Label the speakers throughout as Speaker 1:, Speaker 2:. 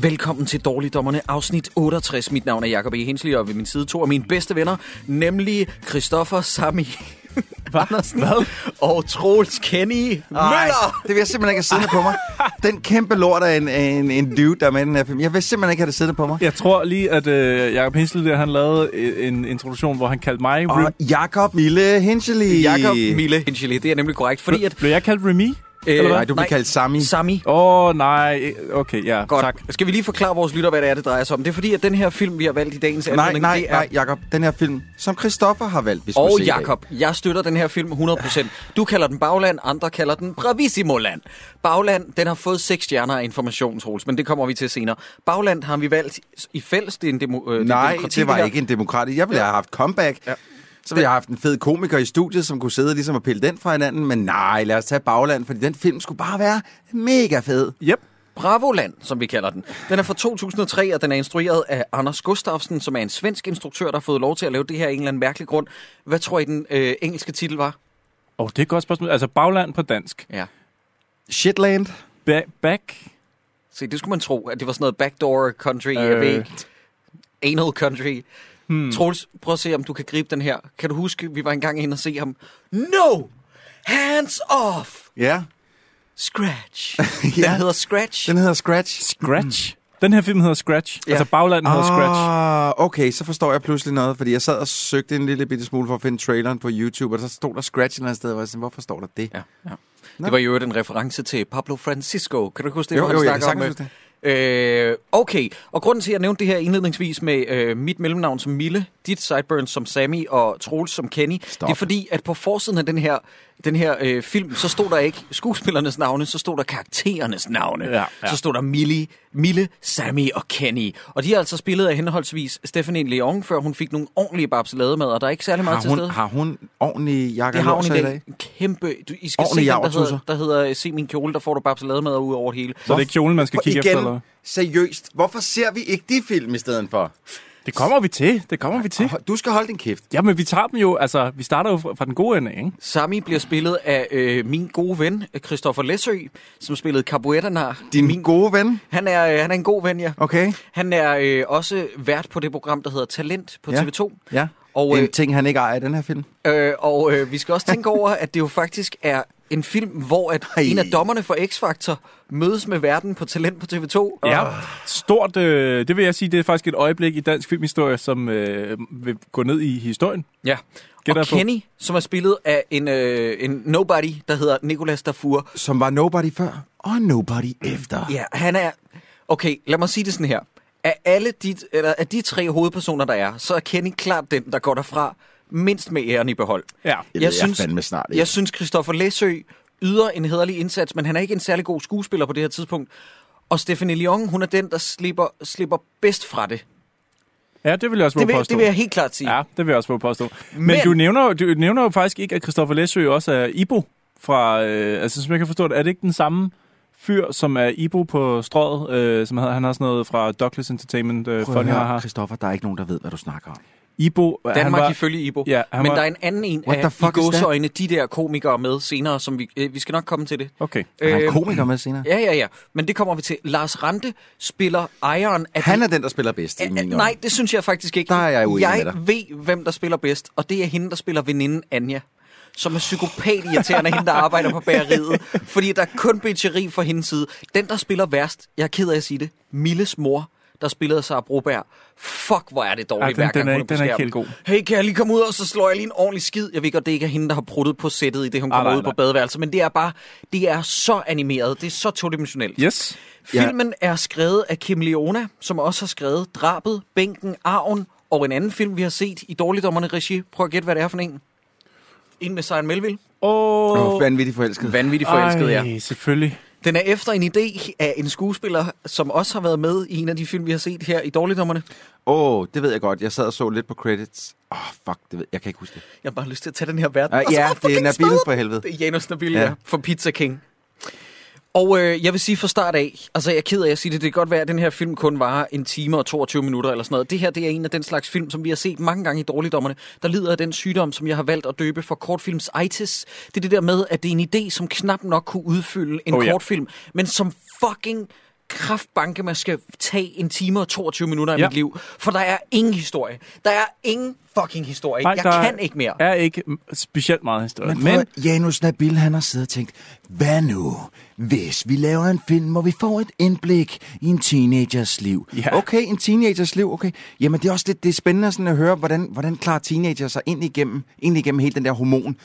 Speaker 1: Velkommen til Dårligdommerne, afsnit 68. Mit navn er Jacob E. Hensley, og ved min side to af mine bedste venner, nemlig Christoffer Sami Andersen og Troels Kenny Møller.
Speaker 2: Det vil jeg simpelthen ikke have siddende på mig. Den kæmpe lort af en, en, en dude, der er med i den her film. Jeg vil simpelthen ikke have det siddende på mig.
Speaker 3: Jeg tror lige, at øh, Jacob Hinsel der, han lavede øh, en introduktion, hvor han kaldte mig...
Speaker 2: Og
Speaker 3: Rem-
Speaker 2: Jakob Mille Hinchely.
Speaker 1: Jakob Mille Hinchely, det er nemlig korrekt, fordi at...
Speaker 3: Blev jeg kaldt Remy?
Speaker 1: Øh,
Speaker 2: Nej, du bliver kaldt Sami.
Speaker 1: Sami.
Speaker 3: Åh, oh, nej. Okay, ja.
Speaker 1: Godt.
Speaker 3: Tak.
Speaker 1: Skal vi lige forklare vores lytter, hvad det er, det drejer sig om? Det er fordi, at den her film, vi har valgt i dagens
Speaker 2: Nej,
Speaker 1: anledning,
Speaker 2: nej,
Speaker 1: det er...
Speaker 2: nej, Jakob. Den her film, som Christoffer har valgt, vi skulle
Speaker 1: Og
Speaker 2: se i dag.
Speaker 1: Jakob, jeg støtter den her film 100%. Du kalder den Bagland, andre kalder den Bravissimoland. Bagland, den har fået seks stjerner af information, Troels, men det kommer vi til senere. Bagland har vi valgt i fælles, det er en demo, øh, det er
Speaker 2: Nej,
Speaker 1: demokrati,
Speaker 2: det var
Speaker 1: her.
Speaker 2: ikke en demokratisk. Jeg ville have haft comeback. Ja. Så ville jeg have haft en fed komiker i studiet, som kunne sidde ligesom og pille den fra hinanden. Men nej, lad os tage bagland, fordi den film skulle bare være mega fed.
Speaker 3: Yep.
Speaker 1: Bravoland, som vi kalder den. Den er fra 2003, og den er instrueret af Anders Gustafsson, som er en svensk instruktør, der har fået lov til at lave det her af en eller anden mærkelig grund. Hvad tror I, den øh, engelske titel var?
Speaker 3: Åh, oh, det er et godt spørgsmål. Altså, bagland på dansk.
Speaker 1: Ja.
Speaker 2: Shitland.
Speaker 3: Ba- back?
Speaker 1: Se, det skulle man tro, at det var sådan noget backdoor country, øh.
Speaker 3: Øh.
Speaker 1: jeg ved ikke. anal country. Hmm. Troels, prøv at se, om du kan gribe den her. Kan du huske, vi var engang inde og se ham? No! Hands off!
Speaker 2: Ja,
Speaker 1: Scratch. ja. Den
Speaker 2: Ja.
Speaker 1: hedder Scratch.
Speaker 2: den hedder Scratch.
Speaker 3: Scratch? Den her film hedder Scratch.
Speaker 1: Mm. Ja.
Speaker 3: Ja. Altså, bagland hedder Scratch.
Speaker 2: Ah, okay, så forstår jeg pludselig noget, fordi jeg sad og søgte en lille bitte smule for at finde traileren på YouTube, og så stod der Scratch et eller andet sted, og jeg var sådan, hvorfor står der det?
Speaker 1: Ja, ja. Det var jo en reference til Pablo Francisco. Kan du ikke huske det,
Speaker 2: Jo,
Speaker 1: hvor han
Speaker 2: jo, jeg
Speaker 1: snakker
Speaker 2: kan
Speaker 1: om?
Speaker 2: sagtens
Speaker 1: øh, okay, og grunden til, at jeg nævnte det her indledningsvis med øh, mit mellemnavn som Mille, dit sideburns som Sammy og Troels som Kenny, Stop. det er fordi, at på forsiden af den her, den her øh, film, så stod der ikke skuespillernes navne, så stod der karakterernes navne.
Speaker 3: Ja, ja.
Speaker 1: Så stod der Millie, Mille, Sammy og Kenny. Og de er altså spillet af henholdsvis Stephanie Leong, før hun fik nogle ordentlige babselademad, og der er ikke særlig meget
Speaker 2: Har
Speaker 1: til
Speaker 2: hun,
Speaker 1: stede.
Speaker 2: har hun ordentlige jakker
Speaker 1: Det har hun i
Speaker 2: låser
Speaker 1: dag. En Kæmpe... Du, I skal
Speaker 2: Ordentlig
Speaker 1: se den, der
Speaker 2: javertusser.
Speaker 1: hedder, der hedder øh, Se min kjole, der får du babsalade med ud over det hele.
Speaker 3: Så det er kjolen, man skal
Speaker 2: Hvor-
Speaker 3: kigge efter,
Speaker 2: igen,
Speaker 3: eller hvad?
Speaker 2: seriøst, hvorfor ser vi ikke de film i stedet for?
Speaker 3: Det kommer vi til. Det kommer vi til.
Speaker 1: Ah.
Speaker 2: Du skal holde din kæft.
Speaker 3: Jamen, vi tager dem jo. Altså, vi starter jo fra, fra den gode ende, ikke?
Speaker 1: Sami bliver spillet af øh, min gode ven, Christoffer Læsø, som spillede Cabuetanar.
Speaker 2: Din Min... gode ven,
Speaker 1: Han er, øh, han er en god ven, ja.
Speaker 2: okay?
Speaker 1: Han er øh, også vært på det program, der hedder Talent på
Speaker 2: Ja.
Speaker 1: TV2.
Speaker 2: Ja.
Speaker 1: Og,
Speaker 2: Og,
Speaker 1: øh,
Speaker 2: en ting, han ikke ejer i den her film.
Speaker 1: øh, og øh, vi skal også tænke over, at det jo faktisk er en film, hvor at
Speaker 2: Ej.
Speaker 1: en af dommerne for X-Factor mødes med verden på Talent på TV2.
Speaker 3: Ja, stort, øh, det vil jeg sige, det er faktisk et øjeblik i dansk filmhistorie, som øh, vil gå ned i historien.
Speaker 1: Ja.
Speaker 3: Gæt
Speaker 1: og
Speaker 3: derfor.
Speaker 1: Kenny, som er spillet af en, øh, en nobody, der hedder Nicolas Darfur,
Speaker 2: Som var Nobody før, og Nobody efter.
Speaker 1: Ja, han er... Okay, lad mig sige det sådan her. Af, alle de, eller af de tre hovedpersoner, der er, så er Kenny klart den, der går derfra mindst med æren i behold.
Speaker 3: Ja.
Speaker 2: Det ved jeg fandme snart ikke.
Speaker 1: Jeg synes, Christoffer Læsø yder en hederlig indsats, men han er ikke en særlig god skuespiller på det her tidspunkt. Og Stephanie Leong, hun er den, der slipper, slipper bedst fra det.
Speaker 3: Ja, det vil jeg også
Speaker 1: Det
Speaker 3: våge
Speaker 1: vil,
Speaker 3: påstå.
Speaker 1: det vil jeg helt klart sige.
Speaker 3: Ja, det vil jeg også våge påstå. Men,
Speaker 1: Men-
Speaker 3: Men du, nævner, jo- du nævner jo faktisk ikke, at Christoffer Læsø også er Ibo fra... Øh, altså, som jeg kan forstå det, er det ikke den samme fyr, som er Ibo på strøget, øh, som hedder, han har sådan noget fra Douglas Entertainment, øh, Funny Haha.
Speaker 2: Christoffer, der er ikke nogen, der ved, hvad du snakker om.
Speaker 3: Ibo, øh,
Speaker 1: Danmark
Speaker 3: han var,
Speaker 1: ifølge Ibo.
Speaker 3: Ja, han
Speaker 1: men
Speaker 3: var-
Speaker 1: der er en anden en
Speaker 2: What the
Speaker 1: af
Speaker 2: fuck
Speaker 1: i
Speaker 2: is that?
Speaker 1: gåseøjne, de der komikere med senere, som vi, øh, vi skal nok komme til det.
Speaker 3: Okay.
Speaker 2: Han er
Speaker 1: Øhm,
Speaker 2: en komiker med senere.
Speaker 1: Ja, ja, ja. Men det kommer vi til. Lars Rante spiller ejeren af...
Speaker 2: Han
Speaker 1: det-
Speaker 2: er den, der spiller bedst i
Speaker 1: Ah,
Speaker 2: min
Speaker 1: Nej, det synes jeg faktisk ikke.
Speaker 2: Der er jeg uenig
Speaker 1: Jeg
Speaker 2: med dig.
Speaker 1: ved, hvem der spiller bedst, og det er hende, der spiller veninden Anja som er psykopat irriterende hende, der arbejder på bageriet. Fordi der er kun bitcheri fra hendes side. Den, der spiller værst, jeg er ked af at sige det, Milles mor, der spillede Sara Broberg. Fuck, hvor er det dårligt,
Speaker 3: Ej, den-
Speaker 1: hver gang
Speaker 3: den er
Speaker 1: hun
Speaker 3: ikke-
Speaker 1: på
Speaker 3: den er ikke
Speaker 1: skærmen.
Speaker 3: helt god.
Speaker 1: Hey, kan jeg lige komme ud, og så slår jeg lige en ordentlig skid? Jeg ved godt, det ikke er hende, der har bruttet på sættet i det, hun
Speaker 3: Ah,
Speaker 1: kommer
Speaker 3: nej,
Speaker 1: ud på
Speaker 3: nej.
Speaker 1: badeværelset. Men det er bare, det er så animeret, det er så todimensionelt.
Speaker 3: Yes.
Speaker 2: Ja.
Speaker 1: Filmen er skrevet af Kim Leona, som også har skrevet Drabet, Bænken, Arven og en anden film, vi har set i Dårligdommerne Regi. Prøv at gætte, hvad det er for en. En med Søren Melville.
Speaker 3: Åh,
Speaker 2: Åh, vanvittigt forelsket.
Speaker 1: Vanvittigt
Speaker 3: Ej, selvfølgelig.
Speaker 1: Den er efter en idé af en skuespiller, som også har været med i en af de film, vi har set her i Dårligdommerne.
Speaker 2: Åh, oh, det ved jeg godt. Jeg sad og så lidt på credits. Åh, oh, fuck, det ved jeg. Jeg kan ikke huske det.
Speaker 1: Jeg har bare lyst til at tage den her verden.
Speaker 2: Uh,
Speaker 1: og så
Speaker 2: ja,
Speaker 1: bare
Speaker 2: det er
Speaker 1: fucking
Speaker 2: Nabil
Speaker 1: smadre
Speaker 2: for helvede.
Speaker 1: Det er Janus Nabil, ja.
Speaker 2: Ja.
Speaker 1: ja. For Pizza King. Og øh, jeg vil sige fra start af, altså jeg er ked af at sige det, det kan godt være, at den her film kun varer en time og 22 minutter eller sådan noget. Det her, det er en af den slags film, som vi har set mange gange i Dårligdommerne, der lider af den sygdom, som jeg har valgt at døbe for kortfilms itis. Det er det der med, at det er en idé, som knap nok kunne udfylde en
Speaker 3: Oh
Speaker 1: oh,
Speaker 3: ja.
Speaker 1: kortfilm, men som fucking kraftbanke, man skal tage en time og 22 minutter af
Speaker 3: Ja.
Speaker 1: mit liv. For der er ingen historie. Der er ingen fucking historie.
Speaker 3: Nej,
Speaker 1: jeg
Speaker 3: der
Speaker 1: kan ikke mere.
Speaker 3: er ikke m- specielt meget historie.
Speaker 2: Men,
Speaker 3: Men, men
Speaker 2: men Janus Nabil, han har siddet og tænkt, hvad nu, hvis vi laver en film, hvor vi får et indblik i en teenagers liv?
Speaker 3: Ja.
Speaker 2: Okay, en teenagers liv, okay. Jamen, det er også lidt det er spændende sådan at høre, hvordan, hvordan klarer teenagers sig ind igennem, ind igennem hele den der hormon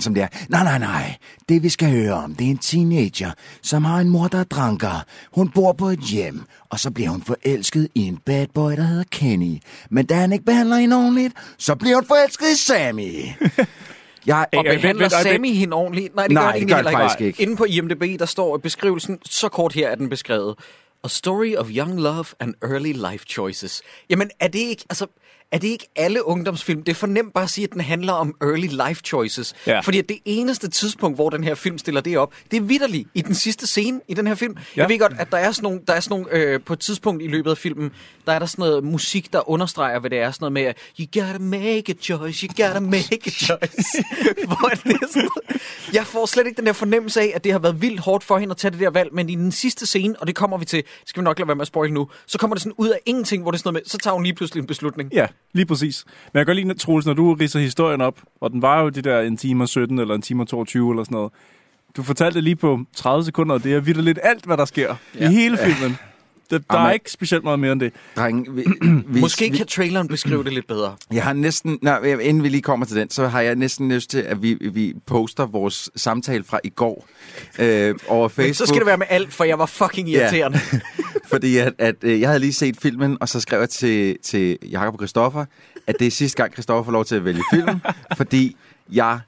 Speaker 2: som det er. Nej, nej, nej. Det vi skal høre om, det er en teenager, som har en mor, der er dranker. Hun bor på et hjem, og så bliver hun forelsket i en bad boy, der hedder Kenny. Men da han ikke behandler hende ordentligt, så bliver hun forelsket i Sammy. Jeg,
Speaker 1: Og
Speaker 3: Øh, vent,
Speaker 1: behandler
Speaker 3: vent, øjeblik.
Speaker 1: Sammy hende ordentligt? Nej, det
Speaker 2: Nej,
Speaker 1: gør han
Speaker 2: det
Speaker 1: egentlig
Speaker 2: gør han
Speaker 1: heller
Speaker 2: faktisk ikke.
Speaker 1: Inde på IMDb, der står beskrivelsen, så kort her er den beskrevet. A story of young love and early life choices. Jamen, er det ikke, altså, er det ikke alle ungdomsfilm? Det er for nemt bare at sige, at den handler om early life choices.
Speaker 3: Ja.
Speaker 1: Ja. Fordi at det eneste tidspunkt, hvor den her film stiller det op, det er vidderligt i den sidste scene i den her film. Ja. Jeg ved godt, at der er sådan nogle, der er sådan nogle øh, på et tidspunkt i løbet af filmen, der er der sådan noget musik, der understreger, hvad det er. Sådan noget med, at, you gotta make a choice, you gotta make a choice. Hvor er det sådan, jeg får slet ikke den der fornemmelse af, at det har været vildt hårdt for hende at tage det der valg, men i den sidste scene, og det kommer vi til, skal vi nok lade være med at spoil nu, så kommer det sådan ud af ingenting, hvor det er sådan noget med, så tager hun lige pludselig en beslutning.
Speaker 3: ja, lige præcis. Men jeg kan godt lide, Troels, når du ridser historien op, og den var jo de der en time og 17 eller en time og 22 eller sådan noget. Du fortalte det lige på 30 sekunder, og det er vildt lidt alt, hvad der sker ja. i hele filmen. Der, der er
Speaker 2: Amen.
Speaker 3: ikke specielt meget mere end det.
Speaker 2: Drenge, vi, vi,
Speaker 1: Måske
Speaker 2: vi,
Speaker 1: kan traileren beskrive det lidt bedre.
Speaker 2: Jeg har næsten, nej, inden vi lige kommer til den, så har jeg næsten lyst til, at vi, vi poster vores samtale fra i går øh, over Facebook.
Speaker 1: Men så skal det være med alt, for jeg var fucking irriterende. Yeah.
Speaker 2: Fordi at, at, øh, jeg havde lige set filmen, og så skrev jeg til, til Jakob og Christoffer, at det er sidste gang, Christoffer får lov til at vælge film, fordi jeg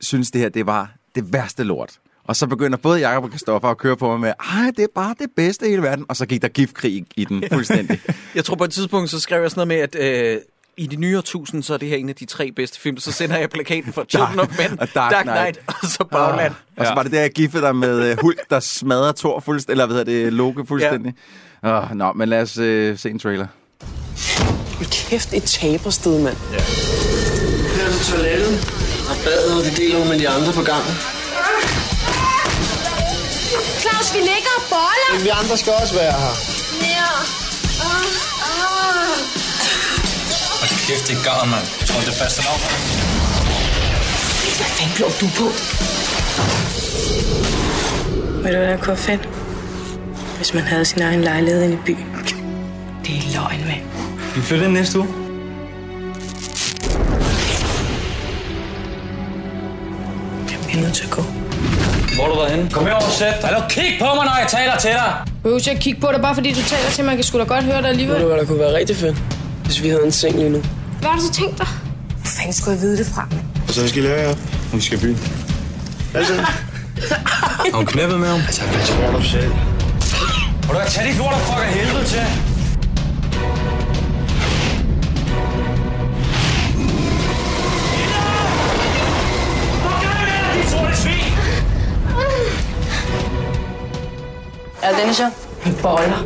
Speaker 2: synes, det her det var det værste lort. Og så begynder både Jakob og Christoffer at køre på mig med, ej, det er bare det bedste i hele verden. Og så gik der giftkrig i, i den fuldstændig.
Speaker 1: Jeg tror på et tidspunkt, så skrev jeg sådan noget med, at øh, i det nye årtusind, så er det her en af de tre bedste film. Så sender jeg plakaten for Children of Men,
Speaker 2: og
Speaker 1: Dark,
Speaker 2: Dark
Speaker 1: Dark
Speaker 2: Knight. Ah.
Speaker 1: Knight, og så Bagland.
Speaker 2: Og så
Speaker 3: Ja.
Speaker 2: var det der, jeg giffede dig med uh, Hulk, der smadrer Thor fuldstændig, eller hvad hedder det, Loke fuldstændig. Ja. Oh, nå, men lad os uh, se en trailer.
Speaker 4: Hold kæft, et tabersted, mand.
Speaker 5: Her er til toilettet og badet, og det deler hun med de andre på gangen.
Speaker 6: Claus, vi ligger og boller.
Speaker 5: Men vi andre skal også være her.
Speaker 6: Ja. Ah, ah.
Speaker 7: Kæft, det er garn, mand. Jeg tror, det er faste lavn.
Speaker 4: Hvad fanden blev du på?
Speaker 8: Ved du, hvad der kunne være fedt? Hvis man havde sin egen lejlighed inde i byen. Det er løgn, mand.
Speaker 7: Vi flytter ind næste uge.
Speaker 8: Jeg bliver nødt til at gå.
Speaker 7: Hvor har du været henne? Kom herover og sæt dig. Lad kig på mig, når jeg taler til dig.
Speaker 6: Behøver ikke at kigge på dig, bare fordi du taler til, mig. man kan sgu da godt høre dig
Speaker 4: Ved
Speaker 6: alligevel.
Speaker 4: du, hvad der kunne være rigtig fedt? Hvis vi havde en seng lige nu.
Speaker 6: Hvad har du så tænkt dig?
Speaker 8: Hvor fanden skulle jeg vide det fra, mand?
Speaker 5: Og så vi skal lave her. Hun skal i byen. Altså,
Speaker 7: Har hun knæppet med ham?
Speaker 5: hvad tror du selv?
Speaker 7: Må du ikke tage dit lort og fucking helvede til?
Speaker 8: Er det denne så? Han boller.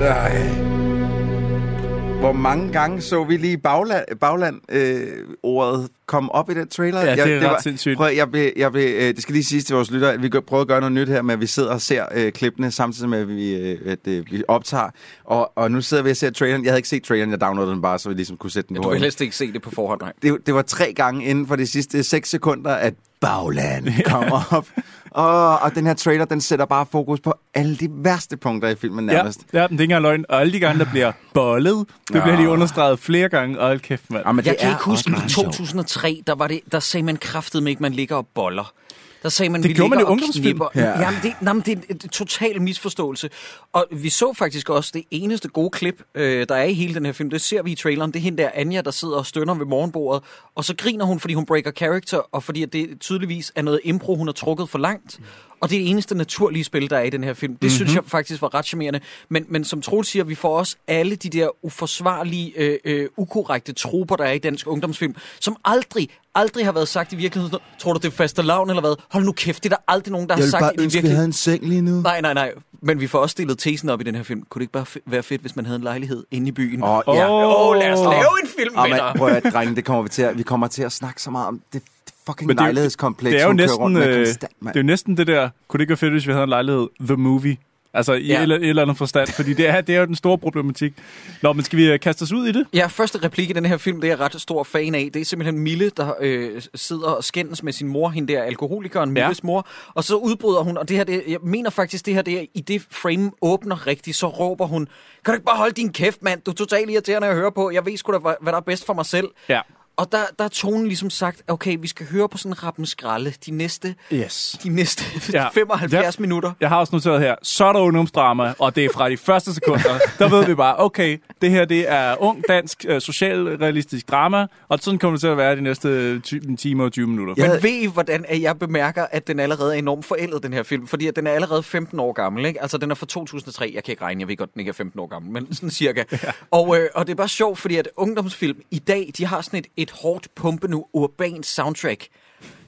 Speaker 2: Nej. Hvor mange gange så vi lige bagland, bagland øh, ordet komme op i den trailer.
Speaker 3: Ja, det er
Speaker 2: jeg,
Speaker 3: ret sindssygt.
Speaker 2: Prøv, at- jeg blev, jeg blev, øh, det skal lige siges til vores lytter, at vi gør- prøver at gøre noget nyt her med, at vi sidder og ser øh, klippene, samtidig med, at vi, øh, at, øh, vi optager. Og, og nu sidder vi og ser traileren. Jeg havde ikke set traileren, jeg downloadede den bare, så vi ligesom kunne sætte den på.
Speaker 1: Du kan
Speaker 2: hurtigt.
Speaker 1: helst ikke se det på forhånd, nej.
Speaker 2: det, det var tre gange inden for de sidste 6 sekunder, at bagland kommer op. Og, og den her trailer, den sætter bare fokus på alle de værste punkter i filmen
Speaker 3: Ja,
Speaker 2: nærmest.
Speaker 3: ja, men det er ikke engang løgn. Og alle de gange, der bliver bollet, det bliver lige understreget flere gange. Og hold kæft, mand.
Speaker 2: men
Speaker 1: Jeg
Speaker 2: det
Speaker 1: kan
Speaker 2: er
Speaker 1: ikke huske, i
Speaker 2: også meget sjovt.
Speaker 1: 2003, der, var det, der sagde man kraftet med ikke, man ligger og boller. Der sagde man,
Speaker 3: Det
Speaker 1: vi
Speaker 3: gjorde man
Speaker 1: ligger
Speaker 3: i
Speaker 1: og
Speaker 3: ungdomsfilm.
Speaker 1: knipper.
Speaker 2: Ja.
Speaker 1: Jamen, det, jamen, det er en en total misforståelse. Og vi så faktisk også det eneste gode klip, øh, der er i hele den her film. Det ser vi i traileren. Det er hende der, Anja, der sidder og stønner ved morgenbordet. Og så griner hun, fordi hun breaker character, og fordi at det tydeligvis er noget impro, hun har trukket for langt. Og det er det eneste naturlige spil, der er i den her film. Det mm-hmm. synes jeg faktisk var ret charmerende. Men, men som Troels siger, vi får også alle de der uforsvarlige, øh, øh, ukorrekte troper, der er i dansk ungdomsfilm, som aldrig, aldrig har været sagt i virkeligheden. Tror du, det er faste lavn eller hvad? Hold nu kæft, det er der aldrig nogen, der
Speaker 2: Jeg
Speaker 1: har
Speaker 2: vil
Speaker 1: sagt
Speaker 2: bare
Speaker 1: i
Speaker 2: ønske, vi havde en seng lige nu.
Speaker 1: Nej, nej, nej. Men vi får også stillet tesen op i den her film. Kunne det ikke bare fe- være fedt, hvis man havde en lejlighed inde i byen?
Speaker 2: Åh, oh, ja.
Speaker 1: Åh, lad os lave en film,
Speaker 2: Oh, man,
Speaker 1: venner.
Speaker 2: prøv at drenge, det kommer vi til at, vi kommer til at snakke så meget om det det fucking
Speaker 3: Men det er jo-
Speaker 2: lejlighedskompleks,
Speaker 3: det er jo
Speaker 2: hun kører
Speaker 3: næsten,
Speaker 2: rundt med
Speaker 3: øh,
Speaker 2: konstant,
Speaker 3: det
Speaker 2: mand.
Speaker 3: er jo næsten det der, kunne det ikke være fedt, hvis vi havde en lejlighed, The Movie? Altså i
Speaker 1: Ja.
Speaker 3: ja. et, eller- et eller andet forstand, fordi det er, det er jo den store problematik. Nå, men skal vi øh, kaste os ud i det?
Speaker 1: Ja, første replik i den her film, det er jeg ret stor fan af. Det er simpelthen Mille, der øh, sidder og skændes med sin mor, hende der alkoholikeren,
Speaker 3: Ja.
Speaker 1: Milles mor. Og så udbryder hun, og det her, det, jeg mener faktisk, det her det er, i det frame åbner rigtigt, så råber hun, kan du ikke bare holde din kæft, mand? Du er totalt irriterende at høre på. Jeg ved sgu da, hvad hvad der er bedst for mig selv.
Speaker 3: Ja.
Speaker 1: Og der, der er tonen ligesom sagt, okay, vi skal høre på sådan rappen skralde de næste,
Speaker 3: Yes.
Speaker 1: de næste
Speaker 3: Ja.
Speaker 1: ja. 75
Speaker 3: Ja.
Speaker 1: ja. minutter.
Speaker 3: Jeg har også noteret her, så er der ungdomsdrama, og det er fra de første sekunder. Der ved vi bare, okay, det her det er ung, dansk, øh, socialrealistisk drama, og sådan kommer det til at være de næste ty- en time og 20 minutter.
Speaker 2: Ja.
Speaker 3: Ja.
Speaker 1: Men
Speaker 2: havde-
Speaker 1: ved I, hvordan at jeg bemærker, at den allerede er enormt forældet, den her film? Fordi at den er allerede 15 år gammel, ikke? Altså, den er fra 2003. Jeg kan ikke regne, jeg ved godt, den ikke er 15 år gammel, men sådan cirka. Ja. Og, øh, og det er bare sjovt, fordi at ungdomsfilm i dag, de har sådan et, et hårdt pumpende urban soundtrack.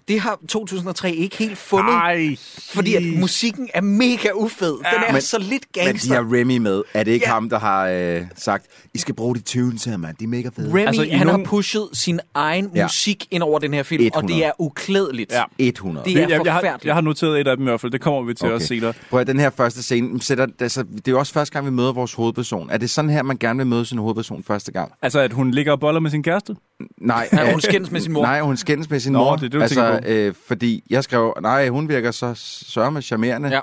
Speaker 1: Det har 2003 ikke helt fundet, Ej.
Speaker 3: Nej,
Speaker 1: fordi at musikken er mega ufed. Ja. Den er
Speaker 2: Men-
Speaker 1: men, så lidt
Speaker 2: Men de
Speaker 1: gangster.
Speaker 2: har Remy med. Er det ikke
Speaker 1: Ja.
Speaker 2: ham, der har øh, sagt, I skal bruge de tunes her, mand. De er mega fede.
Speaker 1: Remy,
Speaker 3: Altså,
Speaker 1: altså,
Speaker 3: i
Speaker 1: han
Speaker 3: nogle-
Speaker 1: har pushet sin egen
Speaker 2: Ja.
Speaker 1: ja. musik ind over den her film, 100. og
Speaker 2: 100.
Speaker 1: det er uklædeligt.
Speaker 3: Ja.
Speaker 2: 100.
Speaker 1: Det er
Speaker 3: jeg, jeg, har,
Speaker 1: forfærdeligt.
Speaker 3: jeg har noteret et af dem i hvert fald, det kommer vi til okay. at se der.
Speaker 2: Prøv at den her første scene, den sætter, altså, det er jo også første gang, vi møder vores hovedperson. Er det sådan her, man gerne vil møde sin hovedperson første gang?
Speaker 3: Altså, at hun ligger og boller med sin kæreste?
Speaker 2: Nej,
Speaker 1: Nej,
Speaker 2: øh,
Speaker 1: hun skændes med sin mor.
Speaker 2: Nej, hun skændes med sin
Speaker 3: Nå,
Speaker 2: mor.
Speaker 3: det er det, du
Speaker 2: altså,
Speaker 3: tænker på.
Speaker 2: øh, fordi jeg skrev, nej, hun virker så sørme charmerende. Ja.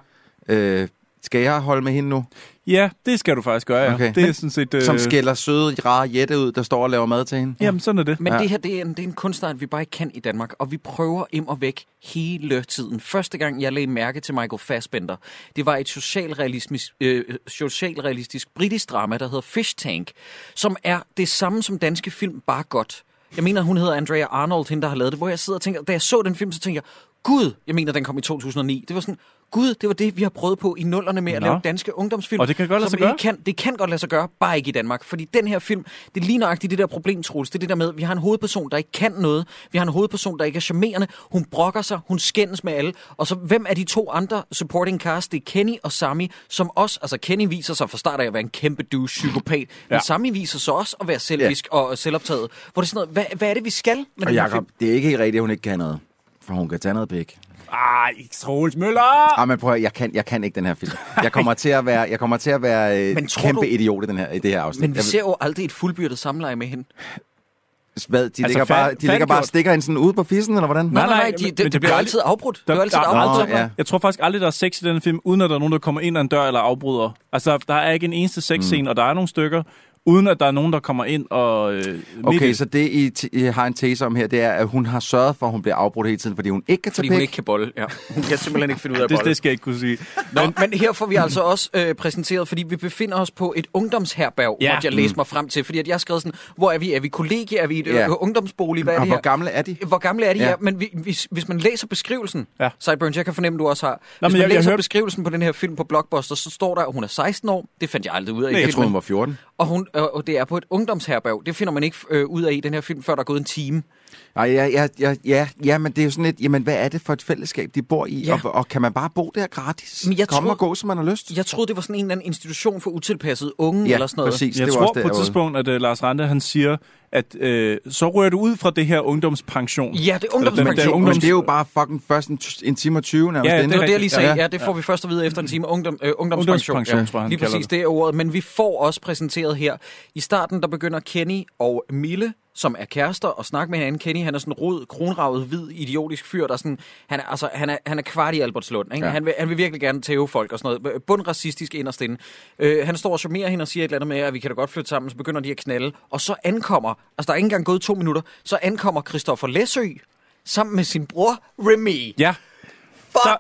Speaker 2: Øh, skal jeg holde med hende nu?
Speaker 3: Ja, det skal du faktisk gøre, ja.
Speaker 2: Okay.
Speaker 3: Okay. Det er sådan set... Øh...
Speaker 2: Som skælder søde, rare Jette ud, der står og laver mad til hende.
Speaker 3: Jamen, sådan er det.
Speaker 1: Men
Speaker 2: Ja.
Speaker 1: ja. det her, det er, en, det er en kunstart, vi bare ikke kan i Danmark, og vi prøver im og væk hele tiden. Første gang, jeg lagde mærke til Michael Fassbender, det var et socialrealistisk, øh, socialrealistisk britisk drama, der hedder Fish Tank, som er det samme som danske film, bare godt. Jeg mener, hun hedder Andrea Arnold, hende der har lavet det, hvor jeg sidder og tænker, da jeg så den film, så tænker jeg, Gud, jeg mener, den kom i 2009. Det var sådan, Gud, det var det, vi har prøvet på i nullerne med at
Speaker 3: Nå.
Speaker 1: lave danske ungdomsfilm.
Speaker 3: Og det kan godt
Speaker 1: som
Speaker 3: lade sig gøre.
Speaker 1: ikke kan, det kan godt lade sig gøre, bare ikke i Danmark. Fordi den her film, det er lige nøjagtigt det der problem, Troels. Det er det der med, at vi har en hovedperson, der ikke kan noget. Vi har en hovedperson, der ikke er charmerende. Hun brokker sig, hun skændes med alle. Og så hvem er de to andre supporting cast? Det er Kenny og Sami, som også, altså Kenny viser sig fra start af at være en kæmpe douche psykopat. Men
Speaker 3: Ja.
Speaker 1: Sami viser sig også at være selvisk ja. og selvoptaget. Hvor det er sådan noget, hvad, hvad er det, vi skal med den
Speaker 2: Og
Speaker 1: her
Speaker 2: Jacob,
Speaker 1: film?
Speaker 2: det er ikke helt rigtigt, at hun ikke kan noget. For hun kan tage noget pik.
Speaker 3: Ej, Troels Møller!
Speaker 2: Ah, men prøv at, høre, jeg kan, jeg kan ikke den her film. Jeg kommer til at være, jeg kommer til at være øh,
Speaker 1: Men tror
Speaker 2: kæmpe du...
Speaker 1: du-
Speaker 2: idiot i, den her, i det her afsnit.
Speaker 1: Men vi
Speaker 2: Jeg-
Speaker 1: ser jo aldrig et fuldbyrdet samleje med hende.
Speaker 2: Hvad, de altså,
Speaker 3: Altså,
Speaker 2: ligger,
Speaker 3: fa-
Speaker 2: bare, de ligger bare og
Speaker 3: færdiggjort.
Speaker 2: stikker en sådan ude på fissen, eller hvordan?
Speaker 1: Nej, nej, nej,
Speaker 3: nej,
Speaker 1: de, det,
Speaker 3: men- men
Speaker 1: det,
Speaker 3: det
Speaker 1: det
Speaker 3: bliver
Speaker 1: bliver
Speaker 3: aldrig-
Speaker 1: altid afbrudt. Det
Speaker 3: Der-
Speaker 1: er jo altid et
Speaker 3: der-
Speaker 1: afbrudt.
Speaker 2: Nå, ja.
Speaker 3: Jeg tror faktisk aldrig, der er sex i den film, uden at der er nogen, der kommer ind ad en dør eller afbryder. Altså, der er ikke en eneste sexscene, mm. og der er nogle stykker, uden at der er nogen, der kommer ind og... Øh, midt
Speaker 2: Okay,
Speaker 3: i-
Speaker 2: så det, I, t- I har en tese om her, det er, at hun har sørget for, at hun bliver afbrudt hele tiden, fordi hun ikke kan tage
Speaker 1: Fordi
Speaker 2: pik.
Speaker 1: hun ikke kan bolle. Ja. Hun kan simpelthen ikke finde ud af at
Speaker 3: det,
Speaker 1: bolle.
Speaker 3: det skal jeg ikke kunne sige.
Speaker 1: Nå, men her får vi altså også øh, præsenteret, fordi vi befinder os på et ungdomsherberg,
Speaker 3: Ja.
Speaker 1: ja. måtte jeg læse mig frem til. Fordi at jeg har skrevet sådan, hvor er vi? Er vi kollegie? Er vi i et
Speaker 2: Mm. Ja.
Speaker 1: ja. ungdomsbolig? Hvad er
Speaker 2: Og
Speaker 1: det
Speaker 2: hvor
Speaker 1: her?
Speaker 2: gamle er de?
Speaker 1: Hvor gamle er de
Speaker 2: Ja.
Speaker 1: ja. her? Men vi, hvis, hvis man læser beskrivelsen,
Speaker 3: Ja.
Speaker 1: ja. Cyburns, jeg kan fornemme, du også har. Hvis
Speaker 3: men
Speaker 1: man
Speaker 3: jeg- jeg
Speaker 1: læser
Speaker 3: hørte-
Speaker 1: beskrivelsen på den her film på Blockbuster, så står der, at hun er 16 år. Det fandt jeg aldrig ud af. i
Speaker 2: Jeg
Speaker 1: filmen.
Speaker 2: troede, hun var 14.
Speaker 1: øh, Og, hun, og og det er på et ungdomsherberg. Det finder man ikke øh, ud af i den her film, før der er gået en time.
Speaker 2: Nej, ja, ja, ja, ja, ja, men det er jo sådan lidt, jamen hvad er det for et fællesskab, de bor i,
Speaker 1: Ja.
Speaker 2: ja. og, og kan man bare bo der gratis?
Speaker 1: Men jeg
Speaker 2: Kom
Speaker 1: tror-
Speaker 2: og gå, som man har lyst.
Speaker 1: Jeg troede, det var sådan en eller anden institution for utilpassede unge,
Speaker 2: Ja,
Speaker 1: eller sådan noget.
Speaker 2: præcis.
Speaker 3: Jeg
Speaker 2: det var
Speaker 3: tror
Speaker 2: også der,
Speaker 3: på
Speaker 2: jeg
Speaker 3: et
Speaker 2: var ude.
Speaker 3: tidspunkt, at uh, Lars Rante han siger, at uh, så rører du ud fra det her ungdomspension.
Speaker 1: Ja, det er
Speaker 3: Eller den-
Speaker 1: ungdomspension.
Speaker 3: den
Speaker 2: Men
Speaker 3: ungdoms-
Speaker 2: det er jo bare fucking først en, t- en time og 20 nærmest.
Speaker 3: Ja,
Speaker 2: inden.
Speaker 1: Det var det, jeg lige sagde.
Speaker 3: Ja.
Speaker 1: Ja, det får vi først at vide efter en time. Ungdom, øh, ungdomspension.
Speaker 3: Ungdomspension,
Speaker 1: ja.
Speaker 3: tror jeg, han
Speaker 1: Lige
Speaker 3: kalder
Speaker 1: præcis,
Speaker 3: det.
Speaker 1: det er ordet. Men vi får også præsenteret her. I starten, der begynder Kenny og Mille, som er kærester, at snakke med hinanden. Kenny, han er sådan en rød, kronravet, hvid, idiotisk fyr, der sådan... Han er, altså, han er, han er kvart i Albertslund, ikke? Ja.
Speaker 2: Ja.
Speaker 1: Han, vil, han vil virkelig gerne tæve folk og sådan noget. Bund racistisk inderst inde. Øh, han står og charmerer hende og siger et eller andet med, at vi kan da godt flytte sammen, så begynder de at knalde. Og så ankommer... Altså, der er ikke engang gået to minutter. Så ankommer Christoffer Læsø sammen med sin bror Remy
Speaker 3: ja.
Speaker 1: fuck, der,
Speaker 3: Der-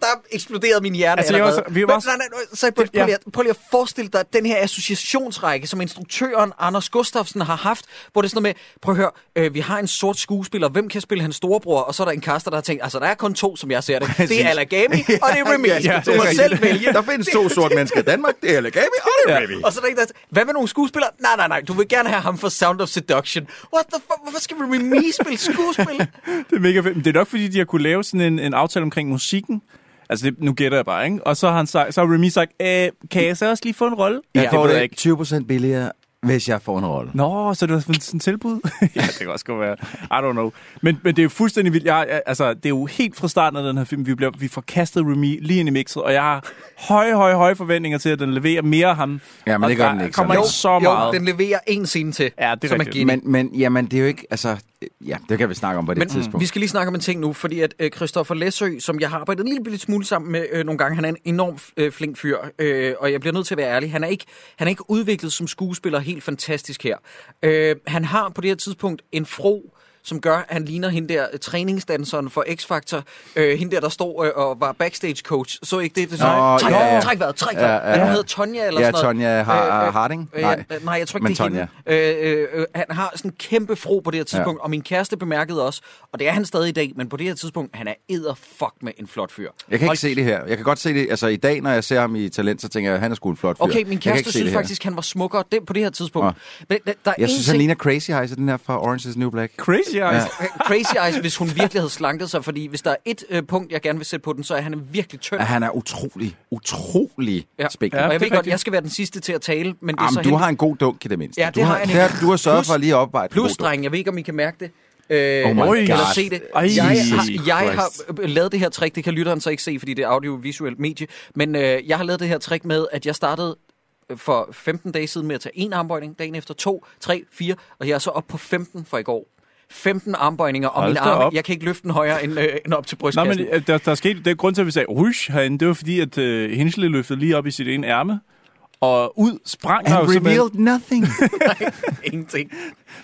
Speaker 1: der eksploderede min hjerte
Speaker 3: Altså, jeg
Speaker 1: allerede.
Speaker 3: var så- vi var
Speaker 1: Men-
Speaker 3: så-
Speaker 1: nej, nej, nej, så prøv, prøv,
Speaker 3: Ja.
Speaker 1: lige, at- prøv lige at forestille dig den her associationsrække, som instruktøren Anders Gustafsson har haft, hvor det er sådan noget med, prøv at høre, øh, vi har en sort skuespiller, hvem kan spille hans storebror? Og så er der en kaster, der har tænkt, altså der er kun to, som jeg ser det. Det er Alagami, og det er Remy.
Speaker 2: Ja,
Speaker 1: ja,
Speaker 2: ja,
Speaker 1: du
Speaker 2: det er
Speaker 1: må
Speaker 2: rigtigt.
Speaker 1: selv vælge.
Speaker 2: Der findes to sorte mennesker i Danmark, det er Alagami og det er
Speaker 3: Ja.
Speaker 2: Remy.
Speaker 1: Og så er der en, der hvad med nogle skuespillere? Nej, nej, nej, du vil gerne have ham for Sound of Seduction. What the fuck? Hvorfor skal Remy spille skuespil?
Speaker 3: Det er mega fedt. Men det er nok, fordi de har kunne lave sådan en, en aftale omkring musikken. Altså, det, nu gætter jeg bare, ikke? Og så har, han sagt, så har Remy sagt, "Øh, kan jeg så også lige få en rolle?
Speaker 2: Jeg
Speaker 3: det
Speaker 2: får
Speaker 3: ved jeg
Speaker 2: det
Speaker 3: ikke.
Speaker 2: 20 procent billigere, hvis jeg får en rolle.
Speaker 3: Nå, så det var sådan et tilbud? ja, det kan også godt være. I don't know. Men, men det er jo fuldstændig vildt. Jeg, jeg, altså, det er jo helt fra starten af den her film, vi, bliver, vi får kastet Remy lige ind i mixet, og jeg har høje, høje, høje forventninger til, at den leverer mere af ham.
Speaker 2: Ja, men
Speaker 3: og
Speaker 2: det gør
Speaker 3: der
Speaker 2: den ikke,
Speaker 3: kommer
Speaker 2: sådan.
Speaker 3: ikke så
Speaker 1: Jo,
Speaker 3: meget.
Speaker 1: den leverer en scene til,
Speaker 3: Ja, det er
Speaker 1: som er
Speaker 3: rigtigt.
Speaker 1: Guinea.
Speaker 2: Men, men jamen, det er jo ikke, altså, ja, det kan vi snakke om på det
Speaker 1: Men Mm.
Speaker 2: tidspunkt.
Speaker 1: vi skal lige snakke om en ting nu, fordi at øh, Christoffer Læsø, som jeg har arbejdet en lille bitte smule sammen med øh, nogle gange, han er en enorm øh, flink fyr, øh, og jeg bliver nødt til at være ærlig, han er ikke, han er ikke udviklet som skuespiller helt fantastisk her. Øh, han har på det her tidspunkt en fro, som gør, at han ligner hende der øh, træningsdanseren for X-Factor, øh, hende der, der stod øh, og var backstage coach. Så ikke det? det så,
Speaker 2: Nå,
Speaker 1: træk,
Speaker 2: ja, ja.
Speaker 1: vejret, træk vejret, træk vejret.
Speaker 2: Ja, ja, ja.
Speaker 1: Hun hedder Tonja eller
Speaker 2: Ja,
Speaker 1: sådan noget.
Speaker 2: Tonja Har-
Speaker 1: Øh, øh,
Speaker 2: Harding?
Speaker 1: øh,
Speaker 2: Nej.
Speaker 1: ja, nej, jeg tror ikke,
Speaker 2: Men
Speaker 1: det er hende.
Speaker 2: Tonja.
Speaker 1: Øh, øh, øh, han har sådan en kæmpe fro på det her tidspunkt, ja. og min kæreste bemærkede også, og det er han stadig i dag, men på det her tidspunkt, han er edder fuck med en flot fyr.
Speaker 2: Jeg kan ikke
Speaker 1: Hold-
Speaker 2: se det her. Jeg kan godt se det, altså i dag, når jeg ser ham i talent, så tænker jeg, han er sgu en flot fyr.
Speaker 1: Okay, min
Speaker 2: Jeg kan ikke
Speaker 1: kæreste
Speaker 2: se
Speaker 1: synes
Speaker 2: det her.
Speaker 1: faktisk, han var smukkere det, på det her tidspunkt. Ja. Men der, der er
Speaker 2: Jeg
Speaker 1: én
Speaker 2: synes, han
Speaker 1: ting,
Speaker 2: ligner Crazy Eyes, den her fra Orange is the New Black.
Speaker 3: Crazy Eyes. Ja.
Speaker 1: Crazy Eyes, hvis hun virkelig havde slanket sig, fordi hvis der er et øh, punkt, jeg gerne vil sætte på den, så er han virkelig tynd.
Speaker 2: Ja, han er utrolig, utrolig ja. spækket.
Speaker 1: og
Speaker 3: det
Speaker 1: jeg
Speaker 3: er
Speaker 1: ved godt,
Speaker 3: rigtigt.
Speaker 1: jeg skal være den sidste til at tale, men det er så
Speaker 2: Jamen, du
Speaker 1: heldigt.
Speaker 2: har en god dunk i det mindste.
Speaker 1: Ja, det
Speaker 2: du
Speaker 1: har jeg
Speaker 2: det
Speaker 1: nemlig.
Speaker 2: har, Du har sørget
Speaker 1: Plus-
Speaker 2: for lige at opveje en god
Speaker 1: Plus,
Speaker 2: dunk.
Speaker 1: drenge, jeg ved ikke, om I kan mærke det. Øh,
Speaker 2: Oh my
Speaker 1: eller
Speaker 2: God.
Speaker 1: se det.
Speaker 3: Ej,
Speaker 1: jeg, har,
Speaker 2: Jesus
Speaker 1: jeg har
Speaker 2: Christ.
Speaker 1: øh, lavet det her trick, det kan lytteren så ikke se, fordi det er audiovisuelt medie, men øh, jeg har lavet det her trick med, at jeg startede øh, for 15 dage siden med at tage en armbøjning, dagen efter to, tre, fire, og jeg er så oppe på 15 for i går. 15 armbøjninger, og
Speaker 3: Hold
Speaker 1: min
Speaker 3: da
Speaker 1: arm,
Speaker 3: op.
Speaker 1: jeg kan ikke løfte den højere end, øh, end op til
Speaker 3: Nå,
Speaker 1: brystkassen.
Speaker 3: men øh, der, der skete, det er grund til, at vi sagde rysh herinde, det var fordi, at øh, Hinsley løftede lige op i sit ene ærme, og ud sprang der jo
Speaker 2: And
Speaker 3: simpelthen,
Speaker 2: revealed nothing.
Speaker 1: Ingenting.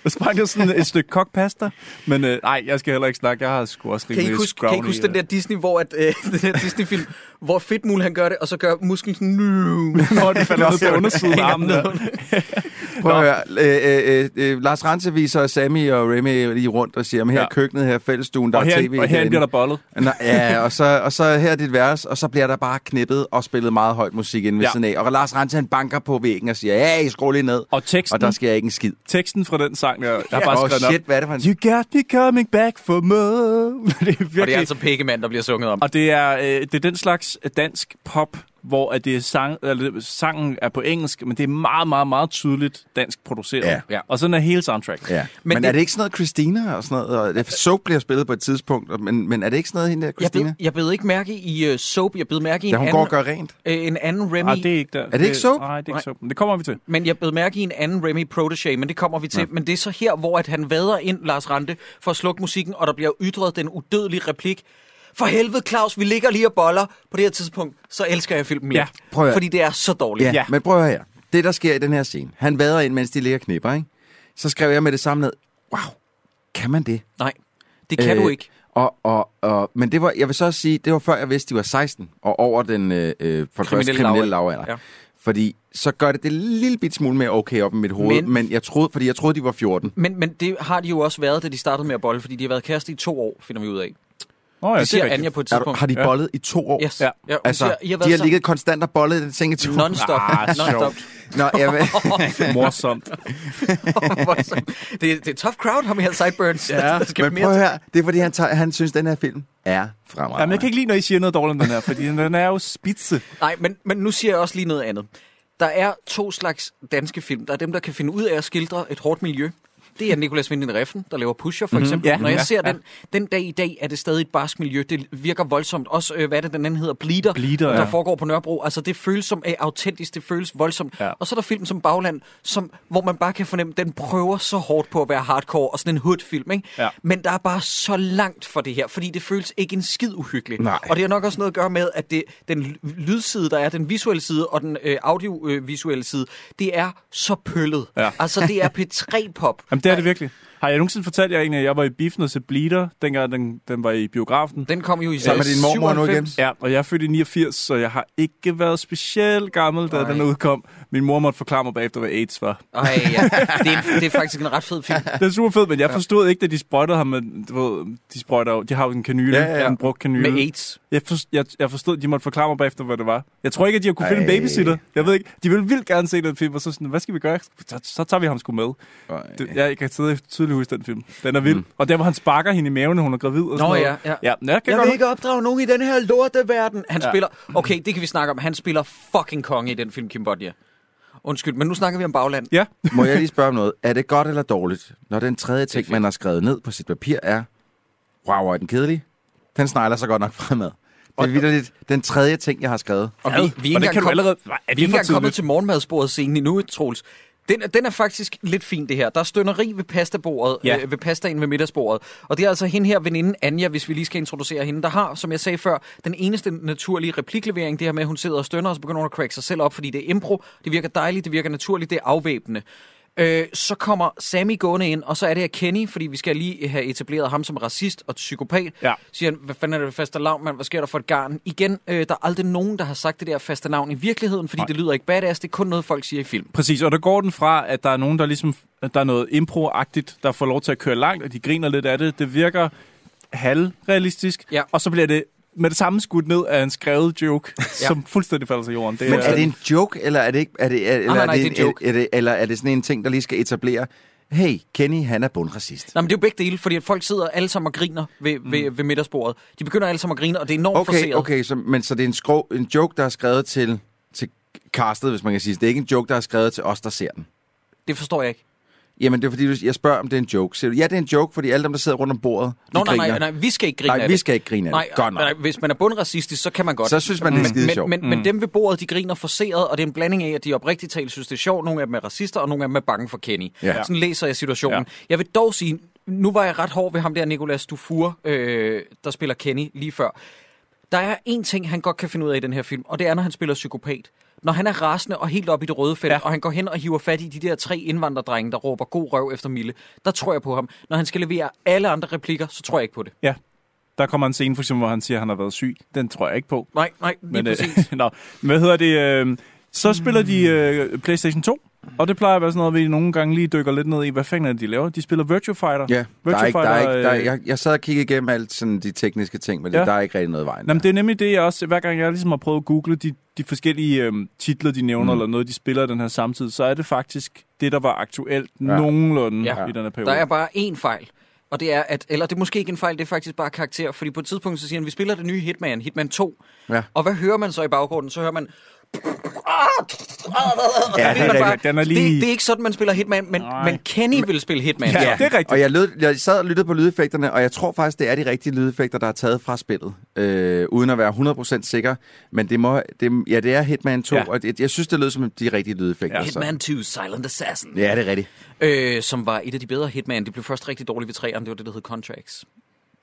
Speaker 3: der sprang der sådan et stykke kokpasta. Men øh, nej, jeg skal heller ikke snakke, jeg har sgu også
Speaker 1: Kan I
Speaker 3: rimelig
Speaker 1: huske, kan I
Speaker 3: scrawny,
Speaker 1: huske den
Speaker 3: øh.
Speaker 1: der Disney, hvor at, øh, den der Disney-film, hvor Fedtmul han gør det, og så gør musklen sådan... Når
Speaker 3: den falder ned på undersiden af armen der.
Speaker 2: Prøv at høre. Øh, øh, øh, øh, Lars Rance viser Sammy og Remy lige rundt og siger, "Men her er
Speaker 3: Ja.
Speaker 2: køkkenet, her er fællestuen, der
Speaker 3: Og
Speaker 2: er
Speaker 3: her,
Speaker 2: tv.
Speaker 3: og her bliver der bollet.
Speaker 2: Nå, ja, og så, og så her er dit værelse, og så bliver der bare knippet og spillet meget højt musik inde ved
Speaker 3: Ja.
Speaker 2: ja. siden af. Og Lars Rance, han banker på væggen og siger, ja, I skruer lige ned.
Speaker 3: Og teksten?
Speaker 2: Og der sker ikke en skid.
Speaker 3: Teksten fra den sang, jeg, jeg har bare
Speaker 2: Åh,
Speaker 3: skrevet
Speaker 2: shit,
Speaker 3: op.
Speaker 2: hvad er det for en-
Speaker 3: You got me coming back for more. det er virkelig...
Speaker 1: Og det er altså Piggemand, der bliver sunget om.
Speaker 3: Og det er, øh, det er den slags øh, dansk pop, hvor at det er sang, eller, øh, sangen er på engelsk, men det er meget, meget, meget tydeligt dansk produceret.
Speaker 2: Ja.
Speaker 1: Ja.
Speaker 3: Og sådan er hele soundtracket.
Speaker 2: Ja.
Speaker 1: Men
Speaker 2: Men, men er
Speaker 1: det-
Speaker 2: det ikke sådan noget Christina og sådan noget? Og det- Soap bliver spillet på et tidspunkt, og- men, men er det ikke sådan noget, hende der
Speaker 1: Jeg
Speaker 2: Christina?
Speaker 1: bed, jeg bed ikke mærke i uh, soap, jeg bed mærke i
Speaker 2: Da
Speaker 1: en
Speaker 2: hun
Speaker 1: anden,
Speaker 2: går og gør rent.
Speaker 1: øh, en anden Remy,
Speaker 3: Ah, det er ikke der. Er
Speaker 2: det ikke soap?
Speaker 3: Nej, det er
Speaker 1: Nej.
Speaker 3: ikke soap. Men det kommer vi til.
Speaker 1: men jeg bed mærke i en anden Remy protege, men det kommer vi til. Ja. Men det er så her, hvor at han vader ind, Lars Rante, for at slukke musikken, og der bliver ytret den udødelige replik. For helvede, Claus, vi ligger lige og boller. På det her tidspunkt, så elsker jeg filmen mere.
Speaker 3: Ja,
Speaker 2: prøv at høre.
Speaker 1: Fordi det er så dårligt.
Speaker 2: Ja,
Speaker 3: Ja.
Speaker 2: ja. men prøv her. Det, der sker i den her scene, han vader ind, mens de ligger og knipper, ikke? Så skrev jeg med det samme ned, wow, kan man det?
Speaker 1: Nej, det kan øh, du ikke.
Speaker 2: Og, og, og, men det var, jeg vil så også sige, det var før jeg vidste, de var 16 og over den øh, øh, for kriminelle, første,
Speaker 1: Kriminelle
Speaker 2: kriminelle
Speaker 1: lavalder.
Speaker 2: lavalder.
Speaker 1: Ja.
Speaker 2: Ja. Fordi så gør det det lille bit smule mere okay op i mit hoved,
Speaker 1: Men-
Speaker 2: men, men jeg troede, fordi jeg troede, de var 14.
Speaker 1: Men, men det har de jo også været, da de startede med at bolle, fordi de har været kæreste i to år, finder vi ud af.
Speaker 3: Nå, ja,
Speaker 1: det siger
Speaker 3: rigtigt.
Speaker 1: Anja på et
Speaker 2: Er du,
Speaker 1: tidspunkt.
Speaker 2: har de bollet i to år?
Speaker 1: Yes. Ja. Ja, hun
Speaker 2: altså,
Speaker 1: siger, "I har
Speaker 2: de
Speaker 1: været
Speaker 2: har
Speaker 1: så-
Speaker 2: ligget konstant og bollet i den seng i to år.
Speaker 1: Non-stop.
Speaker 3: Ah,
Speaker 1: Non-stop.
Speaker 2: Nå, jeg ved.
Speaker 3: Morsomt.
Speaker 1: det, det er tough crowd, ham her sideburns. Ja, der skal
Speaker 2: Men
Speaker 1: mere
Speaker 2: prøv her, det er fordi, han, tager, han synes, den her film er fremragende.
Speaker 3: Jamen, jeg kan ikke lide, når I siger noget dårligt om den her, fordi den er jo spidse.
Speaker 1: Nej, men, men nu siger jeg også lige noget andet. Der er to slags danske film. Der er dem, der kan finde ud af at skildre et hårdt miljø. Det er Nicolas Winding Refn, der laver Pusher, for eksempel.
Speaker 3: Mhm. Ja,
Speaker 1: Når jeg
Speaker 3: ja,
Speaker 1: ser
Speaker 3: ja.
Speaker 1: den, den dag i dag, er det stadig et barsk miljø. Det virker voldsomt. Også, øh, hvad er det, den anden hedder? Bleeder,
Speaker 3: Bleeder,
Speaker 1: der
Speaker 3: ja.
Speaker 1: foregår på Nørrebro. Altså, det føles som øh, autentisk, det føles voldsomt.
Speaker 3: Ja.
Speaker 1: Og så er der film som Bagland, som, hvor man bare kan fornemme, den prøver så hårdt på at være hardcore, og sådan en hood-film, ikke?
Speaker 3: Ja.
Speaker 1: Men der er bare så langt for det her, fordi det føles ikke en skid uhyggeligt.
Speaker 2: Nej.
Speaker 1: Og det har nok også noget at gøre med, at det, den l- lydside, der er, den visuelle side og den øh, audiovisuelle side, det er så pøllet.
Speaker 3: Ja.
Speaker 1: Altså, det er P3-pop.
Speaker 3: Jamen, det er det virkelig. Har jeg nogensinde fortalt jer egentlig, at jeg var i biffen og se Bleeder, dengang den, den var i biografen?
Speaker 1: Den kom jo i
Speaker 2: Sammen med din mormor nu igen.
Speaker 1: 97.
Speaker 3: Ja, og jeg er født i 89, så jeg har ikke været specielt gammel, da
Speaker 1: Nej.
Speaker 3: den udkom. Min mor måtte forklare mig bagefter, hvad AIDS var.
Speaker 1: Ej, ja. Det er, det er faktisk en ret fed film.
Speaker 2: Mm.
Speaker 3: Den er super fed, men jeg forstod ikke, da de sprøjtede ham. Men, du ved, de sprøjter jo, de har jo en kanyle,
Speaker 2: Ja, ja, ja.
Speaker 3: en brugt kanyle.
Speaker 1: Med AIDS.
Speaker 3: Jeg, forstod, jeg, jeg forstod, de måtte forklare mig bagefter, hvad det var. Jeg tror ikke, at de har kunne finde en
Speaker 2: Ej.
Speaker 3: babysitter. Jeg ved ikke, de ville vildt gerne se den film, og så sådan, hvad skal vi gøre? Så, så tager vi ham sgu med. Det,
Speaker 2: Ej.
Speaker 3: jeg, jeg kan tydeligt tydeligt huske den film. Den er vild. Mm. Og der, hvor han sparker hende i maven, når hun er gravid og sådan
Speaker 1: Nå,
Speaker 3: noget.
Speaker 1: ja, ja.
Speaker 3: ja men jeg kan
Speaker 1: Jeg
Speaker 3: godt
Speaker 1: vil ikke opdrage nogen i den her lorteverden. Han
Speaker 3: Ja.
Speaker 1: ja. spiller... Okay, det kan vi snakke om. Han spiller fucking konge i den film, Kimbodia. Undskyld, men nu snakker vi om bagland.
Speaker 3: Ja.
Speaker 2: Må jeg lige spørge om noget? Er det godt eller dårligt, når den tredje ting, man har skrevet ned på sit papir, er, wow, er den kedelig? Den snegler sig godt nok fremad. Det er vidderligt den tredje ting, jeg har skrevet.
Speaker 1: Og vi,
Speaker 3: Hvad?
Speaker 1: vi er ikke
Speaker 3: Hvordan
Speaker 1: engang
Speaker 3: kan du
Speaker 1: kom-
Speaker 3: allerede...
Speaker 1: vi
Speaker 3: Er
Speaker 1: er
Speaker 3: det
Speaker 1: ikke
Speaker 3: for
Speaker 1: engang kommet
Speaker 3: tidligt?
Speaker 1: til morgenmadsbordet scenen endnu, Troels. Den, er- den er faktisk lidt fin, det her. Der er stønneri ved pastabordet,
Speaker 3: Ja.
Speaker 1: ja. øh, ved pastaen ved middagsbordet. Og det er altså hende her, veninden Anja, hvis vi lige skal introducere hende, der har, som jeg sagde før, den eneste naturlige repliklevering, det her med, at hun sidder og stønner, og så begynder hun at crack sig selv op, fordi det er impro, det virker dejligt, det virker naturligt, det er afvæbnende. Øh, så kommer Sammy gående ind, og så er det her Kenny, fordi vi skal lige have etableret ham som racist og psykopat.
Speaker 3: Ja.
Speaker 1: Siger han, hvad fanden er det faste lavn, mand? Hvad sker der for et garn? Igen, øh, der er aldrig nogen, der har sagt det der faste navn i virkeligheden, fordi
Speaker 3: Nej.
Speaker 1: Nej. det lyder ikke badass. Det er kun noget, folk siger i film.
Speaker 3: Præcis, og der går den fra, at der er nogen, der ligesom, at der er noget improagtigt, der får lov til at køre langt, og de griner lidt af det. Det virker halvrealistisk,
Speaker 1: Ja.
Speaker 3: og så bliver det med det samme skudt ned af en skrevet joke, ja. som fuldstændig falder til jorden. Det
Speaker 2: Men er det en joke, eller er det ikke... Er det, er, eller
Speaker 1: nej, nej,
Speaker 2: er det,
Speaker 1: det er
Speaker 2: en-
Speaker 1: en joke.
Speaker 2: Er, er det, eller er det sådan en ting, der lige skal etablere, hey, Kenny, han er bundracist.
Speaker 1: Nej, men det er jo begge dele, fordi at folk sidder alle sammen og griner ved, mm. ved, ved middagsbordet. De begynder alle sammen at grine, og det er enormt
Speaker 2: Okay,
Speaker 1: forceret.
Speaker 2: okay, så, men så det er en, skro, en joke, der er skrevet til, til castet, hvis man kan sige. det. Det er ikke en joke, der er skrevet til os, der ser den.
Speaker 1: Det forstår jeg ikke.
Speaker 2: Jamen, det er fordi, du- jeg spørger, om det er en joke. Siger du, ja, det er en joke, fordi alle dem, der sidder rundt om bordet, de
Speaker 1: Nå, nej,
Speaker 2: griner.
Speaker 1: nej, nej, vi skal ikke grine
Speaker 2: nej
Speaker 1: af
Speaker 2: vi
Speaker 1: det.
Speaker 2: skal ikke grine af
Speaker 1: Nej,
Speaker 2: det. Godt nok.
Speaker 1: nej, hvis man er bundracistisk, så kan man godt.
Speaker 2: Så synes man, det er skide
Speaker 1: men,
Speaker 2: sjovt. Mm.
Speaker 1: men, men dem ved bordet, de griner forceret, og det er en blanding af, at de oprigtigt talt synes, det er sjovt. Nogle af dem er racister, og nogle af dem er bange for Kenny.
Speaker 2: Ja.
Speaker 1: Sådan læser jeg situationen.
Speaker 3: Ja.
Speaker 1: Ja. Jeg vil dog sige, nu var jeg ret hård ved ham der, Nicolas Dufour, øh, der spiller Kenny lige før. Der er en ting, han godt kan finde ud af i den her film, og det er, når han spiller psykopat. Når han er rasende og helt op i det røde felt,
Speaker 3: Ja.
Speaker 1: ja. og han går hen og hiver fat i de der tre indvandrerdrenge, der råber god røv efter Mille, der tror jeg på ham. Når han skal levere alle andre replikker, så tror jeg ikke på det.
Speaker 3: Ja. Der kommer en scene, for eksempel, hvor han siger, at han har været syg. Den tror jeg ikke på.
Speaker 1: Nej, nej, lige
Speaker 3: Men, øh,
Speaker 1: præcis.
Speaker 3: nå, hvad hedder det? Øh, så spiller de øh, PlayStation 2, og det plejer at være sådan noget, vi nogle gange lige dykker lidt ned i, hvad fanden er det, de laver. De spiller Virtua Fighter.
Speaker 2: Ja, der er
Speaker 3: Virtua
Speaker 2: ikke, der er
Speaker 3: Fighter,
Speaker 2: ikke, der er,
Speaker 3: øh,
Speaker 2: jeg, jeg sad og kiggede igennem alt sådan de tekniske ting, men
Speaker 3: Ja.
Speaker 2: ja. der er ikke rigtig noget i vejen.
Speaker 3: Nå, men det er nemlig det, jeg også, hver gang jeg ligesom har prøvet at google de, de forskellige øhm, titler, de nævner, mm. eller noget, de spiller i den her samtid, så er det faktisk det, der var aktuelt ja. nogenlunde ja.
Speaker 1: Ja.
Speaker 3: i den her periode.
Speaker 1: Der er bare én fejl. Og det er, at, eller det er måske ikke en fejl, det er faktisk bare karakter. Fordi på et tidspunkt, så siger han, vi spiller det nye Hitman, Hitman 2.
Speaker 2: Ja.
Speaker 1: Og hvad hører man så i baggrunden? Så hører man...
Speaker 2: Ja,
Speaker 1: Og ved
Speaker 2: det er
Speaker 1: man bare,
Speaker 3: rigtigt. Den er lige-
Speaker 1: det, det er ikke sådan, man spiller Hitman, men, men Kenny vil spille Hitman.
Speaker 3: Ja, det er rigtigt.
Speaker 2: Og jeg, lød, jeg sad og lyttede på lydeffekterne, og jeg tror faktisk, det er de rigtige lydeffekter, der er taget fra spillet. Øh, uden at være 100% sikker. Men det, må, det, ja, det er Hitman 2,
Speaker 3: Ja.
Speaker 2: ja. og jeg, jeg synes, det lød som de rigtige lydeffekter.
Speaker 3: Ja.
Speaker 2: så-
Speaker 1: Hitman 2, Silent Assassin.
Speaker 2: Ja, det er rigtigt.
Speaker 1: Øh, som var et af de bedre Hitman. Det blev først rigtig dårligt ved træerne, det var det, der hed Contracts.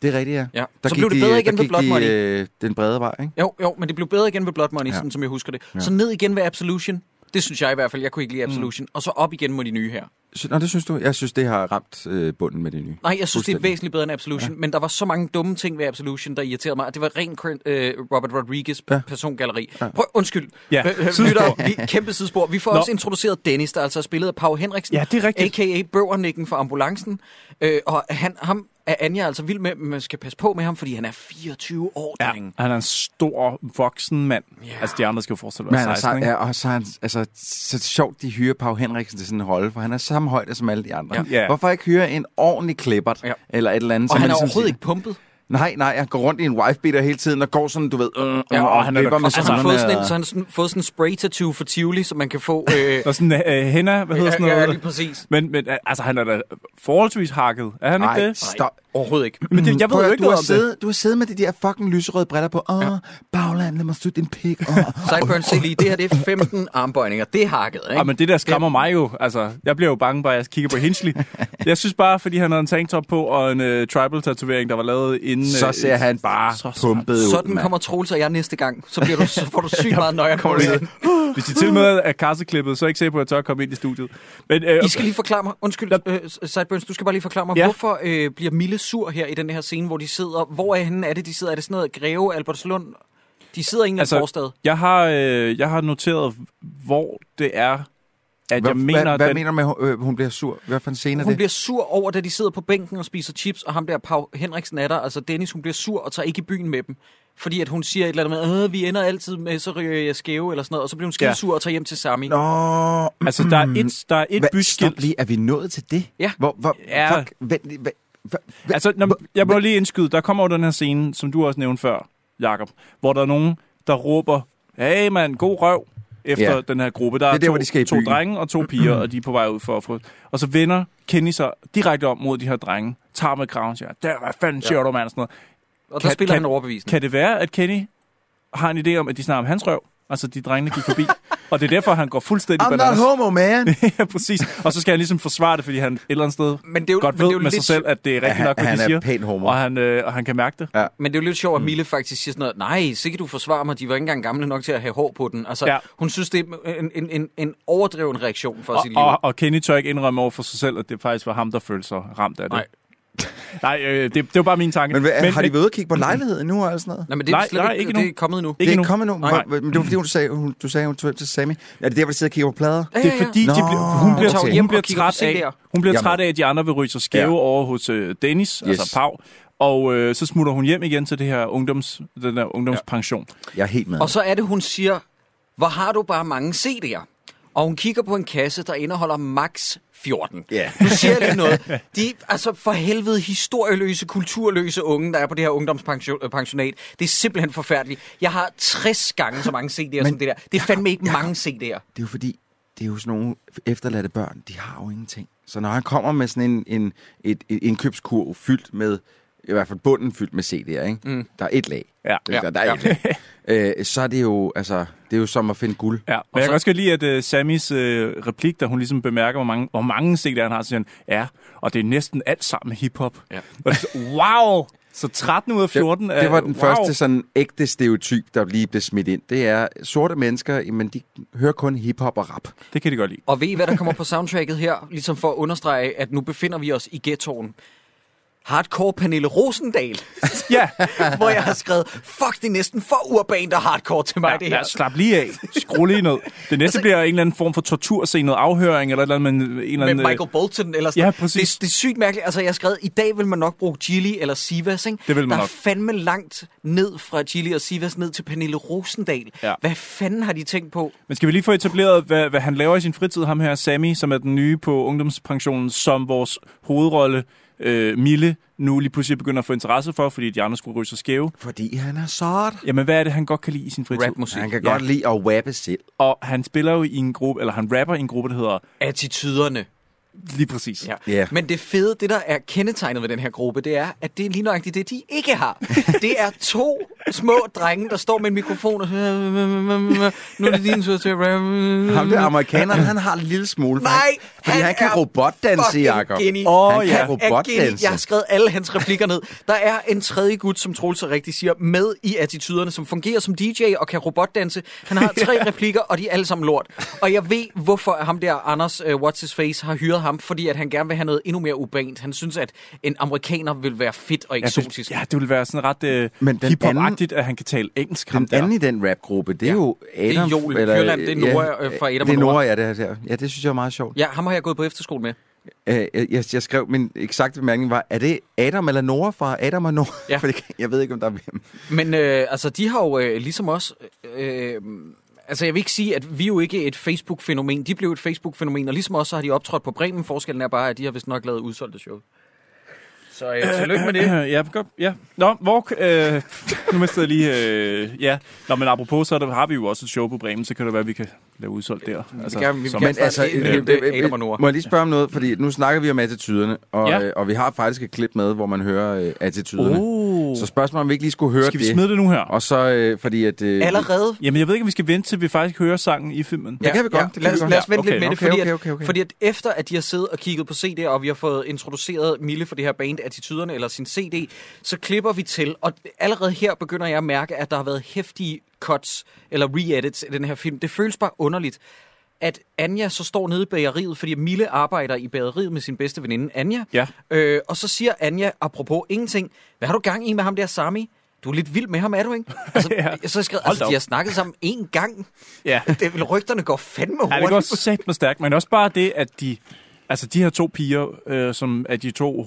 Speaker 2: Det er rigtigt, ja.
Speaker 1: Ja.
Speaker 2: Der
Speaker 1: Så
Speaker 2: gik
Speaker 1: blev det
Speaker 2: de-
Speaker 1: bedre
Speaker 2: der
Speaker 1: igen ved
Speaker 2: gik
Speaker 1: Blood
Speaker 2: de,
Speaker 1: Money.
Speaker 2: øh, den brede vej, ikke?
Speaker 1: Jo, jo, men det blev bedre igen ved Blood Money,
Speaker 2: Ja.
Speaker 1: ja. sådan som jeg husker det. Ja. Så ned igen ved Absolution. Det synes jeg i hvert fald. Jeg kunne ikke lide Absolution. Mm. Og så op igen mod de nye her.
Speaker 2: Så, nå, det synes du? Jeg synes, det har ramt øh, bunden med det nye.
Speaker 1: Nej, jeg synes, det er
Speaker 2: Fuldstændig.
Speaker 1: væsentligt bedre end Absolution, ja. men der var så mange dumme ting ved Absolution, der irriterede mig. at Det var ren crin- øh, Robert Rodriguez
Speaker 2: Ja.
Speaker 1: ja. persongalleri. Ja. Prøv, undskyld.
Speaker 3: Ja,
Speaker 1: Øh, øh,
Speaker 3: sidespor.
Speaker 1: lytter, vi, kæmpe sidespor. Vi får
Speaker 3: Nå.
Speaker 1: Nå. også introduceret Dennis, der altså er spillet af Pau Henriksen,
Speaker 3: Ja, det er rigtigt.
Speaker 1: a.k.a. Bøvernikken fra Ambulancen. Øh, og han, ham, er Anja altså vild med, men man skal passe på med ham, fordi han er 24 år,
Speaker 3: Ja,
Speaker 1: drenge.
Speaker 3: han er en stor, voksen mand.
Speaker 1: Ja.
Speaker 3: Altså, de andre skal jo forestille
Speaker 2: Men
Speaker 3: være
Speaker 2: han er
Speaker 3: 16,
Speaker 2: så,
Speaker 3: ikke?
Speaker 2: ja, og så er han, altså, så sjovt, de hyrer Pau Henriksen til sådan en rolle, for han er samme højde som alle de andre.
Speaker 3: Ja. Ja.
Speaker 2: Hvorfor ikke hyre en ordentlig klippert,
Speaker 1: Ja.
Speaker 2: eller et eller andet?
Speaker 1: Og
Speaker 2: som
Speaker 1: han er
Speaker 2: ligesom
Speaker 1: overhovedet
Speaker 2: siger-
Speaker 1: ikke pumpet.
Speaker 2: Nej, nej, jeg går rundt i en wifebeater hele tiden, og går sådan, du ved, øh, øh,
Speaker 3: Ja, og han er da-
Speaker 2: med
Speaker 3: altså,
Speaker 1: Så han har fået sådan en,
Speaker 2: og-
Speaker 1: så han har sådan, fået sådan en spray-tattoo for Tivoli, som man kan få... Øh,
Speaker 3: Og sådan øh, Henna, hvad hedder sådan
Speaker 1: ja,
Speaker 3: noget?
Speaker 1: ja, lige præcis.
Speaker 3: Men, men øh, altså, han er da forholdsvis hakket. Er han ikke
Speaker 2: Ej,
Speaker 3: det?
Speaker 2: stop.
Speaker 1: overhovedet ikke.
Speaker 3: Men det, jeg ved
Speaker 2: Prøv
Speaker 3: jo
Speaker 2: at-
Speaker 3: ikke
Speaker 2: du
Speaker 3: noget
Speaker 2: har
Speaker 3: om det.
Speaker 2: siddet, Du har siddet med de der fucking lyserøde briller på. Åh, oh, bagland, lad mig slutte din pik. Åh,
Speaker 1: Sideburns, se lige, det her det er 15 armbøjninger. Det er hakket, ikke?
Speaker 3: Ej, Ah, men det der skræmmer mig jo. Altså, jeg bliver jo bange, bare jeg kigger på Hinsley. jeg synes bare, fordi han havde en tanktop på og en øh, tribal-tatovering, der var lavet inden...
Speaker 2: så
Speaker 3: øh,
Speaker 2: ser han bare
Speaker 3: så
Speaker 2: pumpet ud,
Speaker 1: Sådan
Speaker 2: mand.
Speaker 1: kommer Troels og jeg næste gang. Så, bliver du, så får du sygt meget nøjere på det.
Speaker 3: Hvis de til med er kasseklippet, så er jeg ikke sikker på, at jeg tør at komme ind i studiet. Men, øh,
Speaker 1: I skal lige forklare mig, undskyld, øh, Sideburns, du skal bare lige forklare mig, ja.
Speaker 3: Ja.
Speaker 1: hvorfor øh, bliver Mille sur her i den her scene, hvor de sidder? Hvor er henne er det, de sidder? Er det sådan noget Greve, Albertslund? De sidder i en altså, forstad.
Speaker 3: jeg har, øh, jeg har noteret, hvor det er, at
Speaker 2: Hvad,
Speaker 3: jeg mener...
Speaker 2: hvad, hvad
Speaker 3: den-
Speaker 2: mener du med, at hun- øh, hun bliver sur? Hvad for en scene er
Speaker 1: Hun
Speaker 2: det?
Speaker 1: bliver sur over, da de sidder på bænken og spiser chips, og ham der Pau Henriksen er der, altså Dennis, hun bliver sur og tager ikke i byen med dem. Fordi at hun siger et eller andet med, øh, vi ender altid med, så ryger jeg skæve eller sådan noget, og så bliver hun skide
Speaker 3: Ja.
Speaker 1: sur og tager hjem til Sami.
Speaker 2: Nå,
Speaker 3: Altså, der er et, der er et
Speaker 2: Hva, stop
Speaker 3: byskilt.
Speaker 2: lige, er vi nået til det?
Speaker 1: Ja.
Speaker 2: Hvor, hvor,
Speaker 3: Ja.
Speaker 2: Fuck, vent, lige, hvad, hvad,
Speaker 3: Altså, når, jeg må lige indskyde, der kommer jo den her scene, som du også nævnte før, Jakob, hvor der er nogen, der råber, hey mand, god røv, efter
Speaker 2: Ja.
Speaker 3: ja. den her gruppe. Der er,
Speaker 2: Det er der,
Speaker 3: to,
Speaker 2: hvor de skal i
Speaker 3: to
Speaker 2: byen.
Speaker 3: drenge og to piger, og de er på vej ud for at få... Og så vender Kenny sig direkte om mod de her drenge, tager med kraven og siger, der, hvad fanden siger du, mand? og Sådan noget.
Speaker 1: Og der
Speaker 3: Kan-
Speaker 1: spiller
Speaker 3: kan-
Speaker 1: han overbevisende.
Speaker 3: Kan det være, at Kenny har en idé om, at de snakker om hans røv? Altså, de drengene gik forbi. og det er derfor, han går fuldstændig
Speaker 2: I'm not
Speaker 3: bananas.
Speaker 2: homo, man!
Speaker 3: ja, præcis. Og så skal han ligesom forsvare det, fordi han et eller andet sted
Speaker 1: Men det er jo-
Speaker 3: godt
Speaker 1: men det er
Speaker 3: ved
Speaker 1: jo
Speaker 3: med sig
Speaker 1: lidt-
Speaker 3: selv, at det er rigtigt
Speaker 2: han-
Speaker 3: nok, hvad
Speaker 2: han
Speaker 3: de
Speaker 2: er
Speaker 3: siger.
Speaker 2: pæn homo.
Speaker 3: Og han, øh, og han kan mærke det.
Speaker 1: Men det er jo lidt sjovt,
Speaker 3: Mm.
Speaker 1: at Mille faktisk siger sådan noget, nej, sikkert du forsvarer mig, de var ikke engang gamle nok til at have hår på den. Altså, ja.
Speaker 3: Ja.
Speaker 1: hun synes, det er en, en, en, en overdreven reaktion for
Speaker 3: Og,
Speaker 1: sit liv.
Speaker 3: og, og Kenny tør ikke indrømme over for sig selv, at det faktisk var ham, der følte sig ramt af det.
Speaker 1: Nej.
Speaker 3: Nej, øh, det, det var bare min tanke.
Speaker 2: Men, hvad, men har de været ude og kigge på lejligheden nu og alt sådan noget?
Speaker 1: Nej, men det er,
Speaker 3: Nej,
Speaker 1: slet
Speaker 3: nej,
Speaker 1: ikke,
Speaker 3: ikke
Speaker 1: det
Speaker 3: nu.
Speaker 1: er kommet nu.
Speaker 2: det er
Speaker 3: endnu.
Speaker 2: ikke kommet nu.
Speaker 1: Nej.
Speaker 2: Men det var fordi, hun sagde, hun, du sagde, hun tog til Sammy. Er det der, hvor de sidder og kigger på plader?
Speaker 3: Det er fordi, de
Speaker 2: Nå,
Speaker 3: bliver, hun bliver,
Speaker 2: hun tager
Speaker 3: hun,
Speaker 1: hjem og
Speaker 3: bliver
Speaker 1: kigger på
Speaker 3: træt af,
Speaker 1: CD'er.
Speaker 3: hun bliver
Speaker 2: Jamen.
Speaker 3: træt af, at de andre vil ryge sig skæve
Speaker 2: Ja.
Speaker 3: ja. over hos øh, Dennis, yes.
Speaker 2: Yes.
Speaker 3: altså Pau. Og øh, så smutter hun hjem igen til det her ungdoms, den her ungdomspension.
Speaker 2: Jeg er helt med.
Speaker 1: Og så er det, hun siger, hvor har du bare mange CD'er? Og hun kigger på en kasse, der indeholder max 14.
Speaker 2: Ja.
Speaker 1: Nu siger jeg lige noget. De altså for helvede historieløse, kulturløse unge, der er på det her ungdomspensionat. Det er simpelthen forfærdeligt. Jeg har 60 gange så mange CD'er som det der. Det er fandme ikke mange CD'er.
Speaker 2: Det er jo fordi, det er jo sådan nogle efterladte børn, de har jo ingenting. Så når han kommer med sådan en, en et, et indkøbskurv fyldt med, i hvert fald bunden fyldt med CD'er, ikke? Mm. der er et lag.
Speaker 3: Ja.
Speaker 2: Der, der er
Speaker 1: Ja.
Speaker 2: et lag. Øh, så er det jo, altså, det er jo som at finde guld.
Speaker 3: Ja, og, jeg
Speaker 1: så-
Speaker 3: kan også godt lide, at uh, Sammys uh, replik, da hun ligesom bemærker, hvor mange, hvor mange CD'er han har, så siger han, ja, og det er næsten alt sammen hiphop. Ja. Og det, er så- wow! Så 13 ud af 14
Speaker 2: det, det
Speaker 3: er-
Speaker 2: var den
Speaker 3: wow.
Speaker 2: første sådan ægte stereotyp, der lige blev smidt ind. Det er sorte mennesker, jamen de hører kun hiphop og rap.
Speaker 3: Det kan de godt lide.
Speaker 1: Og ved I, hvad der kommer på soundtracket her? Ligesom for at understrege, at nu befinder vi os i ghettoen. Hardcore Pernille Rosendal,
Speaker 3: Ja,
Speaker 1: hvor jeg har skrevet, fuck, det er næsten for urbant og hardcore til mig,
Speaker 3: ja,
Speaker 1: det
Speaker 3: ja
Speaker 1: her.
Speaker 3: slap lige af. Skru lige ned. Det næste bliver en eller anden form for torturscene, noget afhøring, eller et eller andet med en eller
Speaker 1: med
Speaker 3: anden... øh,
Speaker 1: Michael Bolton eller sådan
Speaker 3: Ja,
Speaker 1: noget.
Speaker 3: præcis.
Speaker 1: Det, det er sygt mærkeligt. Altså, jeg har skrevet, i dag vil man nok bruge Gilly eller Sivas, ikke?
Speaker 3: Det vil man
Speaker 1: Der er
Speaker 3: nok.
Speaker 1: fandme langt ned fra Gilly og Sivas ned til Pernille Rosendal.
Speaker 3: Ja.
Speaker 1: Hvad fanden har de tænkt på?
Speaker 3: Men skal vi lige få etableret, hvad, hvad han laver i sin fritid, ham her Sammy, som er den nye på ungdomspensionen, som vores hovedrolle, øh, Mille, nu lige pludselig begynder at få interesse for, fordi de andre skulle ryge sig skæve.
Speaker 2: Fordi han er sort.
Speaker 3: Jamen, hvad er det, han godt kan lide i sin fritid?
Speaker 1: Rapmusik.
Speaker 2: Han kan
Speaker 3: Ja.
Speaker 2: godt lide at wappe selv.
Speaker 3: Og han spiller jo i en gruppe, eller han rapper i en gruppe, der hedder...
Speaker 1: Attityderne.
Speaker 3: Lige præcis.
Speaker 1: Ja.
Speaker 2: Ja.
Speaker 1: Men det fede, det der er kendetegnet ved den her gruppe, det er, at det er lige nøjagtigt det, de ikke har. Det er to små drenge, der står med en mikrofon og nu er det din tur til at rappe.
Speaker 2: Ham der amerikaneren, han har en lille smule. for
Speaker 1: Mm. Nej,
Speaker 2: han, fordi han, han kan
Speaker 1: er
Speaker 2: robotdanse,
Speaker 1: fucking
Speaker 2: Jacob.
Speaker 1: geni.
Speaker 2: Oh, han
Speaker 3: Åh, ja.
Speaker 2: kan
Speaker 3: Er
Speaker 1: er geni.
Speaker 2: robotdanse.
Speaker 1: Jeg har skrevet alle hans replikker ned. Der er en tredje gut, som Troels så rigtigt siger, med i attituderne, som fungerer som DJ og kan robotdanse. Han har tre replikker, og de er alle sammen lort. Og jeg ved, hvorfor ham der Anders uh, What's His Face har hyret ham, fordi at han gerne vil have noget endnu mere urbant. Han synes, at en amerikaner vil være fedt og
Speaker 3: Ja, det,
Speaker 1: eksotisk.
Speaker 3: ja, det ville være sådan ret øh,
Speaker 2: Men den
Speaker 3: hiphop-agtigt, at han kan tale engelsk. ham
Speaker 2: Den
Speaker 3: der.
Speaker 2: anden i den rapgruppe, det er jo
Speaker 1: er
Speaker 2: Adam.
Speaker 1: Joel Kjørland, det er Nora, øh, fra Adam
Speaker 2: Det er
Speaker 1: og Nora.
Speaker 2: Nora, ja, det, her. ja, det synes jeg er meget sjovt.
Speaker 1: Ja, ham har jeg gået på efterskole med.
Speaker 2: Øh, jeg, jeg skrev, min eksakte bemærkning var, er det Adam eller Nora fra Adam og Nora?
Speaker 1: Ja.
Speaker 2: Fordi jeg ved ikke, om der er hvem.
Speaker 1: Men øh, altså, de har jo øh, ligesom os... Øh, altså, jeg vil ikke sige, at vi er jo ikke et Facebook-fænomen. De blev et Facebook-fænomen, og ligesom os, så har de optrådt på Bremen. Forskellen er bare, at de har vist nok lavet udsolgte show. Så øh, tillykke med det.
Speaker 3: ja, godt, ja. Nå, hvor... Øh, nu mistede jeg lige... Øh, ja. Nå, men apropos, så der, har vi jo også et show på Bremen, så kan det være, at vi kan lave udsolgt der. Altså,
Speaker 1: gerne- vi vil
Speaker 3: som-
Speaker 1: gerne-
Speaker 2: Men
Speaker 1: Men
Speaker 2: altså,
Speaker 1: altså,
Speaker 2: øh,
Speaker 1: det er
Speaker 2: øh, øh,
Speaker 1: Adam og Nora.
Speaker 2: må jeg lige spørge om noget? Fordi nu snakker vi om attituderne, og,
Speaker 3: Ja.
Speaker 2: ja. og vi har faktisk et klip med, hvor man hører øh, attituderne.
Speaker 3: Oh.
Speaker 2: Så spørgsmålet er, om vi ikke lige skulle høre
Speaker 3: Skal vi
Speaker 2: det.
Speaker 3: smide det nu her?
Speaker 2: Og så øh, fordi at... Øh,
Speaker 1: Allerede
Speaker 3: Jamen, jeg ved ikke, om vi skal vente til, vi faktisk hører sangen i filmen.
Speaker 2: Det kan vi godt. Det kan
Speaker 1: lad,
Speaker 2: vi
Speaker 1: os,
Speaker 2: godt.
Speaker 1: lad os
Speaker 3: Ja,
Speaker 1: vente
Speaker 3: okay,
Speaker 1: lidt med det,
Speaker 2: okay,
Speaker 1: fordi,
Speaker 2: okay,
Speaker 1: at,
Speaker 2: okay, okay.
Speaker 1: fordi at efter at de har siddet og kigget på CD'er, og vi har fået introduceret Mille for det her band Attituderne, eller sin CD, så klipper vi til, og allerede her begynder jeg at mærke, at der har været hæftige cuts, eller re-edits i den her film. Det føles bare underligt, at Anja så står nede i bageriet, fordi Mille arbejder i bageriet med sin bedste veninde, Anja.
Speaker 3: Ja.
Speaker 1: Øh, og så siger Anja, apropos ingenting, hvad har du gang i med ham der Sami? Du er lidt vild med ham, er du ikke? Altså,
Speaker 3: Ja.
Speaker 1: ja. så skrev,
Speaker 3: Hold da
Speaker 1: altså,
Speaker 3: op.
Speaker 1: de har snakket sammen én gang.
Speaker 3: Ja.
Speaker 1: Det, vil- rygterne går fandme
Speaker 3: Ja, det går
Speaker 1: hurtigt.
Speaker 3: sat med stærkt, men også bare det, at de, altså de her to piger, øh, som er de to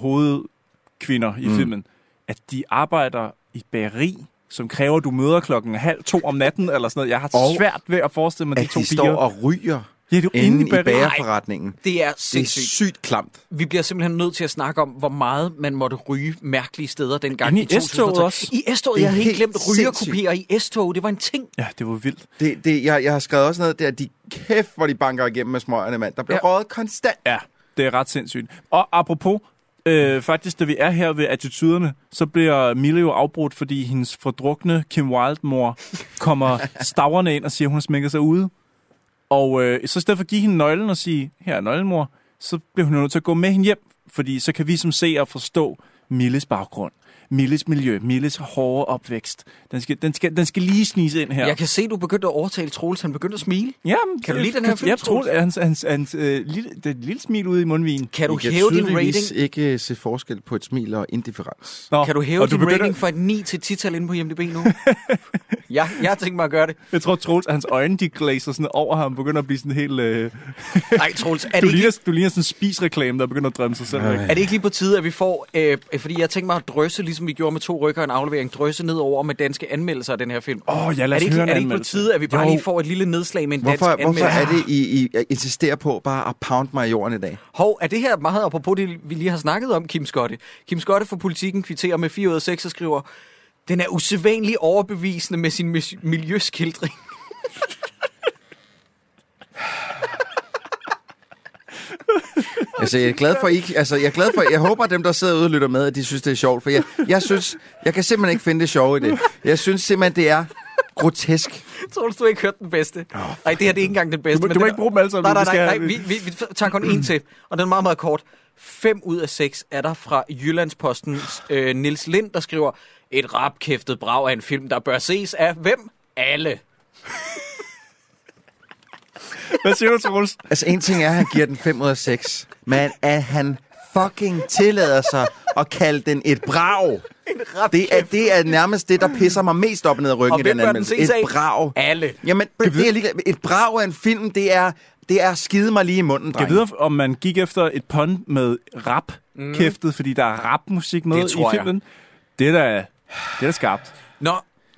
Speaker 3: hovedkvinder i mm. filmen, at de arbejder i et bageri, som kræver, at du møder klokken halv to om natten, eller sådan noget. Jeg har
Speaker 2: Og
Speaker 3: svært ved at forestille mig de
Speaker 2: at
Speaker 3: to
Speaker 2: de står
Speaker 3: piger.
Speaker 2: og ryger
Speaker 3: Ja, det er jo
Speaker 2: inde
Speaker 3: inde
Speaker 2: i
Speaker 3: i bageri.
Speaker 2: bagerforretningen.
Speaker 1: Det er
Speaker 2: Det er
Speaker 1: sindssygt.
Speaker 2: sygt klamt.
Speaker 1: Vi bliver simpelthen nødt til at snakke om, hvor meget man måtte ryge mærkelige steder dengang.
Speaker 3: Inde i
Speaker 1: 2012.
Speaker 3: S-toget også.
Speaker 1: I S-toget,
Speaker 2: Det
Speaker 1: jeg
Speaker 2: er
Speaker 1: havde helt
Speaker 2: helt
Speaker 1: glemt rygerkopier i S-toget. Det var en ting.
Speaker 3: Ja, det var vildt.
Speaker 2: Det, det, jeg, jeg har skrevet også noget der, de kæft, hvor de banker igennem med smøgerne, mand. Der bliver
Speaker 1: Ja.
Speaker 2: ja. røget konstant.
Speaker 3: Ja, det er ret sindssygt. Og apropos, øh, faktisk, da vi er her ved attituderne, så bliver Mille jo afbrudt, fordi hendes fordrukne Kim Wilde-mor kommer stavrende ind og siger, at hun har smækket sig ude. Og øh, så i stedet for at give hende nøglen og sige, her er nøglen, mor, så bliver hun jo nødt til at gå med hende hjem, fordi så kan vi som seere forstå Milles baggrund. Milles miljø, Milles hårde opvækst. Den skal, den skal, den skal lige snise ind her.
Speaker 1: Ja. Jeg kan se, du begyndte at overtale Troels. Han begyndte at smile.
Speaker 3: Ja, men,
Speaker 1: Kan du lide den her film,
Speaker 3: Jeg
Speaker 1: Troels?
Speaker 3: tror, at hans, hans, hans øh, lille, det lille smil ude i mundvinen.
Speaker 1: Kan du
Speaker 2: I kan
Speaker 1: hæve din
Speaker 2: tydeligvis
Speaker 1: rating?
Speaker 2: ikke øh, se forskel på et smil og indifferens.
Speaker 3: Nå,
Speaker 1: Kan du hæve
Speaker 3: og
Speaker 1: din
Speaker 3: begynder-
Speaker 1: rating fra et 9 til et 10-tal inde på IMDb nu? ja, jeg har tænkt mig at gøre det.
Speaker 3: Jeg tror, Troels, at hans øjne, de glaser sådan over ham, begynder at blive sådan helt... Øh,
Speaker 1: Nej, Troels, er
Speaker 3: du,
Speaker 1: det, ikke,
Speaker 3: ligner, du ligner sådan en spisreklame, der begynder at drømme sig selv. væk.
Speaker 1: er det ikke lige på tide, at vi får... Øh, fordi jeg tænkte mig at drøse, ligesom vi gjorde med to rykker og en aflevering, drøse ned over med danske anmeldelser af den her film.
Speaker 3: Åh, oh, ja,
Speaker 1: er
Speaker 3: lad os
Speaker 1: det ikke,
Speaker 3: høre en
Speaker 1: er det ikke på
Speaker 3: anmeldelse.
Speaker 1: tide, at vi bare
Speaker 3: Jo.
Speaker 1: lige får et lille nedslag med en dansk
Speaker 2: Hvorfor, hvorfor
Speaker 1: anmeldelse?
Speaker 2: er det, I, I insisterer på bare at pound mig i jorden i dag?
Speaker 1: Hov, er det her meget apropos det, vi lige har snakket om, Kim Skotte? Kim Skotte fra Politiken kvitterer med 4 ud af 6 og skriver, den er usædvanlig overbevisende med sin mis- miljøskildring.
Speaker 2: Altså, jeg er glad for, I, altså, jeg er glad for, jeg håber, at dem, der sidder ude og lytter med, at de synes, det er sjovt. For jeg, jeg synes, jeg kan simpelthen ikke finde det sjove i det. Jeg synes simpelthen, det er grotesk.
Speaker 1: Tror du, du har ikke hørt den bedste? Nej, det her det er ikke engang den bedste.
Speaker 3: Du må-
Speaker 1: men
Speaker 3: du må
Speaker 1: den
Speaker 3: ikke bruge dem alle
Speaker 1: Nej,
Speaker 3: sammen,
Speaker 1: nej,
Speaker 3: vi skal-
Speaker 1: nej. nej vi, vi, vi tager kun en til, og den er meget, meget kort. 5 ud af 6 er der fra Jyllandspostens øh, Nils Lind, der skriver, et rapkæftet brag af en film, der bør ses af hvem? Alle.
Speaker 3: Hvad siger du, Troels?
Speaker 2: Altså, en ting er, at han giver den 5 ud af 6, men at han fucking tillader sig at kalde den et brag. Det er, det er nærmest det, der pisser mig mest op og ned ad ryggen
Speaker 1: Og
Speaker 2: i
Speaker 1: hvem
Speaker 2: den
Speaker 1: bør den
Speaker 2: anmeldelse.
Speaker 1: ses
Speaker 2: Et
Speaker 1: af?
Speaker 2: brag.
Speaker 1: Alle.
Speaker 2: Jamen, det er lige, et brag af en film, det er, det er skide mig lige i munden,
Speaker 3: Jeg
Speaker 2: dreng.
Speaker 3: ved, om man gik efter et pun med rap kæftet, fordi der er rapmusik med
Speaker 1: Mm. Det tror
Speaker 3: i
Speaker 1: jeg.
Speaker 3: filmen. Det er da, det er da skarpt.
Speaker 1: Nå,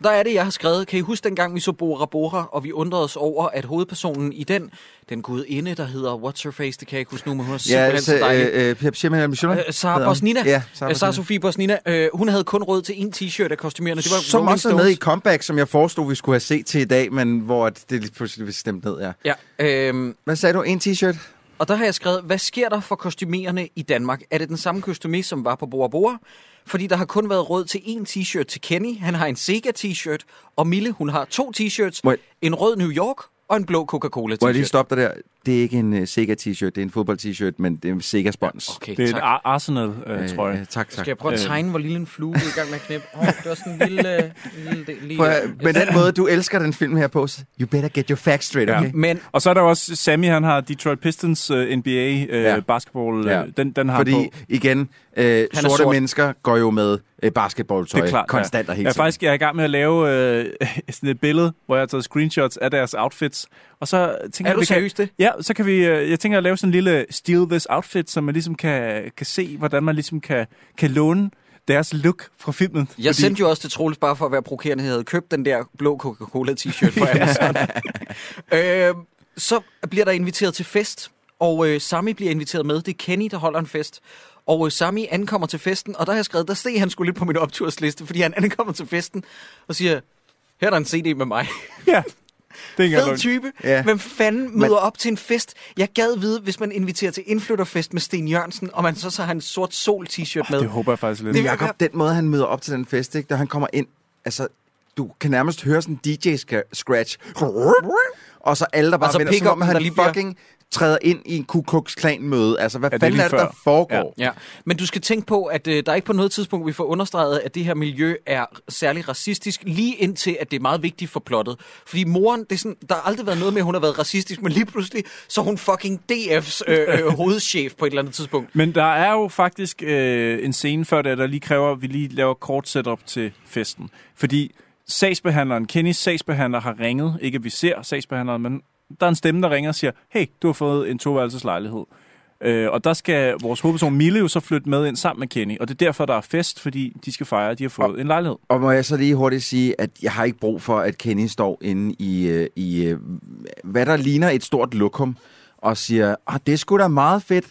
Speaker 1: der er det, jeg har skrevet. Kan I huske dengang, vi så Bora Bora, og vi undrede os over, at hovedpersonen i den, den gudinde, der hedder What's Her Face, det kan jeg ikke huske nu, men hun er
Speaker 2: Ja,
Speaker 1: simpelthen ja,
Speaker 2: altså,
Speaker 1: så dejlig. Øh,
Speaker 2: øh, øh, Pep Schirmann
Speaker 1: øh, Sara Bosnina,
Speaker 2: Ja,
Speaker 1: øh, Sara Sofie Bosnina, øh, hun havde kun råd til en t-shirt af kostumerende. Det var
Speaker 2: Som
Speaker 1: Rolling
Speaker 2: også er med i
Speaker 1: Stones.
Speaker 2: comeback, som jeg foreslog, vi skulle have set til i dag, men hvor at det lige pludselig blev stemt ned, ja.
Speaker 1: Ja, øhm,
Speaker 2: Hvad sagde du? En t-shirt?
Speaker 1: og der har jeg skrevet, hvad sker der for kostumerende i Danmark? Er det den samme kostumé, som var på Bora Bora? Fordi der har kun været råd til en t-shirt til Kenny. Han har en Sega t-shirt, og Mille, hun har to t-shirts.
Speaker 2: Må jeg-
Speaker 1: En rød New York og en blå Coca-Cola
Speaker 2: Må jeg lige
Speaker 1: t-shirt.
Speaker 2: stoppe dig der? Det er ikke en uh, Sega t-shirt, det er en fodbold t-shirt, men det er en Sega spons.
Speaker 1: Okay,
Speaker 3: Det er
Speaker 1: tak.
Speaker 3: et Ar- Arsenal-trøje.
Speaker 2: Øh, tak, tak.
Speaker 1: Skal jeg prøve at
Speaker 3: Øh.
Speaker 1: tegne, hvor lille en flue vi er i gang med at knæppe? Oh, det var sådan en lille... en lille, del- lige øh,
Speaker 2: Prøv
Speaker 1: der.
Speaker 2: at, med den måde, du elsker den film her på, så you better get your facts straight, okay? Ja.
Speaker 1: Men
Speaker 3: Og så er der også Sammy, han har Detroit Pistons uh, NBA uh,
Speaker 2: Ja.
Speaker 3: ja. basketball. Uh,
Speaker 2: Ja.
Speaker 3: ja. den, den har han
Speaker 2: Fordi,
Speaker 3: på.
Speaker 2: igen, øh,
Speaker 1: er
Speaker 2: sorte
Speaker 1: sort.
Speaker 2: mennesker går jo med øh, basketballtøj
Speaker 3: Det er klart,
Speaker 2: konstant og
Speaker 3: jeg,
Speaker 2: hele
Speaker 3: er
Speaker 2: tiden.
Speaker 3: faktisk jeg er i gang med at lave øh, sådan et billede, hvor jeg har taget screenshots af deres outfits. Og så tænker
Speaker 1: Er
Speaker 3: jeg,
Speaker 1: du
Speaker 3: vi kan-
Speaker 1: seriøs det?
Speaker 3: Ja, så kan vi, øh, jeg tænker at lave sådan en lille steal this outfit, så man ligesom kan, kan se, hvordan man ligesom kan, kan låne deres look fra filmen.
Speaker 1: Jeg fordi... sendte jo også til Troels, bare for at være provokerende, jeg havde købt den der blå Coca-Cola-t-shirt på Amazon. øh, så bliver der inviteret til fest, og øh, Sami bliver inviteret med. Det er Kenny, der holder en fest. Og øh, Sami ankommer til festen, og der har jeg skrevet, der steg han skulle lidt på min optursliste, fordi han ankommer til festen og siger, her er der en CD med mig.
Speaker 3: Ja, det er ikke engang
Speaker 1: Fed
Speaker 3: løgn.
Speaker 1: type.
Speaker 2: Ja.
Speaker 1: Ja. Hvem fanden møder op til en fest? Jeg gad vide, hvis man inviterer til indflytterfest med Sten Jørgensen, og man så så har en sort sol-t-shirt med.
Speaker 3: Det håber jeg faktisk lidt.
Speaker 1: Det-
Speaker 3: Det...
Speaker 2: Jakob, den måde, han møder op til den fest, ikke, da han kommer ind, altså, du kan nærmest høre sådan en DJ-scratch. Og så alle, der bare
Speaker 3: Altså,
Speaker 1: Og så
Speaker 2: vender, som om
Speaker 1: pick-up'en, der
Speaker 2: han
Speaker 1: lige bliver-
Speaker 2: fucking træder ind i en Ku Klux Klan-møde. Altså, hvad
Speaker 3: Ja, det er
Speaker 2: fanden
Speaker 3: lige
Speaker 2: er det, der
Speaker 3: før.
Speaker 2: foregår?
Speaker 1: Ja, men du skal tænke på, at øh, der er ikke på noget tidspunkt, vi får understreget, at det her miljø er særlig racistisk, lige indtil, at det er meget vigtigt for plottet. Fordi moren, det er sådan, der har aldrig været noget med, at hun har været racistisk, men lige pludselig, så er hun fucking DF's øh, øh, hovedchef på et eller andet tidspunkt.
Speaker 3: Men der er jo faktisk øh, en scene før det, der lige kræver, at vi lige laver kort setup til festen. Fordi sagsbehandleren, Kennys sagsbehandler har ringet, ikke at vi ser sagsbehandleren, men der er en stemme, der ringer og siger, hey, du har fået en toværelseslejlighed. Øh, og der skal vores hovedperson Mille jo så flytte med ind sammen med Kenny, og det er derfor, der er fest, fordi de skal fejre, at de har fået en lejlighed.
Speaker 2: Og må jeg så lige hurtigt sige, at jeg har ikke brug for, at Kenny står inde i, øh, i øh, hvad der ligner et stort lokum, og siger, at det er sgu da meget fedt.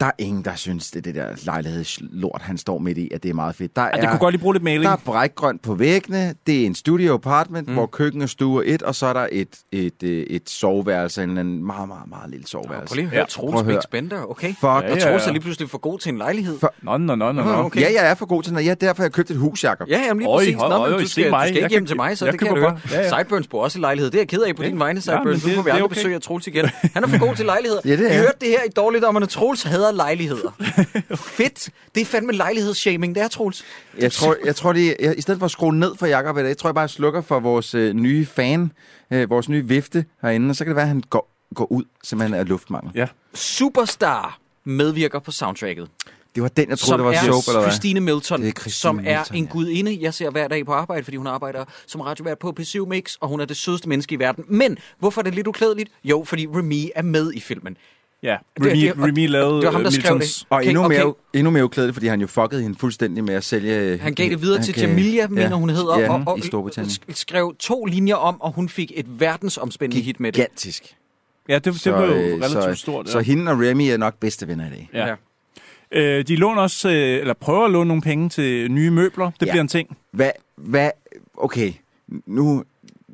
Speaker 2: Der er ingen, der synes, det, det der lejlighedslort, han står midt i, at det er meget fedt. Der
Speaker 3: Ja,
Speaker 2: er,
Speaker 3: det kunne godt lige bruge lidt maling.
Speaker 2: Der er brækgrønt på væggene, det er en studio apartment, mm. hvor køkken og stue er et, og så er der et, et, et, et soveværelse, en eller anden meget, meget, meget lille soveværelse.
Speaker 1: Prøv lige at høre,
Speaker 3: Ja,
Speaker 1: ja,
Speaker 2: Altså, prøv at
Speaker 1: Troels
Speaker 2: høre.
Speaker 1: Big Spender, okay?
Speaker 2: Fuck, ja,
Speaker 1: Og
Speaker 3: ja,
Speaker 1: Troels
Speaker 3: ja.
Speaker 1: er lige pludselig for god til en lejlighed.
Speaker 2: For-
Speaker 3: Nå, nå, nå, nå,
Speaker 1: Nå,
Speaker 3: nå.
Speaker 1: okay.
Speaker 2: ja, jeg er for god til noget. Ja, derfor har jeg købt et hus, Jacob.
Speaker 1: Ja, jamen lige
Speaker 3: Øj,
Speaker 1: præcis.
Speaker 3: høj,
Speaker 1: Nå,
Speaker 3: øj,
Speaker 1: men du
Speaker 3: se
Speaker 1: skal,
Speaker 3: mig.
Speaker 1: du skal ikke
Speaker 3: Jeg
Speaker 1: hjem
Speaker 3: køb-
Speaker 1: til mig, så
Speaker 3: jeg
Speaker 1: det kan
Speaker 3: køber
Speaker 1: du høre.
Speaker 3: bare. Ja, ja.
Speaker 1: Sideburns bor også i lejlighed. Det er jeg ked af på
Speaker 3: Ja.
Speaker 1: din vegne,
Speaker 3: Ja, men
Speaker 1: Sideburns.
Speaker 3: det-
Speaker 1: nu får vi
Speaker 3: det er
Speaker 1: aldrig
Speaker 3: okay.
Speaker 1: besøg af Troels igen. Han er for god til lejligheder.
Speaker 2: Ja, det er
Speaker 1: I
Speaker 2: han.
Speaker 1: hørte det her i dårligt om, at Troels hader lejligheder. Fedt. Det er fandme lejlighedsshaming, det er Troels.
Speaker 2: Jeg tror, jeg tror det, jeg, i stedet for at skrue ned for Jakob i dag, tror jeg bare, jeg slukker for vores øh, nye fan, øh, vores nye vifte herinde, og så kan det være, at han går, går ud, simpelthen af luftmangel.
Speaker 3: Ja.
Speaker 1: Superstar medvirker på soundtracket,
Speaker 2: Det var den, jeg troede,
Speaker 1: som
Speaker 2: det var
Speaker 1: er
Speaker 2: soap, eller hvad?
Speaker 1: Christine Milton,
Speaker 2: Det er Christine
Speaker 1: som er
Speaker 2: Milton,
Speaker 1: en
Speaker 2: ja.
Speaker 1: gudinde, jeg ser hver dag på arbejde, fordi hun arbejder som radiovært på P7 Mix, og hun er det sødeste menneske i verden. Men hvorfor er det lidt uklædeligt? Jo, fordi Remy er med i filmen.
Speaker 3: Ja,
Speaker 1: Det-
Speaker 3: Remy,
Speaker 1: det- og-
Speaker 3: Remy lavede
Speaker 1: det var ham,
Speaker 3: øh,
Speaker 1: der skrev
Speaker 3: Miltons-
Speaker 1: det.
Speaker 2: Og
Speaker 1: Okay,
Speaker 2: endnu,
Speaker 1: okay.
Speaker 2: mere, endnu mere uklædeligt, fordi han jo fuckede hende fuldstændig med at sælge...
Speaker 1: Øh, Han gav det videre
Speaker 2: han
Speaker 1: til
Speaker 2: gav-
Speaker 1: Jamilia, mener hun hed, og,
Speaker 2: ja,
Speaker 1: og, og
Speaker 2: i Storbritannien.
Speaker 1: sk- skrev to linjer om, og hun fik et verdensomspændende hit med det.
Speaker 2: Gigantisk.
Speaker 3: Ja, det, det
Speaker 2: Så,
Speaker 3: blev jo
Speaker 2: øh,
Speaker 3: relativt
Speaker 2: så,
Speaker 3: stort.
Speaker 2: Så
Speaker 3: ja.
Speaker 2: hende og Remy er nok bedste venner i dag.
Speaker 3: Ja. Øh, de låner også, øh, eller prøver at låne nogle penge til nye møbler. Det
Speaker 2: Ja.
Speaker 3: bliver en ting.
Speaker 2: Hvad, hvad, okay, nu,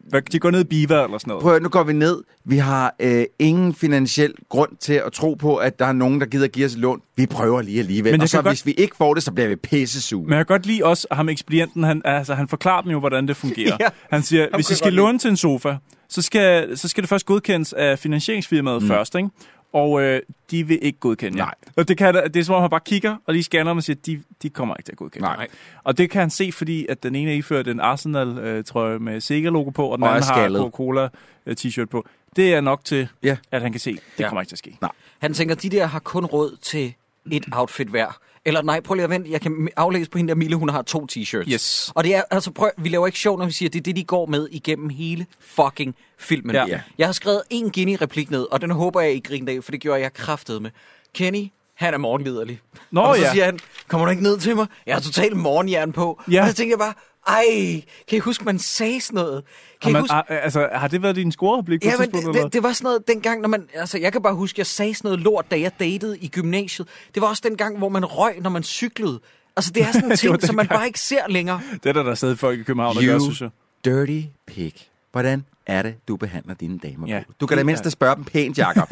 Speaker 3: Hvad- De går ned i Biva eller sådan noget.
Speaker 2: prøv, at høre, nu går vi ned. Vi har øh, ingen finansiel grund til at tro på, at der er nogen, der gider give os et lån. Vi prøver lige alligevel.
Speaker 3: Men
Speaker 2: Men
Speaker 3: jeg
Speaker 2: og så
Speaker 3: kan godt-
Speaker 2: hvis vi ikke får det, så bliver vi pissesure.
Speaker 3: Men jeg kan godt lide også ham ekspedienten, han, altså, han forklarer dem jo, hvordan det fungerer.
Speaker 1: Ja.
Speaker 3: Han siger, hvis I
Speaker 1: jeg
Speaker 3: skal
Speaker 1: godt lide.
Speaker 3: låne til en sofa, så skal, så skal det først godkendes af finansieringsfirmaet mm. først, ikke? Og øh, de vil ikke godkende jer.
Speaker 2: Nej.
Speaker 3: Og det, kan, det er som om, han bare kigger og lige scanner dem og siger, de, de kommer ikke til at godkende jer.
Speaker 2: Nej.
Speaker 3: Og det kan han se, fordi at den ene er iført en Arsenal-trøje med Sega-logo på, og den
Speaker 2: Og er
Speaker 3: anden har
Speaker 2: skaldet.
Speaker 3: Coca-Cola-t-shirt på. Det er nok til,
Speaker 2: Ja.
Speaker 3: at han kan se, det
Speaker 1: Ja.
Speaker 3: kommer ikke til at ske.
Speaker 1: Han tænker, de der har kun råd til et outfit hver. Eller nej, prøv lige at vente. Jeg kan aflæse på hende der Mille, hun har to t-shirts.
Speaker 3: Yes.
Speaker 1: Og det er, altså prøv, vi laver ikke sjov, når vi siger, at det er det, de går med igennem hele fucking filmen.
Speaker 3: Ja. Ja.
Speaker 1: Jeg har skrevet en guinea-replik ned, og den håber jeg, I griner af, for det gjorde jeg kraftet med. Kenny, han er morgenliderlig.
Speaker 3: Nå,
Speaker 1: og så
Speaker 3: ja.
Speaker 1: siger han, kommer du ikke ned til mig? Jeg har totalt morgenjern på.
Speaker 3: Ja.
Speaker 1: Og så tænker jeg bare, ej, kan I huske, man sagde sådan noget? Kan
Speaker 3: Har,
Speaker 1: I
Speaker 3: man,
Speaker 1: huske,
Speaker 3: har, altså, har det været din scoreoplik på
Speaker 1: Ja,
Speaker 3: et
Speaker 1: men
Speaker 3: tidspunkt? eller
Speaker 1: det,
Speaker 3: hvad?
Speaker 1: det, det var sådan noget dengang, når man... Altså, jeg kan bare huske, jeg sagde sådan noget lort, da jeg datede i gymnasiet. Det var også den gang, hvor man røg, når man cyklede. Altså, det er sådan en ting, som man bare ikke ser længere.
Speaker 3: Det er der, der stadig folk i København, der
Speaker 2: You
Speaker 3: gør, synes jeg.
Speaker 2: dirty pig. Hvordan er det, du behandler dine damer
Speaker 3: Ja.
Speaker 2: ja. Du kan da mindst spørge dem pænt, Jakob.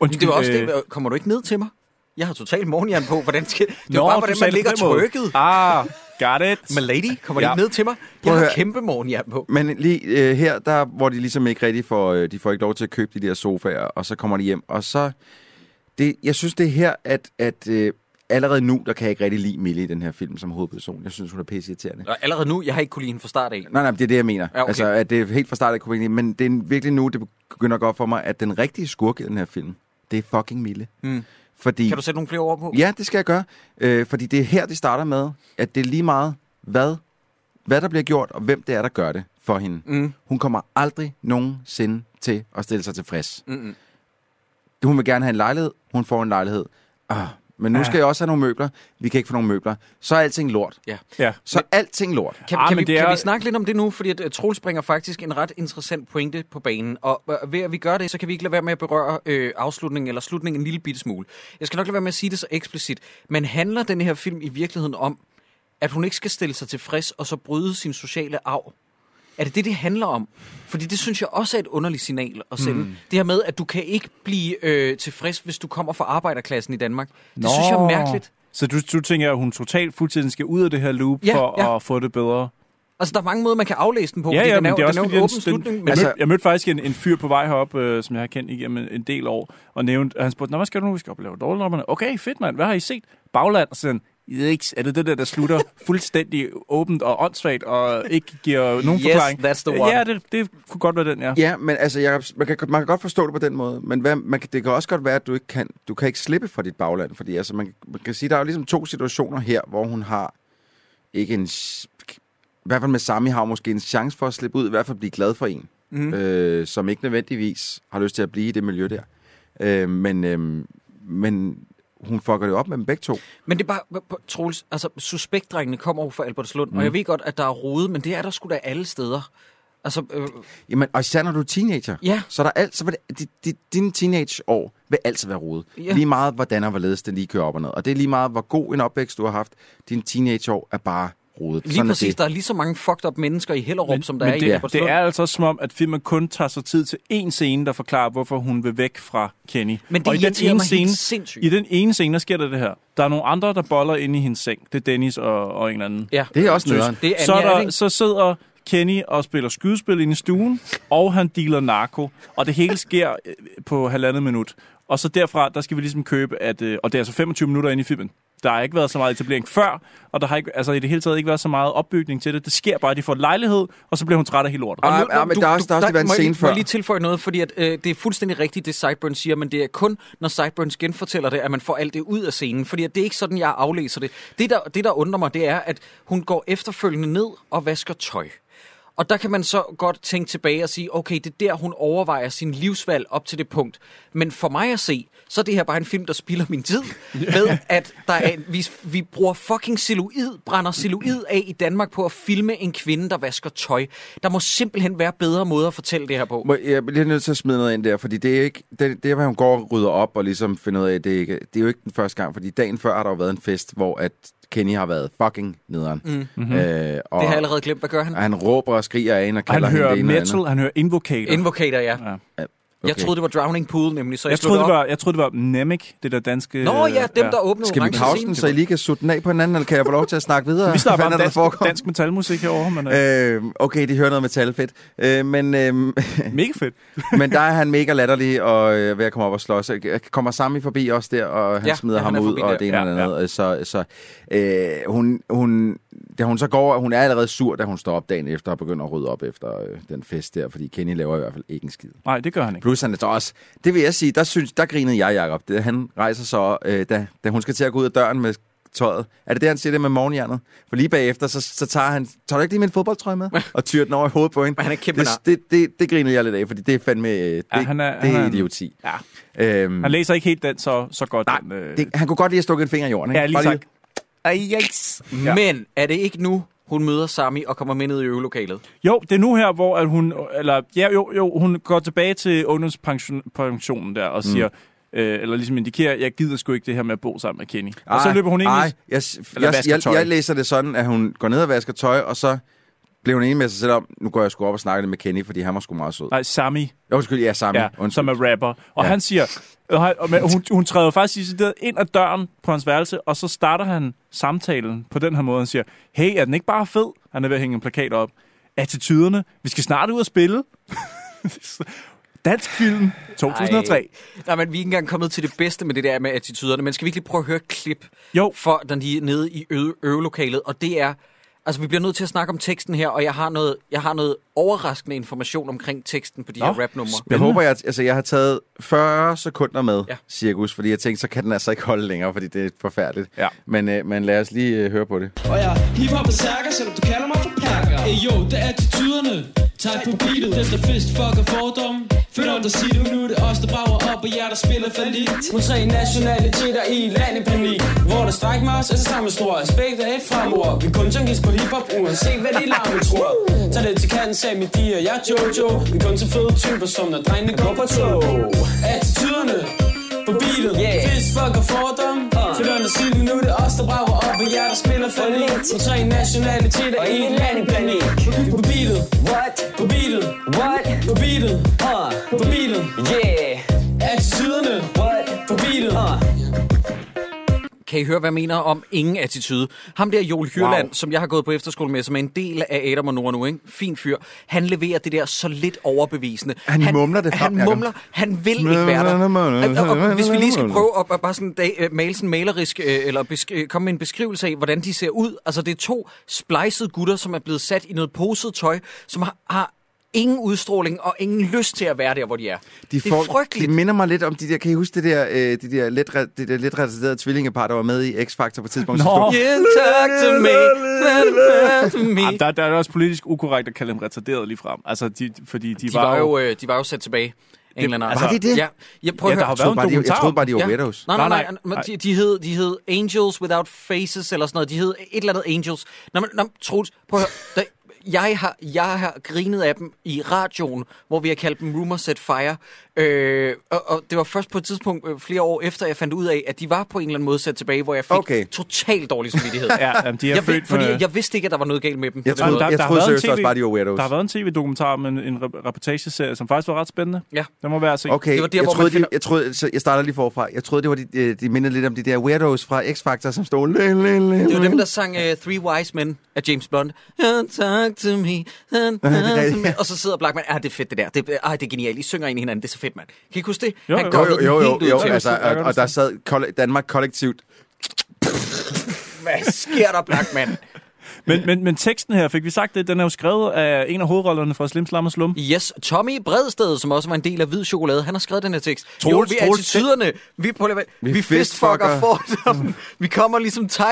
Speaker 3: Undskyld,
Speaker 1: Det var også
Speaker 3: øh,
Speaker 1: det, kommer du ikke ned til mig? Jeg har totalt morgenjern på. Hvordan skal... Det var
Speaker 3: nå,
Speaker 1: bare,
Speaker 3: du
Speaker 1: hvordan
Speaker 3: sagde
Speaker 1: man
Speaker 3: det
Speaker 1: ligger
Speaker 3: på den måde.
Speaker 1: trykket.
Speaker 3: Ah, got it.
Speaker 1: Men lady, kommer
Speaker 3: Ja.
Speaker 1: ja. ikke ned til mig? Jeg
Speaker 2: Prøv at
Speaker 1: har
Speaker 2: høre.
Speaker 1: kæmpe morgenjern på.
Speaker 2: Men lige øh, her, der, hvor de ligesom ikke rigtig får, øh, de får ikke lov til at købe de der sofaer, og så kommer de hjem, og så... Det, jeg synes, det er her, at, at øh, allerede nu, der kan jeg ikke rigtig lide Mille i den her film som hovedperson. Jeg synes, hun er pisse irriterende.
Speaker 1: Og allerede nu, jeg har ikke kunne lide hende fra start af.
Speaker 2: Nej, nej, men det er det, jeg mener. Ja,
Speaker 1: Ja,
Speaker 2: okay.
Speaker 1: okay.
Speaker 2: Altså, at det er helt fra start, jeg kunne ikke lide, men det er virkelig nu, det begynder at gå op for mig, at den rigtige skurk i den her film, det er fucking Mille.
Speaker 1: Mm.
Speaker 2: Fordi,
Speaker 1: Kan du sætte nogle flere ord på?
Speaker 2: Ja, det skal jeg gøre. Øh, fordi det er her, det starter med, at det er lige meget, hvad, hvad der bliver gjort, og hvem det er, der gør det for hende.
Speaker 1: Mm.
Speaker 2: Hun kommer aldrig nogensinde til at stille sig tilfreds.
Speaker 1: Mm-mm.
Speaker 2: Hun vil gerne have en lejlighed. Hun får en lejlighed. Ah, men nu
Speaker 3: Ja.
Speaker 2: skal jeg også have nogle møbler. Vi kan ikke få nogle møbler. Så er alting lort.
Speaker 1: Ja.
Speaker 3: Ja.
Speaker 2: Så er alting lort.
Speaker 1: Kan,
Speaker 3: Ah,
Speaker 1: ah, kan, vi,
Speaker 3: men det
Speaker 1: kan
Speaker 3: er-
Speaker 1: vi snakke lidt om det nu? Fordi at øh, Troels bringer faktisk en ret interessant pointe på banen. Og øh, ved at vi gør det, så kan vi ikke lade være med at berøre øh, afslutningen eller slutningen en lille bitte smule. Jeg skal nok lade være med at sige det så eksplicit. Men handler den her film i virkeligheden om, at hun ikke skal stille sig tilfreds og så bryde sin sociale arv? Er det det, det handler om? Fordi det synes jeg også er et underligt signal at sende.
Speaker 3: Hmm.
Speaker 1: Mm. Det her med, at du kan ikke blive øh, tilfreds, hvis du kommer fra arbejderklassen i Danmark. Det Nå. synes jeg er mærkeligt.
Speaker 3: Så du, du tænker, at hun totalt fuldtiden skal ud af det her loop
Speaker 1: Ja,
Speaker 3: for
Speaker 1: ja.
Speaker 3: at få det bedre?
Speaker 1: Altså, der er mange måder, man kan aflæse den på.
Speaker 3: Ja,
Speaker 1: fordi
Speaker 3: ja,
Speaker 1: den er,
Speaker 3: men
Speaker 1: jo-
Speaker 3: det er også
Speaker 1: den er
Speaker 3: fordi,
Speaker 1: jo en
Speaker 3: den-
Speaker 1: åben slutning.
Speaker 3: Men altså, jeg mødte faktisk en, en fyr på vej herop, øh, som jeg har kendt igennem en, en del år, og nævnte, og han spurgte, Nå, hvad skal du nu? Vi skal op og lave dårligdommerne. Okay, fedt mand, hvad har I set? Bagland, og sådan, Yikes, er det det der, der slutter fuldstændig åbent og åndssvagt, og ikke giver nogen
Speaker 1: Yes,
Speaker 3: forklaring?
Speaker 1: that's the one.
Speaker 3: Ja, det, det kunne godt være den, ja.
Speaker 2: Ja, men altså, Jacob, man, kan, man kan godt forstå det på den måde, men hvad, man kan, det kan også godt være, at du ikke kan, du kan ikke slippe fra dit bagland, fordi altså, man, man kan sige, der er jo ligesom to situationer her, hvor hun har ikke en... s- I hvert fald med Sami har hun måske en chance for at slippe ud, i hvert fald blive glad for en, mm. øh, som ikke nødvendigvis har lyst til at blive i det miljø der. Øh, men, øh, men hun fucker det op med dem begge to.
Speaker 1: Men det er bare, p- p- Troels, altså suspektdrengene kommer over fra Albertslund, mm. og jeg ved godt, at der er rode, men det er der sgu da alle steder. Altså, øh,
Speaker 2: Jamen, og især når du er teenager.
Speaker 1: Ja.
Speaker 2: Så er der alt, så vil det, di, di, dine teenageår vil altid være rodet.
Speaker 1: Ja.
Speaker 2: Lige meget, hvordan og hvorledes den lige kører op og ned. Og det er lige meget, hvor god en opvækst du har haft. Dine teenageår er bare rodet.
Speaker 1: lige
Speaker 2: Sådan er
Speaker 1: præcis,
Speaker 2: det.
Speaker 1: der er lige så mange fucked up mennesker i Hellerup, men, som der
Speaker 3: Men
Speaker 1: er i
Speaker 3: det,
Speaker 1: Albertslund.
Speaker 3: det er altså også som om, at filmen kun tager sig tid til én scene, der forklarer, hvorfor hun vil væk fra Kenny.
Speaker 1: Men det
Speaker 3: og i den
Speaker 1: irriterer
Speaker 3: ene
Speaker 1: mig
Speaker 3: scene,
Speaker 1: helt sindssygt.
Speaker 3: I den ene scene, der sker der det her. Der er nogle andre, der boller inde i hendes seng. Det er Dennis og, og en eller anden.
Speaker 1: ja.
Speaker 2: Det er også nederen.
Speaker 1: Det er
Speaker 3: så,
Speaker 1: Anja, er det
Speaker 3: der,
Speaker 1: ikke?
Speaker 3: så sidder Kenny og spiller skydespil inde i stuen, og han dealer narko. Og det hele sker øh, på halvandet minut. Og så derfra, der skal vi ligesom købe, at, øh, og det er altså 25 minutter inde i filmen. Der har ikke været så meget etablering før, og der har ikke, altså i det hele taget ikke været så meget opbygning til det. Det sker bare, at de får lejlighed, og så bliver hun træt af hele lortet.
Speaker 2: Og Ja, ja, men der er også- der har også været en
Speaker 1: må jeg
Speaker 2: scene
Speaker 1: lige- Må
Speaker 2: før.
Speaker 1: jeg lige tilføje noget, fordi at, øh, det er fuldstændig rigtigt, det Sideburns siger, men det er kun, når Sideburns genfortæller det, at man får alt det ud af scenen. Fordi at det er ikke sådan, jeg aflæser det. Det der, det, der undrer mig, det er, at hun går efterfølgende ned og vasker tøj. Og der kan man så godt tænke tilbage og sige, okay, det er der, hun overvejer sin livsvalg op til det punkt. Men for mig at se, så er det her bare en film, der spilder min tid med, at der er, vi, vi bruger fucking celluloid, brænder celluloid af i Danmark på at filme en kvinde, der vasker tøj. Der må simpelthen være bedre måder at fortælle det her på.
Speaker 2: Må, jeg bliver nødt til at smide noget ind der, fordi det er ikke... Det, det er, hvor hun går og rydder op og ligesom finder ud af, det er, ikke, det er jo ikke den første gang, fordi dagen før har der jo været en fest, hvor at Kenny har været fucking nederen.
Speaker 1: Mm.
Speaker 2: Mm-hmm. Øh, og,
Speaker 1: Det har jeg allerede glemt. Hvad gør han?
Speaker 2: og han råber og skriger af hende og
Speaker 3: Mhm. Han
Speaker 2: kalder hende
Speaker 3: hører
Speaker 2: det ene og andet.
Speaker 3: metal, han hører invocator.
Speaker 1: Invocator, ja. Okay.
Speaker 2: Okay.
Speaker 1: Jeg troede, det var Drowning Pool, nemlig, så jeg,
Speaker 3: jeg, troede, det
Speaker 1: var...
Speaker 3: var, jeg troede, det var Nemec, det der danske...
Speaker 1: Nå
Speaker 3: øh,
Speaker 1: ja, dem, der åbnede
Speaker 2: Skal vi
Speaker 1: orange
Speaker 2: pause
Speaker 1: scene.
Speaker 2: den, så I lige kan sutte den af på hinanden, eller kan jeg få lov til at snakke videre?
Speaker 3: Vi snakker
Speaker 2: Hvad
Speaker 3: bare om
Speaker 2: er der
Speaker 3: dansk,
Speaker 2: foregår?
Speaker 3: dansk metalmusik herovre, men øh,
Speaker 2: Øh, okay, de hører noget metal fedt. Øh, men, øh,
Speaker 3: mega fedt.
Speaker 2: men der er han mega latterlig og øh, ved at komme op og slås. Øh, Kommer Sami forbi også der, og han ja,
Speaker 1: Ja,
Speaker 2: smider
Speaker 1: ja,
Speaker 2: ham
Speaker 1: han er
Speaker 2: ud,
Speaker 1: forbi
Speaker 2: og
Speaker 1: der.
Speaker 2: det ene og
Speaker 3: Ja,
Speaker 2: det andet. Øh, Så, så øh, hun, hun, da hun så går, hun er allerede sur, da hun står op dagen efter og begynder at rydde op efter øh, den fest der, fordi Kenny laver i hvert fald ikke en skid.
Speaker 3: Nej, det gør han ikke.
Speaker 2: Plus han er så også, det vil jeg sige, der, synes, der grinede jeg, Jacob. Det, han rejser så, øh, da, da hun skal til at gå ud af døren med tøjet. Er det det, han siger det med morgenjernet? For lige bagefter, så, så tager han, tager du ikke lige min fodboldtrøje med? Og tyrer den over i hovedet på hende.
Speaker 1: Han er kæmpe
Speaker 2: det,
Speaker 1: nar.
Speaker 2: det, det, det grinede jeg lidt af, fordi det er fandme, øh, det, ja,
Speaker 3: han er-
Speaker 2: det
Speaker 3: han
Speaker 2: er
Speaker 3: er-
Speaker 2: idioti.
Speaker 3: Ja.
Speaker 2: Øhm,
Speaker 3: Han læser ikke helt den så, så godt. den,
Speaker 2: nej,
Speaker 3: øh,
Speaker 2: det, han kunne godt lige have stukket en finger i jorden. Ikke?
Speaker 3: ja, lige
Speaker 2: Bare
Speaker 3: sagt. Ej, yikes. Ja.
Speaker 1: Men er det ikke nu, hun møder Sami og kommer med ned i øvelokalet?
Speaker 3: Jo, det er nu her, hvor at hun... Eller, ja, jo, jo, hun går tilbage til ungdomspensionen der
Speaker 2: Mm.
Speaker 3: og siger... Øh, eller ligesom indikerer, jeg gider sgu ikke det her med at bo sammen med Kenny. og så
Speaker 2: Ej,
Speaker 3: løber hun egentlig...
Speaker 2: Ej, jeg,
Speaker 3: Eller
Speaker 2: jeg,
Speaker 3: vasker
Speaker 2: jeg,
Speaker 3: tøj.
Speaker 2: jeg læser det sådan, at hun går ned og vasker tøj, og så bliver hun enig med sig selv om, nu går jeg sgu op og snakker lidt med Kenny, fordi han var sgu meget sød.
Speaker 3: Nej, Sami.
Speaker 2: Jo, Undskyld, ja, sammen.
Speaker 3: ja, som er rapper. Og
Speaker 2: Ja.
Speaker 3: ja. han siger, og han- og men hun, hun træder faktisk i stedet ind ad døren på hans værelse, og så starter han samtalen på den her måde. Han siger, hey, er den ikke bare fed? Han er ved at hænge en plakat op. Attityderne, vi skal snart ud og spille. Dansk film, 2003. Ej.
Speaker 1: Nej, men vi er ikke engang kommet til det bedste med det der med attituderne, men skal vi ikke lige prøve at høre et klip
Speaker 3: Jo.
Speaker 1: for den lige nede i øde øvelokalet, og det er... Altså, vi bliver nødt til at snakke om teksten her, og jeg har noget, jeg har noget overraskende information omkring teksten på de Nå, her rapnumre.
Speaker 2: Jeg håber, jeg, altså, jeg har taget 40 sekunder med, ja.
Speaker 1: Ja.
Speaker 2: cirkus, fordi jeg tænkte, så kan den altså ikke holde længere, fordi det er forfærdeligt.
Speaker 3: Ja.
Speaker 2: Men, øh, men lad os lige øh, høre på det.
Speaker 5: Og jeg er hiphop og særker, selvom du kalder mig for perker. Ey, jo, det er attituderne.
Speaker 9: Tag på beatet, dem der fist, fucker fordomme Føler om der siger det, nu er det os, der brager op Og jer, der spiller for lidt Nu tre nationaliteter i land i panik Hvor der stræk mig os, er det samme stor Aspekt er et fremord Vi kun tænkes på hiphop, uanset hvad de larme tror Tag det til kanten, sagde mit og jeg er Jojo Vi kun til fede typer, som når drengene går på tog Attituderne på beatet yeah. Fist, fucker fordomme Føler om der siger det, nu er det os, der brager op Og jer, der spiller for lidt Nu tre nationaliteter i land i panik På beatet What? På beatet What? På beatet Uh På beatet Yeah Attituderne What? På beatet Uh
Speaker 1: Kan I høre, hvad jeg mener om ingen attitude? Ham der, Joel Hyrland, wow. som jeg har gået på efterskole med, som er en del af Adam og Nora nu, ikke? fin fyr, han leverer det der så lidt overbevisende.
Speaker 2: Han mumler det frem,
Speaker 1: Han
Speaker 2: Jacob.
Speaker 1: mumler, han vil ikke være der. Og, og, og, hvis vi lige skal prøve at, at bare sådan, da, øh, male sådan malerisk, øh, eller besk- øh, komme med en beskrivelse af, hvordan de ser ud. Altså, det er to splicede gutter, som er blevet sat i noget poset tøj, som har, har ingen udstråling og ingen lyst til at være der, hvor de er.
Speaker 2: De
Speaker 1: det er frygteligt.
Speaker 2: De minder mig lidt om de der, kan I huske det der, øh, de der lidt, re- det der lidt retarderede tvillingepar, der var med i X-Factor på et tidspunkt? som stod-
Speaker 1: Yeah, talk to me. Talk to me.
Speaker 3: Jamen, der, der er det også politisk ukorrekt at kalde dem retarderet lige frem. Altså, de, fordi de,
Speaker 1: De var, jo, øh, de var jo sat tilbage. Englænderne.
Speaker 3: Var de
Speaker 2: det?
Speaker 1: Ja, ja, prøv at
Speaker 3: Altså, Ja, der
Speaker 1: høre.
Speaker 3: har
Speaker 2: Jeg troede,
Speaker 3: været
Speaker 2: bare,
Speaker 3: en
Speaker 2: de, jeg
Speaker 3: dokumentar.
Speaker 2: troede bare, de var
Speaker 1: Ja.
Speaker 2: weirdos.
Speaker 1: Nej, nej, nej.
Speaker 3: Nej, nej.
Speaker 1: nej. De, de, hed, de hed Angels Without Faces, eller sådan noget. De hed et eller andet Angels. Nå, men, nå, men, Troels, prøv at høre. Da, jeg har, jeg har grinet af dem i radioen, hvor vi har kaldt dem Rumor Set Fire. Øh, og, og det var først på et tidspunkt øh, flere år efter, jeg fandt ud af, at de var på en eller anden måde sat tilbage, hvor jeg fik
Speaker 2: Okay.
Speaker 1: okay. totalt dårlig samvittighed.
Speaker 3: Ja, jamen, de er
Speaker 1: øh, jeg, ved,
Speaker 3: født
Speaker 1: fordi
Speaker 3: med-
Speaker 1: jeg vidste ikke, at der var noget galt med dem. på
Speaker 2: Jeg
Speaker 1: den måde.
Speaker 2: troede,
Speaker 3: der-
Speaker 2: jeg
Speaker 3: der har
Speaker 2: troede
Speaker 3: været en
Speaker 2: seriøst også
Speaker 3: TV
Speaker 2: bare, de var weirdos.
Speaker 3: Der har været en tv-dokumentar om en, en rep- reportageserie, som faktisk var ret spændende.
Speaker 1: Ja.
Speaker 3: Den må være at se.
Speaker 2: Okay,
Speaker 1: Det var der,
Speaker 2: jeg,
Speaker 1: hvor man
Speaker 2: troede, de,
Speaker 1: finder-
Speaker 2: jeg, troede, så jeg starter lige forfra. Jeg troede, det var de, øh, de mindede lidt om de der weirdos fra X-Factor, som stod... Læ, læ, læ,
Speaker 1: Det var
Speaker 2: læ.
Speaker 1: dem, der sang uh, Three Wise Men af James Bond. Uh, talk to me. Uh, talk to
Speaker 2: rigtigt,
Speaker 1: me. Og så sidder Blackman, ah, det er fedt det der. Det, ah, det er genialt. I synger ind i hinanden. Det er så fedt, mand. Kan I ikke huske det?
Speaker 3: Jo,
Speaker 1: Han
Speaker 3: jo,
Speaker 2: Jo,
Speaker 1: gobbede
Speaker 2: jo,
Speaker 1: den
Speaker 2: jo,
Speaker 1: helt
Speaker 2: jo,
Speaker 1: ud
Speaker 2: jo
Speaker 1: til.
Speaker 2: altså,
Speaker 3: Jeg kan
Speaker 2: og,
Speaker 3: godt
Speaker 2: og der sad kolle- Danmark kollektivt.
Speaker 1: Hvad sker der, Blackman?
Speaker 3: Men, men, men teksten her, fik vi sagt det, den er jo skrevet af en af hovedrollerne fra Slim Slam og Slum.
Speaker 1: Yes, Tommy Bredsted, som også var en del af Hvid Chokolade, han har skrevet den her tekst.
Speaker 2: Troels,
Speaker 1: vi
Speaker 2: Troels,
Speaker 1: attituderne. Vi, prøver, vi, vi
Speaker 2: fistfucker. Mm.
Speaker 1: fistfucker fordommen. Vi kommer ligesom Tyson.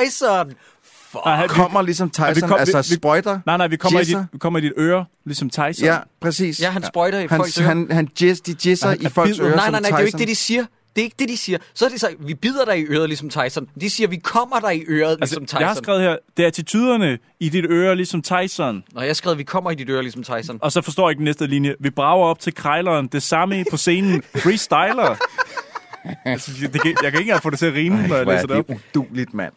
Speaker 3: Nej, han- vi-
Speaker 2: Kommer ligesom
Speaker 3: vi
Speaker 2: Tyson,
Speaker 3: kom-
Speaker 2: altså
Speaker 3: vi- vi-
Speaker 2: sprøjter.
Speaker 3: Nej, nej, vi kommer, i
Speaker 2: Jizzer.
Speaker 3: dit, vi kommer i dit øre, ligesom Tyson.
Speaker 2: Ja, præcis.
Speaker 1: Ja, han sprøjter i
Speaker 2: han,
Speaker 1: folks ører.
Speaker 2: han, han jizz, de jizzer
Speaker 3: Han-
Speaker 2: i
Speaker 3: han
Speaker 2: folks
Speaker 3: bider.
Speaker 2: ører
Speaker 1: Nej,
Speaker 2: som
Speaker 1: nej, nej, det er jo ikke
Speaker 2: Tyson.
Speaker 1: det, de siger. Det er ikke det, de siger. Så er det så, vi bider dig i øret, ligesom Tyson. De siger, vi kommer dig i øret,
Speaker 3: Altså,
Speaker 1: ligesom Tyson.
Speaker 3: jeg har skrevet her, det er attituderne i dit øre, ligesom Tyson.
Speaker 1: Nå, jeg skrev, vi kommer i dit øre, ligesom Tyson.
Speaker 3: Og så forstår jeg ikke den næste linje. Vi brager op til krejleren, det samme på scenen, freestyler. altså, det, det, kan- jeg kan ikke engang få det til at rime, når jeg
Speaker 2: Hvor er
Speaker 3: læser det op.
Speaker 2: det uduligt, mand.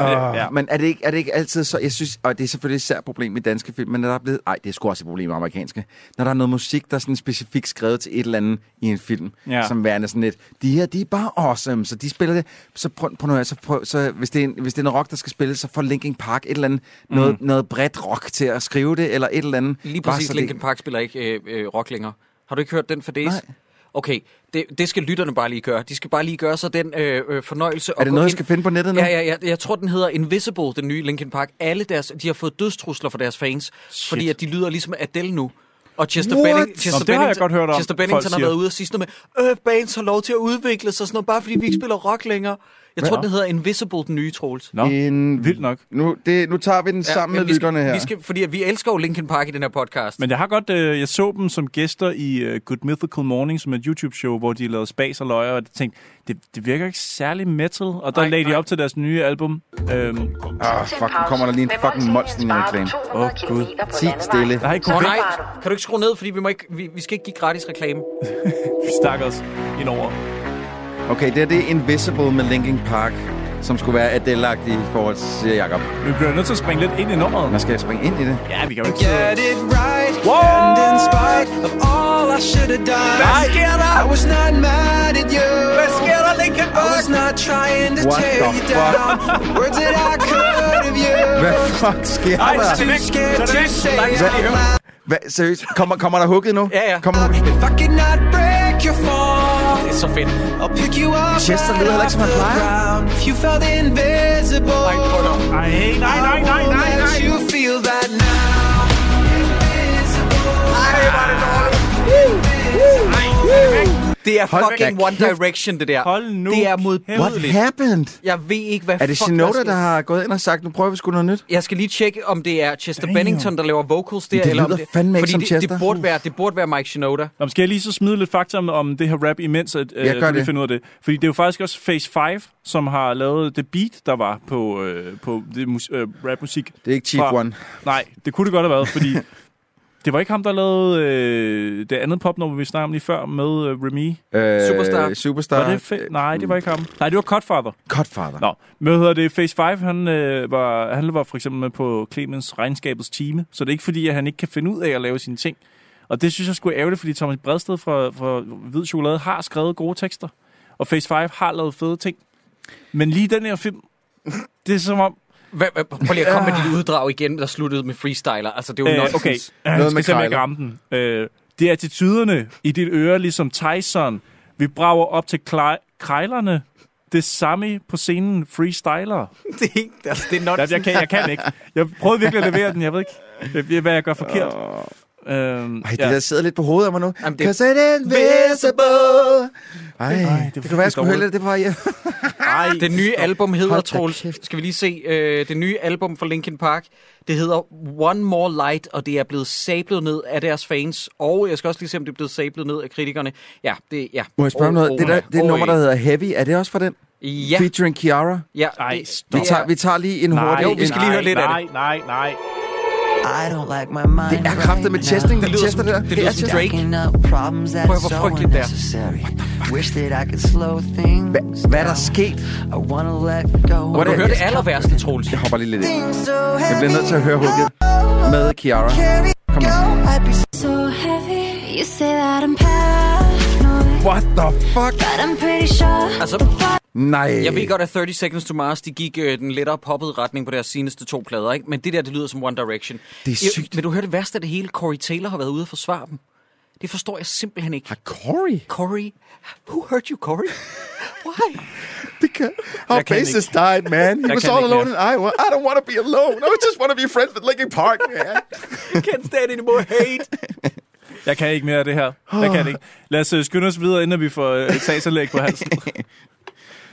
Speaker 2: Uh,
Speaker 3: Ja, ja.
Speaker 2: ja. Men er det, ikke, er det ikke altid så... Jeg synes, og det er selvfølgelig et særligt problem i danske film, men når der er blevet... Ej, det er sgu også et problem i amerikanske. Når der er noget musik, der er sådan specifikt skrevet til et eller andet i en film,
Speaker 3: Ja.
Speaker 2: ja. som værende sådan lidt... De her, de er bare awesome, så de spiller det... Så prøv, prøv, noget, så prøv så hvis, det er en, hvis det er en rock, der skal spilles, så får Linkin Park et eller andet... Mm. Noget, noget bredt rock til at skrive det, eller et eller andet...
Speaker 1: Lige
Speaker 2: bare
Speaker 1: præcis,
Speaker 2: så
Speaker 1: Linkin Park spiller ikke øh, øh, rock længere. Har du ikke hørt den for days?
Speaker 2: Nej.
Speaker 1: Okay, det, det skal lytterne bare lige gøre. De skal bare lige gøre sig den øh, øh, fornøjelse.
Speaker 2: Er det noget, jeg skal finde på nettet nu?
Speaker 1: Ja, ja, ja, jeg tror, den hedder Invisible, den nye Linkin Park. Alle deres, de har fået dødstrusler fra deres fans, Shit. fordi at de lyder ligesom Adele nu. Og Chester,
Speaker 2: What?
Speaker 1: Benning, Chester
Speaker 3: Nå, det har jeg
Speaker 1: Bennington-
Speaker 3: godt hørt om,
Speaker 1: Chester
Speaker 3: folk
Speaker 1: Bennington har
Speaker 3: siger.
Speaker 1: været ude og sige sådan noget med, øh, bands har lov til at udvikle sig, sådan noget, bare fordi vi ikke spiller rock længere. Jeg tror, den hedder Invisible, den nye Trolls.
Speaker 3: Nå,
Speaker 2: En-
Speaker 3: vildt nok.
Speaker 2: Nu, det, nu tager vi den ja, sammen med
Speaker 1: men vi skal,
Speaker 2: lytterne her.
Speaker 1: Vi skal, fordi at vi elsker jo Linkin Park i den her podcast.
Speaker 3: Men jeg har godt, øh, jeg så dem som gæster i øh, Good Mythical Morning, som er et YouTube-show, hvor de lavede spas og løjer, og jeg tænkte, det, det virker ikke særlig metal, og der
Speaker 1: Nej,
Speaker 3: lagde de
Speaker 1: nej.
Speaker 3: op til deres nye album. Øhm,
Speaker 2: Ah, fuck, nu kommer der lige en fucking monster reklame.
Speaker 3: Åh, Gud.
Speaker 2: Ti stille.
Speaker 3: der er ikke
Speaker 1: Nå,
Speaker 3: korrekt
Speaker 1: nej, kan du ikke skrue ned, fordi vi, må ikke, vi, vi skal ikke give gratis reklame.
Speaker 3: stakkels indover.
Speaker 2: Okay, det her det er Invisible med Linkin Park, som skulle være adele i forhold til, siger Jacob.
Speaker 3: Vi bliver nødt til at springe lidt ind i nummeret.
Speaker 2: Man skal jeg springe ind i det.
Speaker 3: Ja, vi kan jo ikke sidde.
Speaker 9: Get it right.
Speaker 3: Whoa!
Speaker 9: And in spite of all I should have done,
Speaker 3: Hvad sker
Speaker 9: I was not mad at you.
Speaker 3: Hvad sker der, Linkin
Speaker 9: I was not trying to
Speaker 2: What
Speaker 9: tear
Speaker 2: the
Speaker 9: you down. Words that I could have used.
Speaker 2: Hvad fuck sker
Speaker 3: Ej, så
Speaker 2: der?
Speaker 3: er det væk.
Speaker 9: Too scared
Speaker 3: Så er det
Speaker 9: to
Speaker 3: væk.
Speaker 9: say
Speaker 3: Nej,
Speaker 9: it
Speaker 3: så er det
Speaker 9: out
Speaker 3: væk.
Speaker 9: loud.
Speaker 2: Hvad, seriøst? Kommer, kommer der hugget nu?
Speaker 1: Ja, ja.
Speaker 2: Kommer hugget.
Speaker 9: If I could not break your fall,
Speaker 1: Det er så fedt.
Speaker 9: I'll pick you up
Speaker 2: Chester lyder heller
Speaker 9: right
Speaker 2: ikke, som
Speaker 9: off
Speaker 2: han
Speaker 9: the
Speaker 2: plejer.
Speaker 9: ground. If you felt invisible,
Speaker 1: Ej, prøv nu.
Speaker 3: Ej, nej, nej, nej, nej,
Speaker 9: I'll let
Speaker 3: nej.
Speaker 9: you feel that now. Invisible.
Speaker 1: Ej, var det dårligt. Det er
Speaker 2: Hold da
Speaker 1: fucking One
Speaker 2: kæft.
Speaker 1: Direction, det der.
Speaker 3: Hold nu
Speaker 1: det er
Speaker 2: What
Speaker 1: modbydeligt.
Speaker 2: happened?
Speaker 1: Jeg ved ikke, hvad
Speaker 2: Er det
Speaker 1: fuck
Speaker 2: Shinoda,
Speaker 1: sker.
Speaker 2: der har gået ind og sagt, nu prøver vi sgu noget nyt?
Speaker 1: Jeg skal lige tjekke, om det er Chester
Speaker 3: Damn.
Speaker 1: Bennington, der laver vocals der.
Speaker 2: Det
Speaker 1: eller om
Speaker 2: lyder fandme ikke
Speaker 1: fordi
Speaker 2: som
Speaker 1: det,
Speaker 2: Chester.
Speaker 1: Det burde, være, det burde være Mike Shinoda.
Speaker 3: Nå, men skal jeg lige så smide lidt fakta om, om det her rap, imens at, øh,
Speaker 2: Ja, gør
Speaker 3: du lige
Speaker 2: det.
Speaker 3: finder ud af det? Fordi det er jo faktisk også Phase 5, som har lavet det beat, der var på, øh, på det mus- øh, rapmusik.
Speaker 2: Det er ikke Chief
Speaker 3: Fra-
Speaker 2: One.
Speaker 3: Nej, det kunne det godt have været, fordi det var ikke ham, der lavede øh, det andet popnummer, vi snakkede om lige før, med øh, Remy.
Speaker 2: Øh,
Speaker 1: Superstar.
Speaker 2: Superstar.
Speaker 3: Var det fe- Nej, det var ikke ham. Nej, det var Cutfather.
Speaker 2: Godfather.
Speaker 3: Nå, men hvad hedder det? Phase 5, han, øh, var, han var for eksempel med på Clemens Regnskabets time, så det er ikke fordi, at han ikke kan finde ud af at lave sine ting. Og det synes jeg skulle ærgerligt, fordi Thomas Bredsted fra, fra Hvid Chokolade har skrevet gode tekster, og Phase 5 har lavet fede ting. Men lige den her film, det er som om...
Speaker 1: Hvad, hvad, prøv lige at komme med dit uddrag igen, der sluttede med freestyler. Altså, det er jo
Speaker 3: Øh,
Speaker 1: nonsens.
Speaker 3: okay,
Speaker 2: Noget
Speaker 3: Noget
Speaker 2: med
Speaker 3: skal simpelthen
Speaker 2: krejler.
Speaker 3: ramme den. Øh, det er attituderne i dit øre, ligesom Tyson. Vi brager op til klej- krejlerne. Det samme på scenen freestyler.
Speaker 1: Det er, ikke, altså, det er
Speaker 3: Jeg,
Speaker 1: nonsens.
Speaker 3: jeg, kan, jeg kan ikke. Jeg prøvede virkelig at levere den, jeg ved ikke, jeg, jeg, hvad jeg gør forkert. Øhm,
Speaker 2: Ej, det ja. der sidder lidt på hovedet af mig nu.
Speaker 1: Jamen,
Speaker 2: Jamen,
Speaker 1: det-
Speaker 2: det... Cause it invisible. Ej, det, det
Speaker 3: virkelig
Speaker 2: kunne være, jeg skulle
Speaker 3: dårligt.
Speaker 2: hælde det på hjem.
Speaker 3: Ej,
Speaker 1: Det nye album hedder,
Speaker 2: Hold da
Speaker 1: Troels,
Speaker 2: kæft.
Speaker 1: skal vi lige se, øh, det nye album fra Linkin Park, det hedder One More Light, og det er blevet sablet ned af deres fans, og jeg skal også lige se, om det er blevet sablet ned af kritikerne. Ja, det ja.
Speaker 2: Må jeg spørge om
Speaker 1: Og-
Speaker 2: noget? Det, der,
Speaker 1: og-
Speaker 2: det
Speaker 1: og-
Speaker 2: nummer, der hedder Heavy, er det også fra den?
Speaker 1: Oh, Ja,
Speaker 2: Featuring Kiara?
Speaker 1: ja.
Speaker 3: Ej,
Speaker 1: det,
Speaker 2: Vi
Speaker 1: det
Speaker 2: tager,
Speaker 1: er,
Speaker 2: vi tager lige en
Speaker 3: nej,
Speaker 2: hurtig...
Speaker 1: Jo, vi skal lige høre lidt af
Speaker 3: nej, det. Nej, nej, nej.
Speaker 10: I don't like my mind.
Speaker 2: Det er kraftet med chesting,
Speaker 1: det
Speaker 2: det
Speaker 1: lyder
Speaker 2: chester
Speaker 1: som,
Speaker 2: der.
Speaker 1: det lyder
Speaker 2: er
Speaker 1: som
Speaker 2: chester.
Speaker 1: Drake.
Speaker 10: Picking up problems that
Speaker 1: Prøv
Speaker 10: are
Speaker 1: at, hvor
Speaker 10: so
Speaker 1: frygteligt det er.
Speaker 10: unnecessary. Wish that I could slow things
Speaker 2: Hva- Hvad er der sket?
Speaker 10: down. I wanna let go.
Speaker 1: og du
Speaker 2: Hvordan-
Speaker 1: hører det aller værste, Troels.
Speaker 2: Jeg hopper lige lidt ind.
Speaker 10: Things so
Speaker 2: Jeg bliver nødt til at høre hugget med Kiara.
Speaker 10: heavy.
Speaker 2: Kom nu.
Speaker 10: I'd be
Speaker 6: So heavy, you say that I'm paranoid,
Speaker 2: What the fuck?
Speaker 6: but I'm pretty sure
Speaker 1: Altså,
Speaker 2: Nej.
Speaker 1: jeg ved godt, at 30 Seconds to Mars, de gik øh, den lettere poppede retning på deres seneste to plader, ikke? men det der, det lyder som One Direction.
Speaker 2: Det er
Speaker 1: Jeg-
Speaker 2: sygt.
Speaker 1: Men du hører det værste af det hele, Corey Taylor har været ude og forsvare dem. Det forstår jeg simpelthen ikke.
Speaker 2: Har Ah, Corey?
Speaker 1: Corey, who hurt you, Corey? Why?
Speaker 2: Det kan... Our
Speaker 3: kan
Speaker 2: bassist died, man. He
Speaker 3: Jeg
Speaker 2: was
Speaker 3: kan
Speaker 2: all
Speaker 3: ikke
Speaker 2: alone in Iowa. I don't want to be alone. I just want to be friends with Linkin Park, man.
Speaker 1: Can't stand anymore hate.
Speaker 3: Jeg kan ikke mere af det her. Jeg kan ikke. Lad os øh, skynde os videre, inden vi får øh, et sagsanlæg på halsen.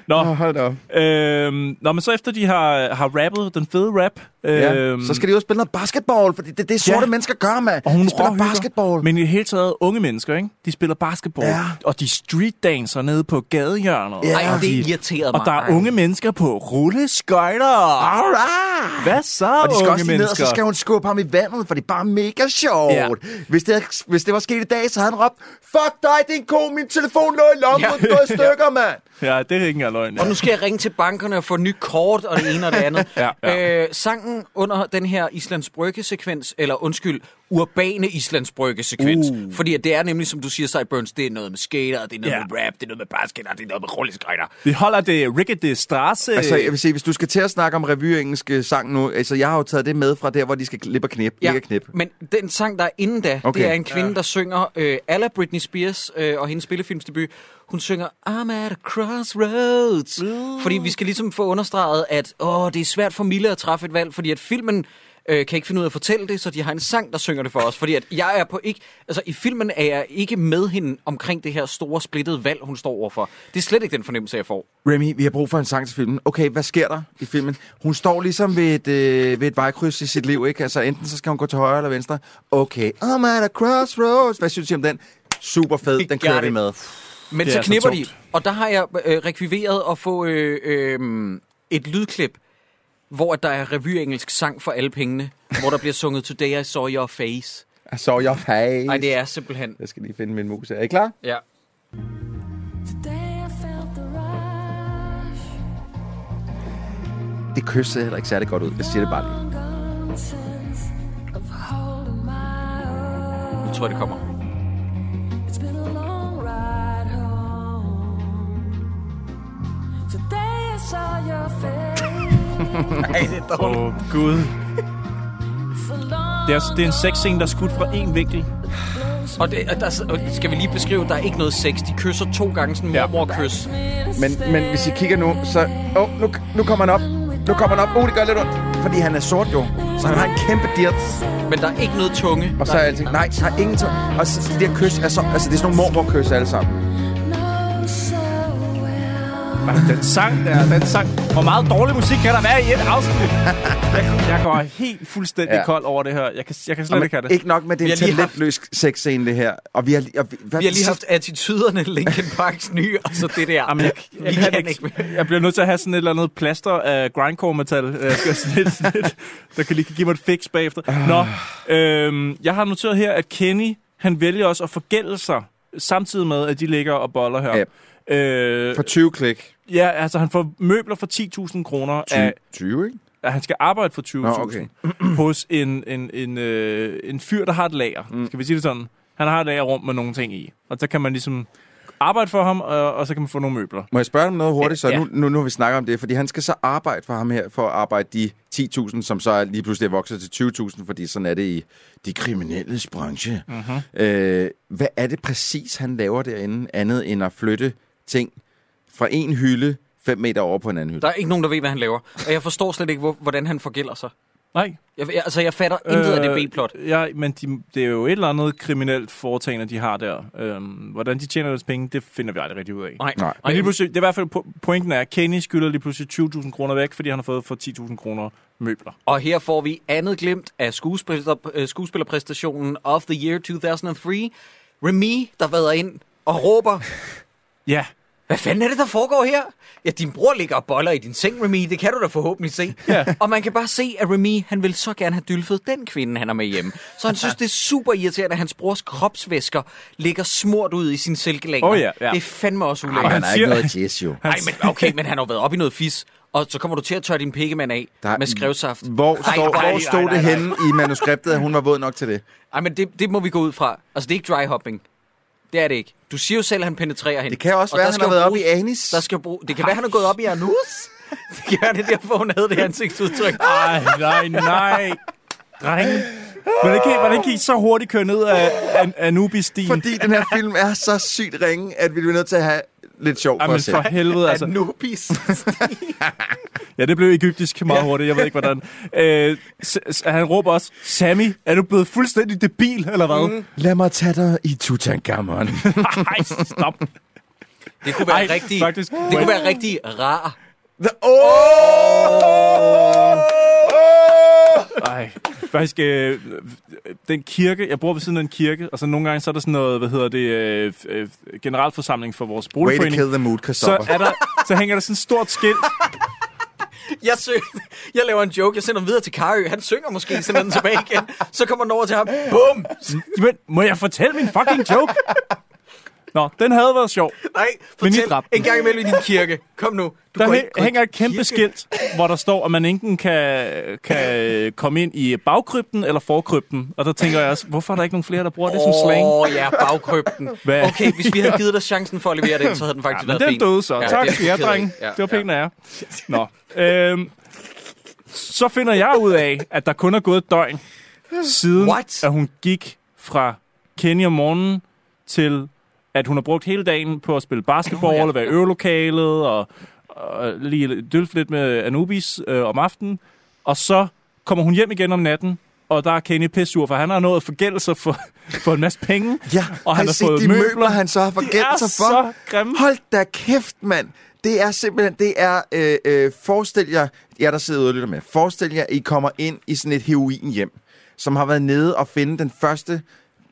Speaker 3: Nå,
Speaker 2: Åh, Hold op.
Speaker 3: øhm, nå, men så efter de har, har rappet den fede rap,
Speaker 2: Ja.
Speaker 1: Øhm.
Speaker 2: Så skal de jo spille noget basketball, for det er det, sorte
Speaker 3: Ja.
Speaker 2: ja. mennesker gør, mand.
Speaker 3: Og hun
Speaker 2: de spiller
Speaker 3: råhygger.
Speaker 2: basketball.
Speaker 3: Men i det hele taget unge mennesker, ikke? De spiller basketball.
Speaker 2: Ja.
Speaker 3: Og de streetdancer nede på gadehjørnet.
Speaker 2: Ja.
Speaker 1: Ej,
Speaker 3: Og de-
Speaker 1: det irriterede mig.
Speaker 3: Og der er unge mennesker på rulleskøjter.
Speaker 2: Alright!
Speaker 3: Hvad så,
Speaker 2: Og de skal
Speaker 3: unge
Speaker 2: også lige ned, og
Speaker 3: mennesker?
Speaker 2: så skal hun skubbe ham i vandet, for det er bare mega sjovt.
Speaker 3: Ja.
Speaker 2: Ja. Hvis, det, havde- hvis det var sket i dag, så havde han råbt, Fuck dig, din ko, min telefon lå i lommen, ja. gået i stykker, mand.
Speaker 3: Ja, det er ikke engang løgn. Ja.
Speaker 1: Og nu skal jeg ringe til bankerne og få ny kort og det ene og det andet.
Speaker 3: Ja, ja.
Speaker 1: Øh, sangen under den her Islands Brygge-sekvens, eller undskyld, urbane Islands Brygge-sekvens, uh. fordi at det er nemlig, som du siger, Cyburns, det er noget med skater, det er noget
Speaker 3: Ja.
Speaker 1: med rap, det er noget med basket, og det er noget med rulleskrætter.
Speaker 3: Vi holder det Ricket de Strasse.
Speaker 2: Altså,
Speaker 1: Øh,
Speaker 2: jeg vil sige, hvis du skal til at snakke om revyengelsk øh, sang nu, altså, jeg har jo taget det med fra der, hvor de skal klippe og knæppe. Ja. Ikke knæppe.
Speaker 1: men den sang, der er inden da, okay.
Speaker 2: Okay.
Speaker 1: det er en kvinde, der synger, øh, alla Britney Spears øh, og hendes spillefilmsdebut, hun synger, I'm at a crossroads. Mm. Fordi vi skal ligesom få understreget, at åh, det er svært for Mille at træffe et valg, fordi at filmen øh, kan ikke finde ud af at fortælle det, så de har en sang, der synger det for os. Fordi at jeg er på ikke... Altså, i filmen er jeg ikke med hende omkring det her store, splittede valg, hun står overfor. Det er slet ikke den fornemmelse, jeg får.
Speaker 2: Remy, vi har brug for en sang til filmen. Okay, hvad sker der i filmen? Hun står ligesom ved et, øh, ved et vejkryds i sit liv, ikke? Altså, enten så skal hun gå til højre eller venstre. Okay, I'm at a crossroads. Hvad synes I om den? Super fed, den kører
Speaker 1: Got
Speaker 2: vi
Speaker 1: it.
Speaker 2: med.
Speaker 1: Men
Speaker 3: Det
Speaker 1: så
Speaker 3: er så
Speaker 1: knipper de,
Speaker 3: tungt.
Speaker 1: og der har jeg øh, rekviveret at få øh, øh, et lydklip, hvor at der er revyengelsk sang for alle pengene, hvor der bliver sunget Today I Saw Your Face.
Speaker 2: I saw your face.
Speaker 1: Nej, det er simpelthen...
Speaker 2: Jeg skal lige finde min mus. Er I klar?
Speaker 1: Ja.
Speaker 2: Det kys ser heller ikke særlig godt ud. Jeg siger det bare lige.
Speaker 1: Nu tror jeg, det kommer.
Speaker 3: Åh, oh, Gud. Det er, det er en sexscene, der er skudt fra én vinkel.
Speaker 1: Og, det, og der og skal vi lige beskrive, der er ikke noget sex. De kysser to gange sådan
Speaker 3: Ja.
Speaker 1: mormor-kys.
Speaker 2: Men, men hvis I kigger nu, så... Åh, oh, nu, nu kommer han op. Nu kommer han op. Uh, det gør lidt ondt. Fordi han er sort jo. Så han har en kæmpe dirt.
Speaker 1: Men der er ikke noget tunge.
Speaker 2: Og så er alting... Nej, der er ingen... Og så de der kys er så... Altså, det er sådan nogle mormorkys alle sammen.
Speaker 3: Den sang der, den sang. Hvor meget dårlig musik kan der være i et afsnit? Jeg, jeg går helt fuldstændig
Speaker 2: Ja.
Speaker 3: ja. kold over det her. Jeg kan, jeg kan slet
Speaker 2: Og man-
Speaker 3: ikke have det.
Speaker 2: Ikke nok med
Speaker 3: Vi har
Speaker 2: den
Speaker 3: lige haft-
Speaker 2: talentløs sexscene, det her. Og vi har, og vi, hvad,
Speaker 1: Vi har lige haft attituderne, Linkin Parks nye, og så det der.
Speaker 3: Jamen, jeg,
Speaker 1: vi
Speaker 3: jeg,
Speaker 1: kan,
Speaker 3: kan
Speaker 1: ikke.
Speaker 3: ikke. jeg bliver nødt til at have sådan et eller andet plaster af grindcore-metal, øh, skal jeg sådan lidt, sådan lidt, der kan lige kan give mig et fix bagefter. Nå, øhm, jeg har noteret her, at Kenny, han vælger også at forgælde sig, samtidig med, at de ligger og boller her. Ja. Øh,
Speaker 2: For 20 klik.
Speaker 3: ja, altså han får møbler for 10.000 kroner af
Speaker 2: 20, ikke?
Speaker 3: at han skal arbejde for 20.000
Speaker 2: Nå, okay.
Speaker 3: hos en, en, en, øh, en fyr, der har et lager. Mm. Skal vi sige det sådan? Han har et lagerrum med nogle ting i. Og så kan man ligesom arbejde for ham, og, og så kan man få nogle møbler.
Speaker 2: Må jeg spørge dig om noget hurtigt, så
Speaker 3: Ja.
Speaker 2: nu, nu, nu har vi snakker om det, fordi han skal så arbejde for ham her, for at arbejde de 10.000, som så lige pludselig er vokset til 20.000, fordi sådan er det i de kriminelles branche.
Speaker 3: Mhm.
Speaker 2: Øh, hvad er det præcis, han laver derinde, andet end at flytte ting fra en hylde 5 meter over på en anden hylde?
Speaker 1: Der er ikke nogen, der ved, hvad han laver. Og jeg forstår slet ikke, hvor, hvordan han forgælder sig.
Speaker 3: Nej.
Speaker 1: Jeg, jeg, altså, jeg fatter øh, intet af det B-plot.
Speaker 3: Ja, men de, det er jo et eller andet kriminelt foretagende, de har der. Øhm, hvordan de tjener deres penge, det finder vi aldrig rigtig ud af.
Speaker 1: Nej.
Speaker 2: Nej.
Speaker 3: Men lige pludselig, det er i hvert fald po- pointen er, at Kenny skylder lige pludselig 20.000 kroner væk, fordi han har fået for 10.000 kroner møbler.
Speaker 1: Og her får vi andet glimt af skuespiller, øh, skuespillerpræstationen of the year 2003. Remy, der vader ind og råber,
Speaker 3: Ja.
Speaker 1: hvad fanden er det, der foregår her? Ja, din bror ligger og boller i din seng, Remy. Det kan du da forhåbentlig se.
Speaker 3: Ja.
Speaker 1: Og man kan bare se, at Remy, han vil så gerne have dylfet den kvinde, han har med hjemme. Så han synes, det er super irriterende, at hans brors kropsvæsker ligger smurt ud i sin silkelænger.
Speaker 3: Åh ja, ja.
Speaker 1: Det er fandme også
Speaker 2: Og
Speaker 1: ulækkert.
Speaker 2: han
Speaker 3: han
Speaker 2: har ikke
Speaker 3: siger-
Speaker 2: noget jazz, jo.
Speaker 1: Nej, men okay, men han har jo været op i noget fis, og så kommer du til at tørre din pikkemand af
Speaker 2: Der-
Speaker 1: der, med skrevsaft.
Speaker 2: Hvor, stå,
Speaker 1: hvor er
Speaker 2: hvor
Speaker 1: det-
Speaker 2: stod
Speaker 1: nej, nej,
Speaker 2: det
Speaker 1: nej.
Speaker 2: henne i manuskriptet, at hun var våd nok til det?
Speaker 1: Ej, men det, det må vi gå ud fra. Altså, det er ikke dry hopping. Det er det ikke. Du siger jo selv, at han penetrerer hende.
Speaker 2: Det kan også
Speaker 1: Og
Speaker 2: være,
Speaker 1: der
Speaker 2: han
Speaker 1: skal
Speaker 2: har
Speaker 1: jo
Speaker 2: været op
Speaker 1: bruges-
Speaker 2: i anis.
Speaker 1: Der skal bruge... Det kan være, han er gået op i anus. Det kan være, det er derfor, hun havde det ansigtsudtryk.
Speaker 2: Ah!
Speaker 3: Ej, nej, nej. Drenge. Hvordan kan, hvordan kan I så hurtigt køre ned af, af, af Anubis-stien?
Speaker 2: Fordi den her film er så sygt ringe, at vi bliver nødt til at have lidt sjov for
Speaker 3: Jamen
Speaker 2: os selv.
Speaker 3: for helvede, altså.
Speaker 1: Anubis.
Speaker 3: Ja, det blev egyptisk meget hurtigt, jeg ved ikke hvordan. Øh, s- s- han råber også, Sammy, er du blevet fuldstændig debil, eller hvad? Mm.
Speaker 2: Lad mig tage dig i Tutankhamon.
Speaker 3: Ej, stop.
Speaker 1: Det kunne være
Speaker 3: Ej,
Speaker 1: rigtig...
Speaker 3: faktisk.
Speaker 1: Det kunne være rigtig rar.
Speaker 2: Åh! Åh!
Speaker 3: Ej, faktisk, øh, den kirke, jeg bor ved siden af en kirke, og så nogle gange, så er der sådan noget, hvad hedder det, øh, øh, generalforsamling for vores
Speaker 2: Way to
Speaker 3: boligforening.
Speaker 2: kill the mood,
Speaker 3: Så,
Speaker 2: Christopher.
Speaker 3: er der, så hænger der sådan et stort skilt,
Speaker 1: Jeg, sø... jeg laver en joke. Jeg sender den videre til Karø. Han synger måske, sender den tilbage igen. Så kommer den over til ham. Bum!
Speaker 3: Men, må jeg fortælle min fucking joke? Nå, den havde været sjov.
Speaker 1: Nej,
Speaker 3: Men I
Speaker 1: fortæl.
Speaker 3: dræbte
Speaker 1: En gang imellem i din kirke. Kom nu. Du
Speaker 3: Der
Speaker 1: går
Speaker 3: hæ-
Speaker 1: ikke- går
Speaker 3: hænger
Speaker 1: ikke
Speaker 3: et kæmpe
Speaker 1: i kirke.
Speaker 3: skilt, hvor der står, at man enten kan, kan øh, komme ind i bagkrypten eller forkrypten. Og der tænker jeg også, hvorfor er der ikke nogen flere, der bruger det som slang?
Speaker 1: Åh, ja, bagkrybten.
Speaker 3: Hvad?
Speaker 1: Okay, hvis vi havde givet dig chancen for at levere den, så havde den faktisk
Speaker 3: Men
Speaker 1: været
Speaker 3: den
Speaker 1: fin.
Speaker 3: døde så. Ja, tak
Speaker 1: det er
Speaker 3: til jer,
Speaker 1: jeg ked af.
Speaker 3: drenge.
Speaker 1: Ja,
Speaker 3: Ja, det var pænt af jer. Nå. Øhm, så finder jeg ud af, at der kun er gået et døgn, siden
Speaker 1: What?
Speaker 3: at hun gik fra Kenya om morgenen til, at hun har brugt hele dagen på at spille basketball, oh, ja. eller være i øvelokalet, og, og lige dølfe lidt med Anubis øh, om aftenen. Og så kommer hun hjem igen om natten, og der er Kenny pissur, for han har nået at forgælde sig for, for en masse penge.
Speaker 2: Ja,
Speaker 3: og han
Speaker 2: har
Speaker 3: har
Speaker 2: I set
Speaker 3: fået
Speaker 2: de
Speaker 3: møbler.
Speaker 2: møbler, han så har
Speaker 3: De er
Speaker 2: forgældt sig for?
Speaker 3: så grimme.
Speaker 2: Hold da kæft, mand. Det er simpelthen, det er, øh, øh, forestil jer, jer der sidder ude og lytter med, forestil jer, I kommer ind i sådan et heroinhjem, som har været nede og finde den første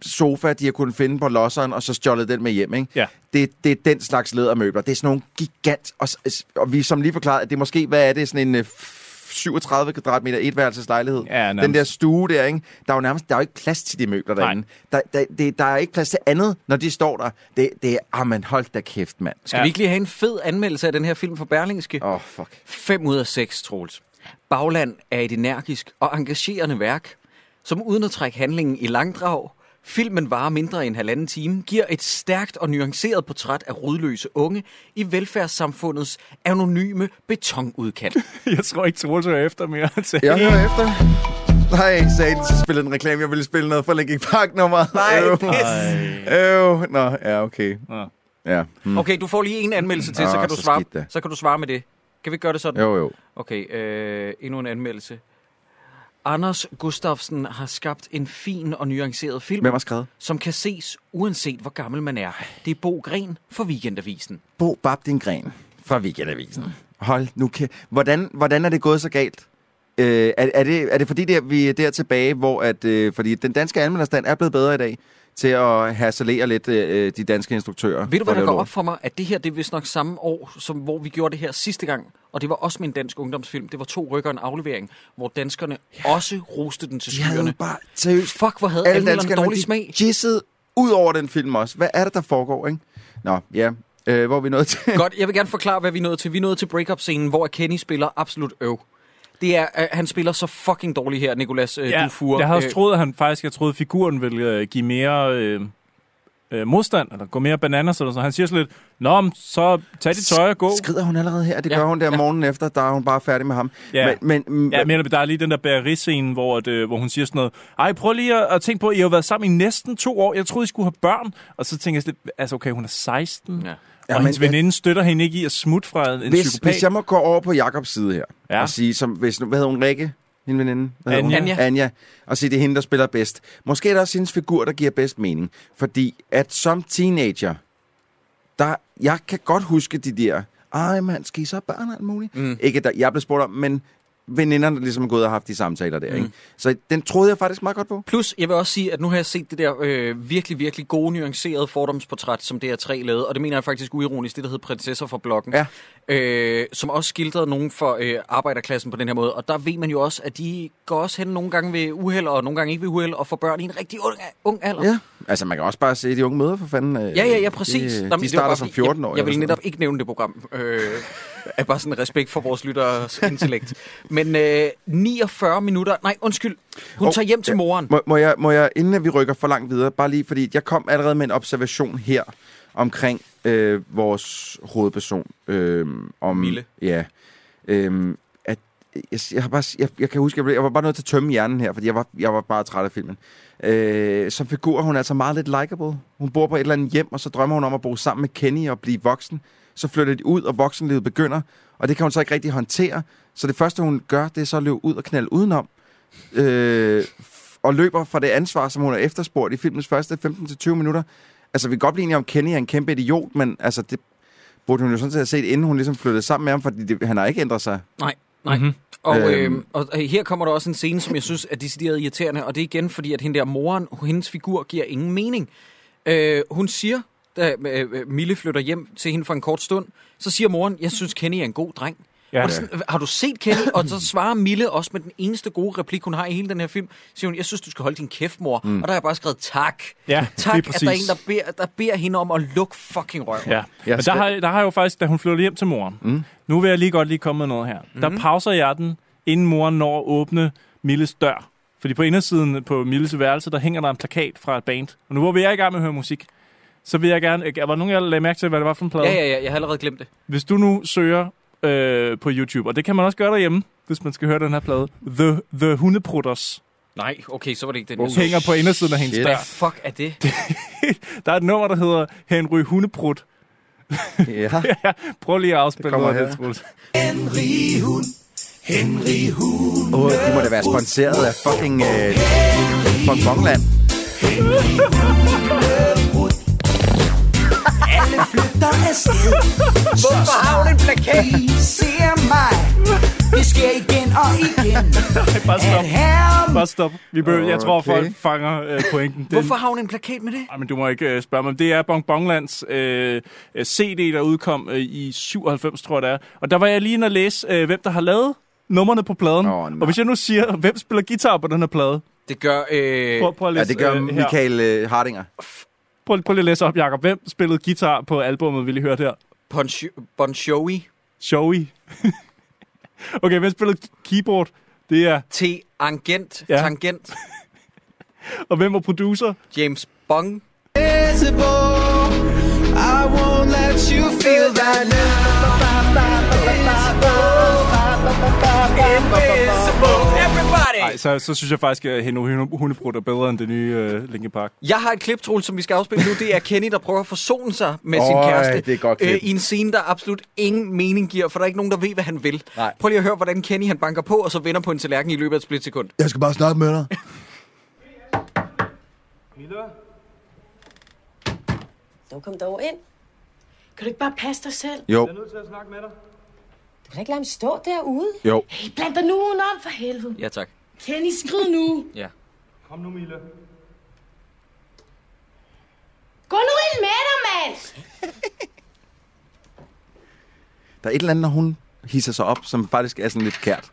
Speaker 2: sofa, de har kunnet finde på losseren, og så stjålet den med hjem, ikke?
Speaker 3: Ja.
Speaker 2: Det, det er den slags lædermøbler. Det er sådan nogle gigant, og, s- og vi som lige forklarede, at det er måske, hvad er det, sådan en øh, f- 37 kvadratmeter etværelseslejlighed.
Speaker 3: Ja, nærmest.
Speaker 2: den der stue der, ikke? Der er jo nærmest der er jo ikke plads til de møbler
Speaker 3: Nej.
Speaker 2: derinde. Der, der, det, der er ikke plads til andet, når de står der. Det, det er, ah, man, hold da kæft, mand.
Speaker 1: Skal vi ikke lige have en fed anmeldelse af den her film fra Berlingske?
Speaker 2: Åh, oh, fuck.
Speaker 1: 5 ud af 6, Troels. Bagland er et energisk og engagerende værk, som uden at trække handlingen i langdrag, filmen varer mindre end halvanden time, giver et stærkt og nuanceret portræt af rodløse unge i velfærdssamfundets anonyme betonudkant.
Speaker 3: Jeg tror ikke, Troels hører efter mere. Han sagde,
Speaker 2: Jeg hører efter. Nej, sagde så spillede en reklame. Jeg ville spille noget for Linkin Park nummer. Nej, Øv. Nå, ja, okay.
Speaker 3: Nå.
Speaker 2: Ja. Hmm.
Speaker 1: Okay, du får lige en anmeldelse til, så
Speaker 2: Nå,
Speaker 1: kan, du
Speaker 2: så
Speaker 1: svare,
Speaker 2: skidt da.
Speaker 1: så kan du svare med det. Kan vi gøre det sådan?
Speaker 2: Jo, jo.
Speaker 1: Okay, øh, endnu en anmeldelse. Anders Gustafsson har skabt en fin og nuanceret film,
Speaker 2: Hvem har skrevet?
Speaker 1: som kan ses uanset hvor gammel man er. Det er Bo Gren for Weekendavisen.
Speaker 2: Bo Bab din gren. fra Weekendavisen. Hold nu kæ... Hvordan, hvordan er det gået så galt? Øh, er, er, det, er det fordi, der, vi er der tilbage, hvor at, øh, fordi den danske anmelderstand er blevet bedre i dag til at harcelere lidt øh, de danske instruktører?
Speaker 1: Ved du, hvad
Speaker 2: for
Speaker 1: der
Speaker 2: at lave
Speaker 1: går
Speaker 2: lort?
Speaker 1: op for mig? At det her, det er vist nok samme år, som, hvor vi gjorde det her sidste gang. Og det var også med en dansk ungdomsfilm. Det var to rykker og en aflevering, hvor danskerne ja. også roste den til
Speaker 2: De havde jo
Speaker 1: skyerne.
Speaker 2: bare, seriøst,
Speaker 1: Fuck, hvor havde
Speaker 2: alle
Speaker 1: alle anmelderne
Speaker 2: danskerne,
Speaker 1: dårlig
Speaker 2: de
Speaker 1: smag.
Speaker 2: jizzede ud over den film også. Hvad er det, der foregår, ikke? Nå, ja. Øh, hvor er vi nået til?
Speaker 1: Godt, jeg vil gerne forklare, hvad vi nåede til. Vi nåede til break-up-scenen, hvor Kenny spiller absolut øv. Det er, øh, han spiller så fucking dårlig her, Nicolas øh,
Speaker 3: Ja,
Speaker 1: Dufour.
Speaker 3: jeg havde også
Speaker 1: Øh,
Speaker 3: troet, at han faktisk, jeg troede, figuren ville øh, give mere øh, øh, modstand, eller gå mere bananas eller sådan noget. Han siger sådan lidt, Nå, men så tag dit tøj og gå.
Speaker 2: Skrider hun allerede her? Det
Speaker 3: Ja,
Speaker 2: gør hun der morgenen efter, der er hun bare færdig med ham.
Speaker 3: Ja.
Speaker 2: Men, men,
Speaker 3: Ja, men der er lige den der bæreri-scene, hvor, at, øh, hvor hun siger sådan noget, ej, prøv lige at, at tænke på, I har været sammen i næsten to år, jeg troede, I skulle have børn. Og så tænker jeg sådan lidt, altså okay, hun er 16, ja. og
Speaker 2: Ja,
Speaker 3: ja,
Speaker 2: men-
Speaker 3: hendes veninde støtter hende ikke i at smutte fra en en
Speaker 2: hvis,
Speaker 3: psykopat.
Speaker 2: hvis jeg må gå over på Jakobs side her,
Speaker 3: Ja.
Speaker 2: ja. og sige, som, hvis, nu- hvad hedder hun, Rikke? Min veninde? Hvad hedder
Speaker 3: Anja.
Speaker 2: Hun? Anja. Og sige, det er hende, der spiller bedst. Måske er det også hendes figur, der giver bedst mening. Fordi at som teenager, der, jeg kan godt huske de der, ej mand, skal I så have børn og alt muligt? Mm. Ikke der, jeg blev spurgt om, men veninderne ligesom er gået og haft de samtaler der. Mm. Ikke? Så den troede jeg faktisk meget godt på.
Speaker 1: Plus, jeg vil også sige, at nu har jeg set det der øh, virkelig, virkelig gode, nuancerede fordomsportræt, som DR3 lavede, og det mener jeg faktisk uironisk, det der hedder Prinsesser fra Blokken,
Speaker 2: ja.
Speaker 1: øh, som også skildrede nogen for øh, arbejderklassen på den her måde. Og der ved man jo også, at de går også hen nogle gange ved uheld, og nogle gange ikke ved uheld, og får børn i en rigtig ung, ung alder.
Speaker 2: Ja. Altså, man kan også bare se de unge møder for fanden. øh,
Speaker 1: Ja, ja, ja, præcis. Nå,
Speaker 2: De,
Speaker 1: men
Speaker 2: de
Speaker 1: det var
Speaker 2: starter
Speaker 1: bare
Speaker 2: som
Speaker 1: fordi, jeg-
Speaker 2: 14 år.
Speaker 1: Jeg vil netop ikke nævne det program. Øh, er bare sådan respekt for vores lytteres intellekt. Men øh, 49 minutter... Nej, undskyld. Hun
Speaker 2: Hov,
Speaker 1: tager hjem til moren.
Speaker 2: Må, må, jeg, må jeg, inden at vi rykker for langt videre, bare lige, fordi jeg kom allerede med en observation her omkring øh, vores hovedperson. Øh, om,
Speaker 1: Mille.
Speaker 2: Ja. Øh, at, jeg, jeg, har bare, jeg, jeg kan huske, jeg, blev, jeg var bare nødt til at tømme hjernen her, fordi jeg var, jeg var bare træt af filmen. Øh, som figur, hun er altså meget lidt likable. Hun bor på et eller andet hjem, og så drømmer hun om at bo sammen med Kenny og blive voksen. Så flytter de ud, og voksenlivet begynder, og det kan hun så ikke rigtig håndtere. Så det første, hun gør, det er så at løbe ud og knalde udenom øh, f- og løber fra det ansvar, som hun har efterspurgt i filmens første 15-20 minutter. Altså, vi kan godt blive enige om, at Kenny er en kæmpe idiot, men altså, det burde hun jo sådan set have set, inden hun ligesom flyttede sammen med ham, fordi det, han har ikke ændret sig.
Speaker 1: Nej, nej. Mm-hmm. Og,
Speaker 2: Øhm.
Speaker 1: øh, og øh, her kommer der også en scene, som jeg synes er decideret irriterende, og det er igen fordi, at hende der moren, hendes figur giver ingen mening. Øh, hun siger, da øh, øh, Mille flytter hjem til hende for en kort stund, så siger moren, jeg synes Kenny er en god dreng.
Speaker 3: Ja.
Speaker 1: Ja, og det er sådan, har du set Kenny? Og så svarer Mille også med den eneste gode replik, hun har i hele den her film. Siger hun, jeg synes, du skal holde din kæft, mor. Mm. Og der har jeg bare skrevet, tak.
Speaker 3: Ja,
Speaker 1: tak,
Speaker 3: lige
Speaker 1: at der er en,
Speaker 3: præcis.
Speaker 1: der beder, der beder hende om at lukke fucking røven.
Speaker 3: Ja. Men der har, der har jeg jo faktisk, da hun flytter hjem til moren, mm. nu vil jeg lige godt lige komme med noget her. Mm. Der pauser jeg den, inden moren når at åbne Milles dør. Fordi på indersiden på Milles værelse, der hænger der en plakat fra et band. Og nu hvor vi er i gang med at høre musik, så vil jeg gerne... Var der nogen af jer, der lagde mærke til, hvad det var for en plade?
Speaker 1: Ja, ja, ja, jeg har allerede glemt det.
Speaker 3: Hvis du nu søger øh, på YouTube, og det kan man også gøre derhjemme, hvis man skal høre den her plade, The, The Hundeprutters,
Speaker 1: Nej, okay, så var det ikke den.
Speaker 3: oh, hænger på indersiden af hendes
Speaker 1: Hvad
Speaker 3: dør.
Speaker 1: fuck er det?
Speaker 3: Der er et nummer, der hedder Henry Hundeprut.
Speaker 2: Ja.
Speaker 3: Prøv lige at afspille
Speaker 2: kommer
Speaker 3: noget af
Speaker 2: her.
Speaker 3: det, Troels.
Speaker 5: Henry Hund. Henry Hund.
Speaker 2: Åh, oh, det må da være sponsoreret af fucking øh, Bongbongland.
Speaker 5: Alle flytter afsted.
Speaker 11: Hvorfor har hun en plakat? I ser mig. Det sker igen og igen.
Speaker 3: Bare stop.
Speaker 11: At herren-
Speaker 3: Bare stop. Vi behøver, Jeg tror,
Speaker 2: Okay.
Speaker 3: folk fanger øh, pointen. Den,
Speaker 1: Hvorfor har hun en plakat med det?
Speaker 3: Ej, men du må ikke øh, spørge mig. om Det er Bong Bonglands øh, øh, CD, der udkom øh, i 97, tror jeg det er. Og der var jeg lige inde og læse, øh, hvem der har lavet nummerne på
Speaker 2: Åh,
Speaker 3: pladen.
Speaker 2: nej.
Speaker 3: og hvis jeg nu siger, hvem spiller guitar på den her plade?
Speaker 1: Det gør... Øh,
Speaker 3: Prøv, prøv at
Speaker 2: Ja,
Speaker 3: læse,
Speaker 2: det gør
Speaker 3: øh, her.
Speaker 2: Michael øh, Hardinger.
Speaker 3: Prøv, prøv lige at læse op, Jacob. Hvem spillede guitar på albummet, vi lige hørte her?
Speaker 1: Bon, bon Jovi
Speaker 3: Joey. okay, hvem spillede keyboard? Det er...
Speaker 1: til Angent,
Speaker 3: Ja.
Speaker 1: ja. Tangent,
Speaker 3: Og hvem var producer?
Speaker 1: James Bong.
Speaker 5: I won't let you feel that
Speaker 3: Nej, så, så synes jeg faktisk, at Henry Hundebrud er bedre end det nye øh, Linkin Park.
Speaker 1: Jeg har et klip, Troel, som vi skal afspille nu. Det er Kenny, der prøver at forsone sig med sin
Speaker 2: Øj,
Speaker 1: kæreste. øh,
Speaker 2: det er et godt klip.
Speaker 1: I en scene, der absolut ingen mening giver, for der er ikke nogen, der ved, hvad han vil.
Speaker 2: Nej.
Speaker 1: Prøv lige at høre, hvordan Kenny han banker på, og så vender på en tallerken i løbet af et splitsekund.
Speaker 2: Jeg skal bare snakke med dig.
Speaker 12: Nu kom dog ind.
Speaker 8: Kan du ikke bare passe dig selv?
Speaker 2: Jo.
Speaker 8: er nødt til at snakke med dig. Du kan da ikke lade ham stå derude.
Speaker 2: Jo.
Speaker 8: Hey, bland dig nu om for helvede.
Speaker 1: Ja, tak.
Speaker 8: Kenny, skrid nu.
Speaker 1: Ja.
Speaker 8: Kom nu, Mille. Gå nu ind med dig, mand!
Speaker 2: Der er et eller andet, når hun hisser sig op, som faktisk er sådan lidt kært.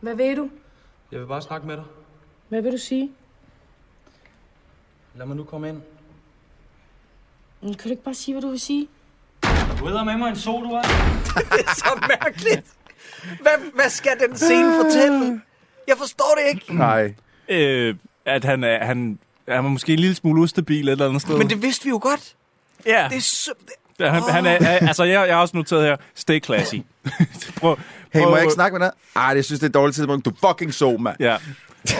Speaker 8: Hvad ved du?
Speaker 9: Jeg vil bare snakke med dig.
Speaker 8: Hvad vil du sige?
Speaker 9: Lad mig nu komme ind.
Speaker 8: Men Kan du ikke bare sige, hvad du vil sige?
Speaker 7: Du æder med mig en sodavand.
Speaker 1: det er så mærkeligt. Hvad, hvad skal den scene fortælle? Jeg forstår det ikke.
Speaker 2: Nej.
Speaker 3: Øh, at han er, han, han er måske en lille smule ustabil et eller andet sted.
Speaker 1: Men det vidste vi jo godt.
Speaker 3: Ja.
Speaker 1: Det er så...
Speaker 3: Ja, han, han er, er- altså, jeg, jeg har også noteret her, stay classy. prøv,
Speaker 2: Hey, må jeg ikke snakke med dig? Ej, det synes det er et dårligt tidspunkt. Du fucking så, mand.
Speaker 3: Ja.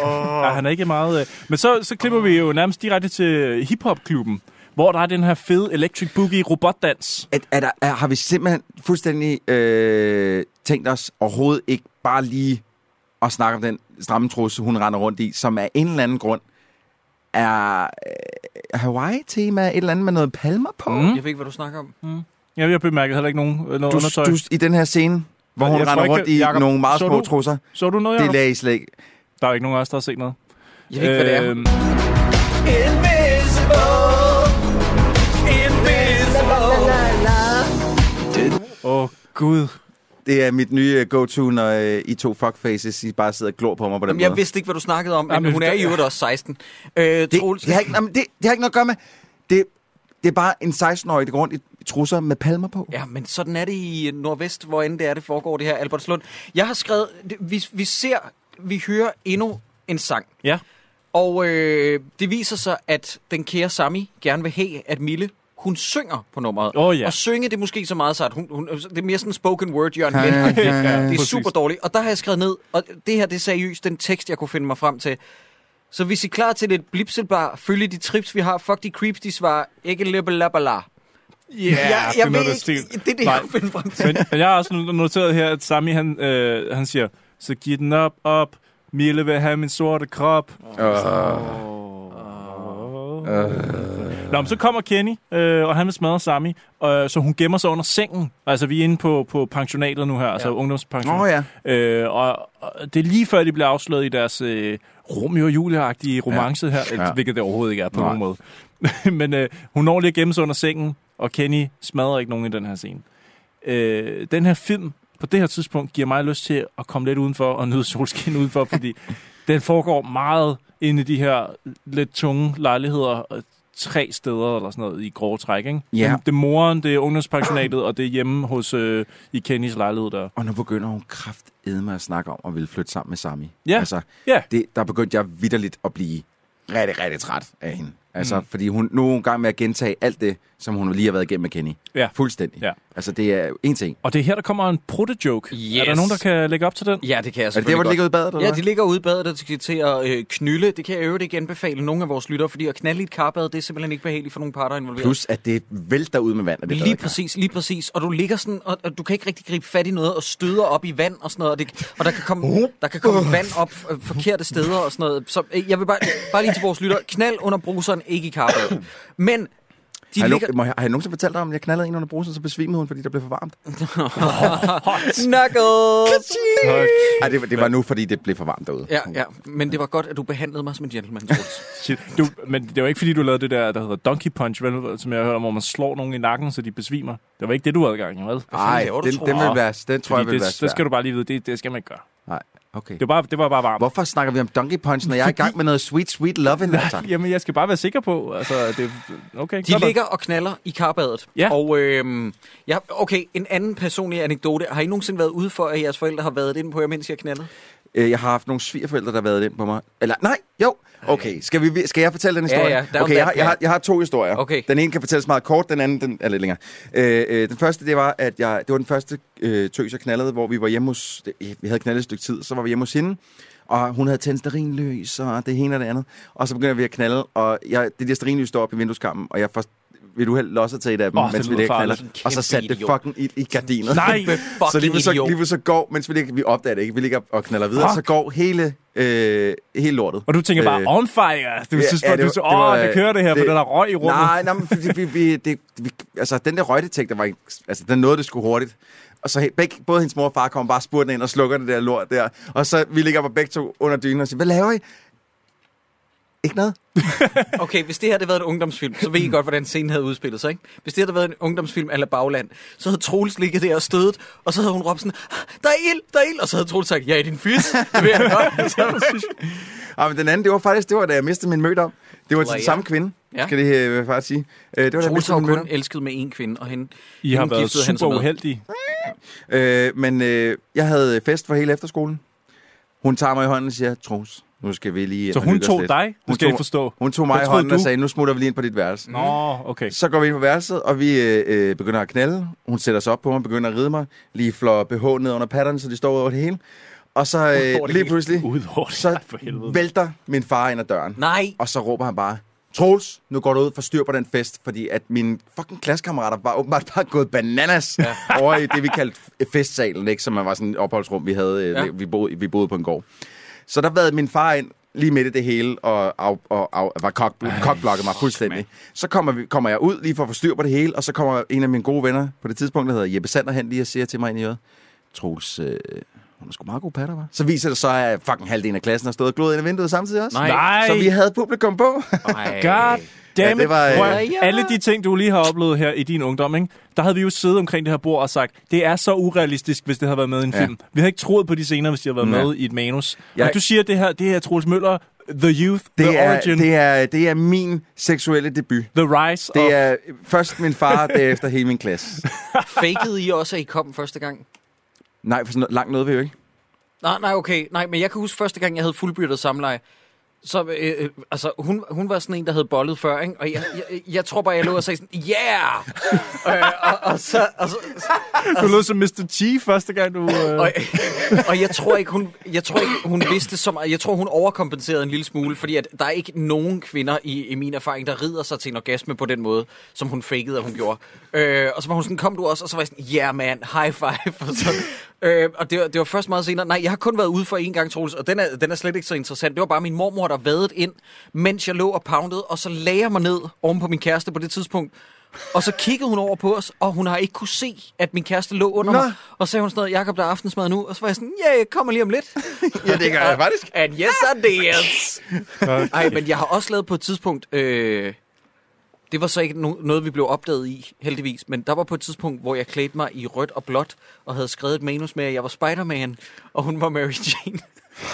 Speaker 3: Oh. Nej, han er ikke meget... Øh. Men så, så klipper vi jo nærmest direkte til hiphopklubben, hvor der er den her fede electric boogie robotdans.
Speaker 2: Er, er der, er, har vi simpelthen fuldstændig øh, tænkt os overhovedet ikke bare lige at snakke om den stramme trusse, hun render rundt i, som af en eller anden grund er øh, Hawaii-tema, et eller andet med noget palmer på?
Speaker 1: Mm. Jeg ved ikke, hvad du snakker om. Mm.
Speaker 3: Ja, jeg bemærkede heller ikke nogen øh, noget
Speaker 2: Du,
Speaker 3: undertøj.
Speaker 2: du, I den her scene, hvor hun
Speaker 3: Jeg tror
Speaker 2: render
Speaker 3: ikke,
Speaker 2: rundt i
Speaker 3: Jacob,
Speaker 2: nogle meget
Speaker 3: så
Speaker 2: små
Speaker 3: du-
Speaker 2: trusser,
Speaker 3: Så du noget,
Speaker 2: det
Speaker 3: Jacob?
Speaker 2: lagde I slet ikke.
Speaker 3: Der er jo ikke nogen af os, der har set noget.
Speaker 1: Jeg ved ikke, hvad det er.
Speaker 3: Øhm, Åh, oh, Gud.
Speaker 2: Det er mit nye øh, go-to, når øh, I to fuckfaces I bare sidder og glor på mig på den
Speaker 1: Jamen,
Speaker 2: måde.
Speaker 1: jeg vidste ikke, hvad du snakkede om, men
Speaker 2: Jamen,
Speaker 1: hun er i
Speaker 2: det-
Speaker 1: øvrigt også 16. Øh,
Speaker 2: Det,
Speaker 1: Troels,
Speaker 2: det, har ikke, jamen, det, det har ikke noget at gøre med... Det, det er bare en 16-årig, der går rundt i trusser med palmer på.
Speaker 1: Ja, men sådan er det i Nordvest, hvor end det er, det foregår det her, Albertslund. Jeg har skrevet, det- vi, vi ser, vi hører endnu en sang.
Speaker 3: Ja.
Speaker 1: Og øh, det viser sig, at den kære Sami gerne vil have, at Mille, hun synger på nummeret.
Speaker 3: Åh, ja.
Speaker 1: Og synge det er måske så meget, så at hun, hun, det er mere sådan spoken word, Jørgen
Speaker 3: Ja,
Speaker 1: Leth.
Speaker 3: ja, ja.
Speaker 1: Det er
Speaker 3: Præcis.
Speaker 1: super dårligt. Og der har jeg skrevet ned, og det her det er seriøst den tekst, jeg kunne finde mig frem til. Så hvis I er klar til lidt blipselbar, følge de trips, vi har. Fuck de creeps, de svarer. Ikke libbelabala.
Speaker 3: Ja, yeah,
Speaker 1: jeg ved ikke, det er det, jeg finder frem til.
Speaker 3: Men, men jeg har også noteret her, at Sami, han, øh, han siger, så giv den op, op, Mille vil have min sorte krop.
Speaker 2: Åh.
Speaker 3: Nå, men så kommer Kenny, øh, og han vil smadre Sami, øh, så hun gemmer sig under sengen. Altså, vi er inde på, på pensionatet nu her, altså ungdomspensionatet.
Speaker 2: Nå,
Speaker 3: Øh, og, og det er lige før, de bliver afsløret i deres øh, Romeo og Julia-agtige romance ja. her,
Speaker 2: Ja.
Speaker 3: ja. hvilket det overhovedet ikke er på
Speaker 2: Nej.
Speaker 3: nogen måde. Men øh, hun når lige at gemme sig under sengen, og Kenny smadrer ikke nogen i den her scene. Øh, den her film, på det her tidspunkt, giver mig lyst til at komme lidt udenfor og nyde solskin udenfor, fordi den foregår meget inde i de her lidt tunge lejligheder, øh, tre steder eller sådan noget i grove træk, ikke?
Speaker 2: Ja.
Speaker 3: Det, det er moren, det er ungdomspensionatet, og det er hjemme hos øh, i Kennys lejlighed der.
Speaker 2: Og nu begynder hun kraft med at snakke om at ville flytte sammen med Sami.
Speaker 3: Ja.
Speaker 2: Altså,
Speaker 3: Ja.
Speaker 2: det, der begyndte jeg vidderligt at blive rigtig, rigtig træt af hende. Altså, mm. fordi hun nu er hun i gang med at gentage alt det, som hun lige har været igennem med Kenny.
Speaker 3: Ja.
Speaker 2: Fuldstændig.
Speaker 3: Ja.
Speaker 2: Altså, det er en ting.
Speaker 3: Og det er her, der kommer en prutte-joke. Yes. Er der nogen, der kan lægge op til den?
Speaker 1: Ja, det kan jeg
Speaker 2: Er det der, hvor de ligger ude i badet? Eller
Speaker 1: Ja,
Speaker 2: hvad?
Speaker 1: de ligger ude i badet, og de skal til at øh, knylde. Det kan jeg i øvrigt ikke anbefale nogen af vores lyttere, fordi at knalde i et karbad, det er simpelthen ikke behageligt for nogle parter involveret.
Speaker 2: Plus, at det vælter ud med vand. Og det
Speaker 1: Lige præcis, lige præcis. Og du ligger sådan, og, og du kan ikke rigtig gribe fat i noget, og støder op i vand og sådan noget. Og, det, og der kan komme, der kan komme vand op øh, forkerte steder og sådan noget. Så øh, jeg vil bare, bare lige til vores lytter, knald under bruseren, ikke i karbad. Men de
Speaker 2: har, jeg,
Speaker 1: ligger...
Speaker 2: ligger... må jeg, har jeg nogensinde fortalt dig om, at jeg knaldede en under bruseren, så besvimede hun, fordi der blev for varmt?
Speaker 1: Knuckles!
Speaker 2: Ej, det, var- det var nu, fordi det blev for varmt derude.
Speaker 1: Ja, ja, men det var godt, at du behandlede mig som en gentleman. Troels.
Speaker 3: Shit. Du, men det var ikke, fordi du lavede det der, der hedder Donkey Punch, vel, som jeg hørte om, hvor man slår nogen i nakken, så de besvimer. Det var ikke det, du havde gang i, vel?
Speaker 2: Nej, den, den vil være, den tror jeg vil
Speaker 3: det,
Speaker 2: være svær.
Speaker 3: Det skal du bare lige vide, det, det skal man ikke gøre.
Speaker 2: Nej, okay.
Speaker 3: Det var, bare, det var bare varmt.
Speaker 2: Hvorfor snakker vi om Donkey Punch, når jeg er i gang med noget sweet, sweet loving? Altså?
Speaker 3: Jamen, jeg skal bare være sikker på, altså, det, okay.
Speaker 1: De
Speaker 3: godt nok.
Speaker 1: ligger og knaller i karbadet.
Speaker 3: Ja.
Speaker 1: Og øhm, ja, okay, en anden personlig anekdote. Har I nogensinde været ude for, at jeres forældre har været inde på jer, mens jeg knaldede?
Speaker 2: Øh, Jeg har haft nogle svigerforældre, der har været ind på mig. Eller nej, jo. Okay, skal, vi, skal jeg fortælle den
Speaker 1: Ja,
Speaker 2: historie?
Speaker 1: ja, down
Speaker 2: okay,
Speaker 1: that
Speaker 2: jeg, har, jeg, har,
Speaker 1: path.
Speaker 2: jeg har to historier.
Speaker 1: Okay.
Speaker 2: Den ene kan fortælles meget kort, den anden den er lidt længere. Øh, øh, den første, det var, at jeg, det var den første øh, tøs, jeg knaldede, hvor vi var hjemme hos... det- Vi havde knaldet et stykke tid, så var vi hjemme hos hende. Og hun havde tændt sterinløs, og det ene og det andet. Og så begynder vi at knalde, og jeg, det der sterinløs står op i vindueskammen, og jeg får ved du held losset til et af dem,
Speaker 3: Åh,
Speaker 2: oh,
Speaker 3: det
Speaker 2: mens vi
Speaker 3: lyder
Speaker 2: ligger
Speaker 3: farligt.
Speaker 2: knaller,
Speaker 3: En
Speaker 2: og så
Speaker 3: kæmpe
Speaker 2: satte det
Speaker 3: idiot.
Speaker 2: fucking ild i gardinet.
Speaker 3: Nej,
Speaker 2: så lige
Speaker 3: fucking
Speaker 2: så,
Speaker 3: idiot.
Speaker 2: lige ved så går, mens vi, ligger, vi opdager det ikke, vi ligger og knaller videre,
Speaker 3: Fuck.
Speaker 2: så går hele, øh, hele lortet.
Speaker 3: Og du tænker bare, on fire. Du synes bare, du synes, åh, Øh, det kører det her, for den har røg i rummet.
Speaker 2: øh, Nej, nej, men fordi vi, vi, det, vi, altså, den der røgdetektor var ikke, altså, den nåede det sgu hurtigt. Og så he- begge, både hendes mor og far kommer bare spurten ind og slukker det der lort der. Og så vi ligger bare begge to under dynen og siger, hvad laver I? Ikke noget.
Speaker 1: Okay, hvis det her havde været en ungdomsfilm, så ved I godt, hvordan scenen havde udspillet sig, ikke? Hvis det her havde været en ungdomsfilm eller bagland, så havde Troels ligget der og stødet, og så havde hun råbt sådan, der er ild, der er ild, og så havde Troels sagt, ja, i din fys, det ved jeg godt. Så-
Speaker 2: Og Ah, men den anden, det var faktisk, det var, da jeg mistede min mødom. Det var
Speaker 1: Eller
Speaker 2: til den
Speaker 1: ja.
Speaker 2: samme kvinde,
Speaker 1: Ja.
Speaker 2: ja. skal det øh, faktisk sige. Øh, det var, da jeg
Speaker 1: Troels
Speaker 2: mistede
Speaker 1: har
Speaker 2: min
Speaker 1: jo kun
Speaker 2: mødom.
Speaker 1: elsket med én kvinde, og hende,
Speaker 3: I har
Speaker 1: hende
Speaker 3: været
Speaker 1: giftede han sig
Speaker 3: super
Speaker 1: med.
Speaker 3: uheldige.
Speaker 2: Øh, men øh, jeg havde fest for hele efterskolen. Hun tager mig i hånden og siger, Troels, nu skal vi lige... ind
Speaker 3: Så
Speaker 2: og
Speaker 3: hun
Speaker 2: hygge os
Speaker 3: tog
Speaker 2: lidt."
Speaker 3: dig? Det
Speaker 2: Hun
Speaker 3: skal I
Speaker 2: tog-
Speaker 3: forstå.
Speaker 2: Hun tog mig
Speaker 3: Jeg
Speaker 2: i
Speaker 3: troede,
Speaker 2: hånden og
Speaker 3: du-
Speaker 2: sagde, nu smutter vi lige ind på dit værelse.
Speaker 3: Nå, okay.
Speaker 2: Så går vi ind på værelset, og vi øh, øh, begynder at knalde. Hun sætter sig op på mig, begynder at ride mig. Lige flår BH ned under patterne, så de står ud over det hele. Og så øh, lige pludselig, så vælter min far ind ad døren.
Speaker 1: Nej.
Speaker 2: Og så råber han bare, Troels, nu går du ud for styr på den fest, fordi at mine fucking klassekammerater var åbenbart bare gået bananas ja. over i det, vi kaldte festsalen, ikke? som man var sådan et opholdsrum, vi havde.
Speaker 1: Ja.
Speaker 2: Ja. Vi, boede, vi boede på en gård. Så der været min far ind lige midt i det hele, og, og, og, og var kok, kokblokket mig fuldstændig. Så kommer, vi, kommer jeg ud lige for at få styr på det hele, og så kommer en af mine gode venner på det tidspunkt, der hedder Jeppe Sander, hen lige og siger til mig ind i øret, Troels, øh, hun er sgu meget god patter, var. Så viser det så, at fucking halvdelen af klassen har stået og gloet ind i vinduet samtidig også.
Speaker 3: Nej. Nej.
Speaker 2: Så vi havde publikum på.
Speaker 3: God damn
Speaker 2: Ja,
Speaker 3: ja,
Speaker 2: det var, øh,
Speaker 3: Alle de ting, du lige har oplevet her i din ungdom, ikke? der havde vi jo siddet omkring det her bord og sagt, det er så urealistisk, hvis det havde været med i en
Speaker 2: Ja.
Speaker 3: film. Vi havde ikke troet på de scener, hvis de havde været
Speaker 2: Ja.
Speaker 3: med i et manus.
Speaker 2: Jeg-
Speaker 3: Og du siger, det her det er Troels Møller, The Youth,
Speaker 2: Det
Speaker 3: The
Speaker 2: er,
Speaker 3: Origin,
Speaker 2: det, er, det er min seksuelle debut.
Speaker 3: The Rise of...
Speaker 2: Det er først min far, derefter hele min klasse.
Speaker 1: Fakede I også, at I kom første gang?
Speaker 2: Nej, for sådan noget, langt nåede vi jo ikke.
Speaker 1: Nej, nej, okay. Nej, men jeg kan huske første gang, jeg havde fuldbyrdet samleje. Så, øh, øh, altså, hun, hun var sådan en, der havde bollet før, ikke? Og jeg, jeg, jeg tror bare, jeg lå og sagde sådan, yeah! øh, og, og, så, og, så,
Speaker 3: Du lød som Mr. T første gang, du... Øh...
Speaker 1: og, og jeg tror ikke, hun, jeg tror ikke, hun vidste så meget. Jeg tror, hun overkompenserede en lille smule, fordi at der er ikke nogen kvinder i, i min erfaring, der rider sig til en orgasme på den måde, som hun fakede, at hun gjorde. Øh, og så var hun sådan, kom du også? Og så var jeg sådan, ja yeah, man, high five. Og, så, øh, og det, var, det var først meget senere. Nej, jeg har kun været ude for en gang, Troels, og den er, den er slet ikke så interessant. Det var bare min mormor, der vadede ind, mens jeg lå og poundede, og så lagde jeg mig ned oven på min kæreste på det tidspunkt. Og så kiggede hun over på os, og hun har ikke kunne se, at min kæreste lå under Nå.
Speaker 2: Nå.
Speaker 1: mig. Og så sagde hun sådan noget, Jakob, der er aftensmad nu. Og så var jeg sådan, ja, jeg kommer lige om lidt.
Speaker 2: Ja, det gør jeg faktisk.
Speaker 1: And yes, I did. Ej, men jeg har også lavet på et tidspunkt... Øh, det var så ikke no- noget, vi blev opdaget i, heldigvis. Men der var på et tidspunkt, hvor jeg klædte mig i rødt og blåt, og havde skrevet et manus med, at jeg var Spider-Man, og hun var Mary Jane.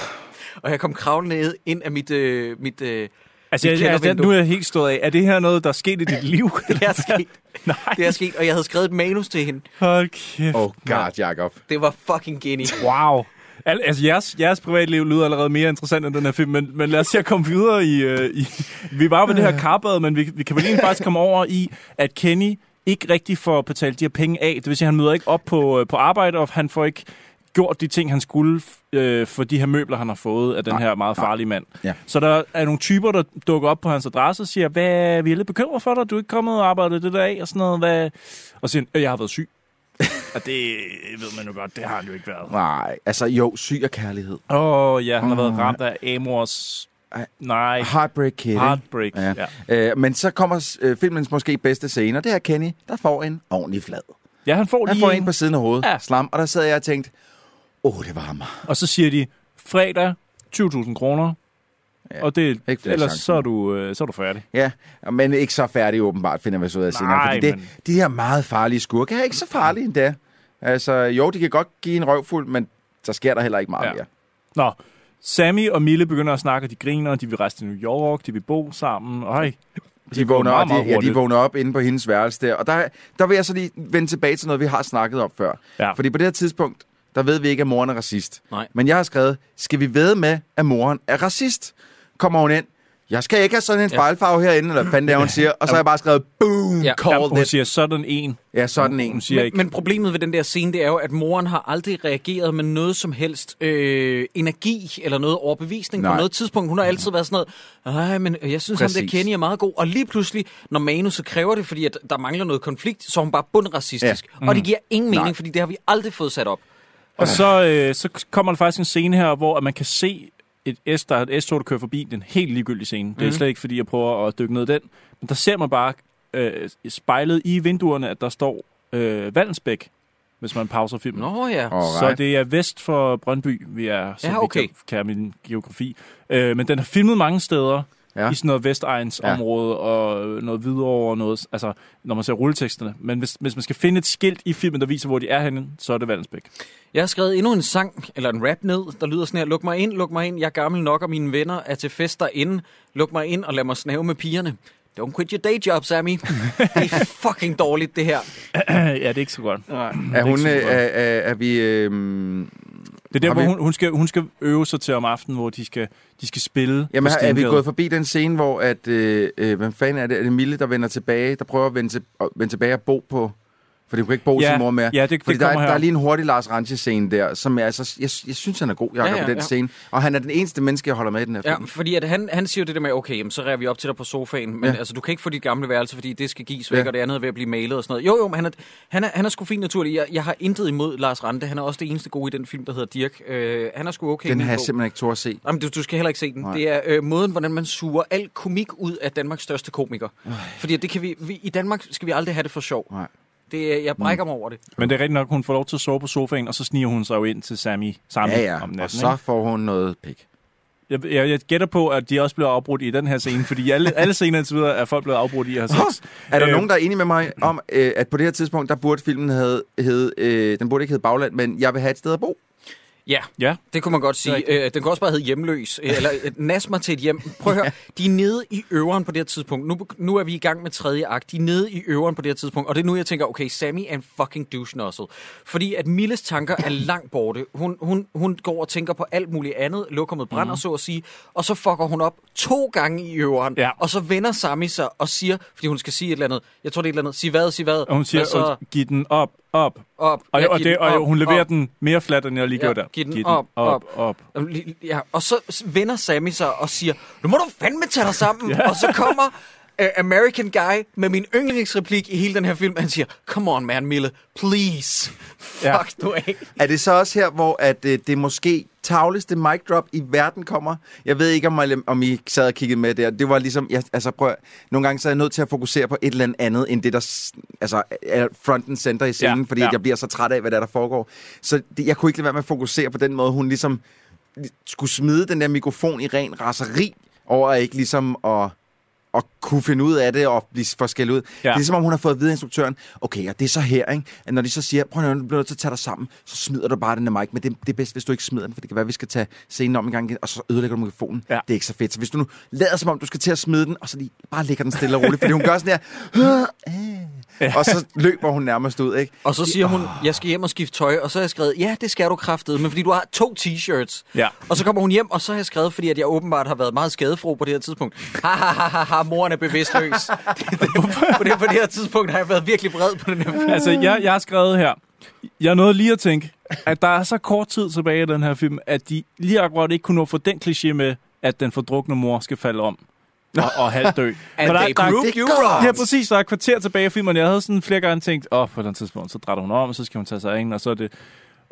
Speaker 1: og jeg kom kravlende ned ind af mit... Øh, mit øh,
Speaker 3: Altså,
Speaker 1: mit
Speaker 3: jeg, altså,
Speaker 1: kældervindue.
Speaker 3: nu er jeg helt stået af. Er det her noget, der er sket i dit liv?
Speaker 1: Det er sket. Det er sket, og jeg havde skrevet et manus til hende.
Speaker 3: Hold kæft.
Speaker 2: Oh god, Jacob.
Speaker 1: Det var fucking geni.
Speaker 3: Wow. Al- altså, jeres, jeres privatliv lyder allerede mere interessant end den her film, men, men lad os se at komme videre i... Øh, i vi var jo ved det her karbad, men vi, vi kan vel egentlig faktisk komme over i, at Kenny ikke rigtig får betalt de her penge af. Det vil sige, at han møder ikke op på, øh, på arbejde, og han får ikke gjort de ting, han skulle øh, for de her møbler, han har fået af den her meget farlige mand.
Speaker 2: Ja.
Speaker 3: Så der er nogle typer, der dukker op på hans adresse og siger, hvad, vi er lidt bekymret for dig, du er ikke kommet og arbejdet det der af, og sådan noget. Hvad? Og siger han, "Øh, jeg har været syg. og det ved man jo godt, det har han jo ikke været.
Speaker 2: Nej, altså jo, syg og kærlighed.
Speaker 3: Åh, oh, ja, han har været ramt af Amors... Nej.
Speaker 2: Heartbreak Kid. ikke?
Speaker 3: Heartbreak, ja.
Speaker 2: Øh, men så kommer øh, filmens måske bedste scene, og det er Kenny, der får en ordentlig flad.
Speaker 3: Ja, han får
Speaker 2: Han
Speaker 3: lige
Speaker 2: får en på siden af hovedet,
Speaker 3: Ja.
Speaker 2: ja. slam, og der sad jeg og tænkte, åh, oh, det var ham.
Speaker 3: Og så siger de, fredag, 20.000 kroner. Ja, og det,
Speaker 2: ikke flere
Speaker 3: ellers
Speaker 2: chancen.
Speaker 3: så er, du, øh, så er du færdig.
Speaker 2: Ja, men ikke så færdig åbenbart, finder vi så ud af senere.
Speaker 3: Nej,
Speaker 2: fordi det,
Speaker 3: men-
Speaker 2: de her meget farlige skurke er ikke så farlige endda. Altså, jo, de kan godt give en røvfuld, men så sker der heller ikke meget
Speaker 3: Ja.
Speaker 2: ja. mere.
Speaker 3: Nå, Sammy og Mille begynder at snakke, og de griner, og de vil rejse til New York, de vil bo sammen. Ej,
Speaker 2: De vågner,
Speaker 3: meget,
Speaker 2: op, de,
Speaker 3: meget
Speaker 2: ja, de
Speaker 3: hurtigt.
Speaker 2: vågner op inde på hendes værelse der. Og der, der vil jeg så lige vende tilbage til noget, vi har snakket om før.
Speaker 3: Ja.
Speaker 2: Fordi på det her tidspunkt, der ved vi ikke, at moren er racist.
Speaker 1: Nej.
Speaker 2: Men jeg har skrevet, skal vi vide med, at moren er racist? Kommer hun ind? jeg skal ikke have sådan en fejlfarve herinde, eller hvad fanden det er, hun siger. Og så har jeg bare skrevet, boom, ja. call
Speaker 3: Hun
Speaker 2: it.
Speaker 3: siger sådan en.
Speaker 2: Ja, sådan en.
Speaker 3: Hun siger
Speaker 1: men,
Speaker 3: ikke.
Speaker 1: men problemet ved den der scene, det er jo, at moren har aldrig reageret med noget som helst øh, energi eller noget overbevisning Nej. på
Speaker 2: Nej.
Speaker 1: noget tidspunkt. Hun har altid været sådan noget, nej, men jeg synes, Præcis. ham der
Speaker 2: Præcis.
Speaker 1: Kenny er meget god. Og lige pludselig, når manuset kræver det, fordi at der mangler noget konflikt, så er hun bare bundracistisk.
Speaker 3: Ja.
Speaker 1: Ja. Mm. Og det
Speaker 3: Mm.
Speaker 1: giver ingen mening,
Speaker 3: Nej.
Speaker 1: Nej. fordi det har vi aldrig fået sat op.
Speaker 3: Og så, øh, så kommer der faktisk en scene her, hvor at man kan se et S, der er et S-tog, der kører forbi. Det er en helt ligegyldig scene. Mm. Det er
Speaker 1: Mhm.
Speaker 3: slet ikke, fordi jeg prøver at dykke ned i den. Men der ser man bare øh, spejlet i vinduerne, at der står øh, Vallensbæk, hvis man pauser filmen.
Speaker 1: Nå ja.
Speaker 3: Så det er vest for Brøndby, vi er, så
Speaker 1: Ja,
Speaker 3: ja, okay.
Speaker 1: okay.
Speaker 3: vi kan, kan min geografi. Øh, men den har filmet mange steder ja. i sådan noget Vestegns ja.
Speaker 2: Ja.
Speaker 3: område og noget Hvidovre og noget, altså når man ser rulleteksterne. Men hvis, hvis man skal finde et skilt i filmen, der viser, hvor de er henne, så er det Vallensbæk.
Speaker 1: Jeg har skrevet endnu en sang, eller en rap ned, der lyder sådan her. Luk mig ind, luk mig ind. Jeg er gammel nok, og mine venner er til fest derinde. Luk mig ind og lad mig snave med pigerne. Don't quit your day job, Sammy. det er fucking dårligt, det her.
Speaker 3: ja, det er ikke så godt. Nej.
Speaker 2: Er hun, øh, er, er, er vi... Øh,
Speaker 3: Det er der,
Speaker 2: Har
Speaker 3: hvor
Speaker 2: vi-
Speaker 3: hun, hun, skal, hun skal øve sig til om aftenen, hvor de skal, de skal spille.
Speaker 2: Jamen,
Speaker 3: på
Speaker 2: er vi
Speaker 3: Stenbjerget.
Speaker 2: gået forbi den scene, hvor at, øh, øh, hvem fanden er det? Er det Mille, der vender tilbage, der prøver at vende, til, at vende tilbage og bo på... Fordi hun kan ikke bo hos
Speaker 3: Ja,
Speaker 2: sin mor mere.
Speaker 3: ja, det- det
Speaker 2: Fordi der, er,
Speaker 3: kommer her.
Speaker 2: der er lige en hurtig Lars Ranche-scene der, som er, altså, jeg, jeg synes, han er god, Jacob, ja, ja, på den ja. scene. Og han er den eneste menneske, jeg holder med i den her
Speaker 1: Ja,
Speaker 2: film.
Speaker 1: fordi at han, han siger jo det der med, okay, jamen, så rærer vi op til dig på sofaen, men ja.
Speaker 2: Ja.
Speaker 1: altså, du kan ikke få dit gamle værelse, fordi det skal gives væk,
Speaker 2: Ja.
Speaker 1: ja. og det andet er ved at blive malet og sådan noget. Jo, jo, men han er, han er, han er sgu fin naturlig. Jeg, jeg har intet imod Lars Rante. Han er også det eneste gode i den film, der hedder Dirk. Øh, han er sgu okay. i
Speaker 2: Den
Speaker 1: min
Speaker 2: har jeg
Speaker 1: bog.
Speaker 2: simpelthen ikke tør at se.
Speaker 1: Jamen, du, du skal heller ikke se den.
Speaker 2: Nej.
Speaker 1: Nej. Det er øh, måden, hvordan man suger al komik ud af Danmarks største komiker. Øh. Fordi det kan vi, vi, i Danmark skal vi aldrig have det for sjov.
Speaker 2: Nej. Mm.
Speaker 1: Det, er- jeg brækker mig over det.
Speaker 3: Men det er rigtigt nok, hun får lov til at sove på sofaen, og så sniger hun sig jo ind til Sammy sammen
Speaker 2: Ja, ja.
Speaker 3: om
Speaker 2: Og
Speaker 3: natten.
Speaker 2: så
Speaker 3: ikke?
Speaker 2: får hun noget pik.
Speaker 3: Jeg, jeg, jeg gætter på, at de også bliver afbrudt i den her scene, fordi i alle, alle scener indtil videre er folk blevet afbrudt i at have sex.
Speaker 2: Er der
Speaker 3: Øh,
Speaker 2: øh, nogen, der er enige med mig om, øh, at på det her tidspunkt, der burde filmen havde, hed, øh, den burde ikke hedde Bagland, men jeg vil have et sted at bo?
Speaker 1: Ja,
Speaker 3: Ja.
Speaker 1: det kunne man godt sige. Øh, den kan også bare hedde hjemløs, øh, eller øh, nas mig til et hjem. Prøv at høre, de er nede i øveren på det her tidspunkt. Nu, nu er vi i gang med tredje akt. De er nede i øveren på det her tidspunkt, og det er nu, jeg tænker, okay, Sammy er en fucking douche nozzle. Fordi at Milles tanker er langt borte. Hun, hun, hun går og tænker på alt muligt andet, lukker med brænder,
Speaker 3: Mhm.
Speaker 1: så at sige, og så fucker hun op to gange i øveren,
Speaker 3: Ja.
Speaker 1: og så vender Sammy sig og siger, fordi hun skal sige et eller andet, jeg tror det er et eller andet, sig hvad, sig hvad,
Speaker 3: Og hun siger,
Speaker 1: Hvad så,
Speaker 3: "Åh, giv den op, op.
Speaker 1: op,
Speaker 3: Og,
Speaker 1: Ja,
Speaker 3: og,
Speaker 1: giv
Speaker 3: det,
Speaker 1: den
Speaker 3: og
Speaker 1: op,
Speaker 3: hun leverer
Speaker 1: op.
Speaker 3: den mere flat, end jeg lige
Speaker 1: Ja,
Speaker 3: gjorde der.
Speaker 1: giv den op,
Speaker 3: op,
Speaker 1: op.
Speaker 3: op.
Speaker 1: Jamen, lige- Ja, og så s- vender Sammy sig og siger, nu må du fandme tage dig sammen.
Speaker 3: Ja.
Speaker 1: ja. Og så kommer uh, American Guy med min yndlingsreplik i hele den her film. Han siger, come on man, Mille, please.
Speaker 3: Ja.
Speaker 1: Fuck nu af.
Speaker 2: Er det så også her, hvor at, øh, det måske tavligste mic drop i verden kommer? Jeg ved ikke, om, I- om I sad og kiggede med der. Det var ligesom, jeg, altså prøv, at- nogle gange så er jeg nødt til at fokusere på et eller andet andet, end det, der s- altså, er fronten center i scenen,
Speaker 3: Ja,
Speaker 2: ja, fordi
Speaker 3: ja.
Speaker 2: ja. jeg bliver så træt af, hvad der, er, der foregår. Så det, jeg kunne ikke lade være med at fokusere på den måde, hun ligesom skulle smide den der mikrofon i ren raseri over at ikke ligesom at og kunne finde ud af det og blive for skældt ud. Ja. Det er som om, hun har fået at vide af instruktøren, okay, og det er så her, ikke? at når de så siger, prøv at høre, nu bliver du nødt til at tage dig sammen, så smider du bare den der mic, men det, det er bedst, hvis du ikke smider den, for det kan være, at vi skal tage scenen om en gang igen, og så ødelægger du mikrofonen. Ja. Det er ikke så fedt. Så hvis du nu lader som om, du skal til at smide den, og så lige bare lægger den stille og roligt, fordi hun gør sådan her, øh, og så løber hun nærmest ud, ikke?
Speaker 1: Og så siger hun, jeg skal hjem og skifte tøj. Og så har jeg skrevet, ja, det skal du kraftede, men fordi du har to t-shirts.
Speaker 3: Ja.
Speaker 1: Og så kommer hun hjem, og så har jeg skrevet, fordi at jeg åbenbart har været meget skadefro på det her tidspunkt. Ha, ha, ha, ha, ha moren er bevidstløs. Det- det- på, det, på det her tidspunkt har jeg været virkelig vred på den her film.
Speaker 3: Altså, jeg, jeg har skrevet her. Jeg nåede lige at tænke, at der er så kort tid tilbage i den her film, at de lige akkurat ikke kunne nå at få den kliché med, at den fordrukne mor skal falde om og, og halvdø.
Speaker 1: And
Speaker 3: For der,
Speaker 1: they
Speaker 3: der,
Speaker 1: proved
Speaker 3: det-
Speaker 1: you wrong.
Speaker 3: Ja, præcis. Der er et kvarter tilbage i filmen. Jeg havde sådan flere gange tænkt, åh, oh, på et eller andet tidspunkt, så drætter hun om, og så skal hun tage sig af hende, og så er det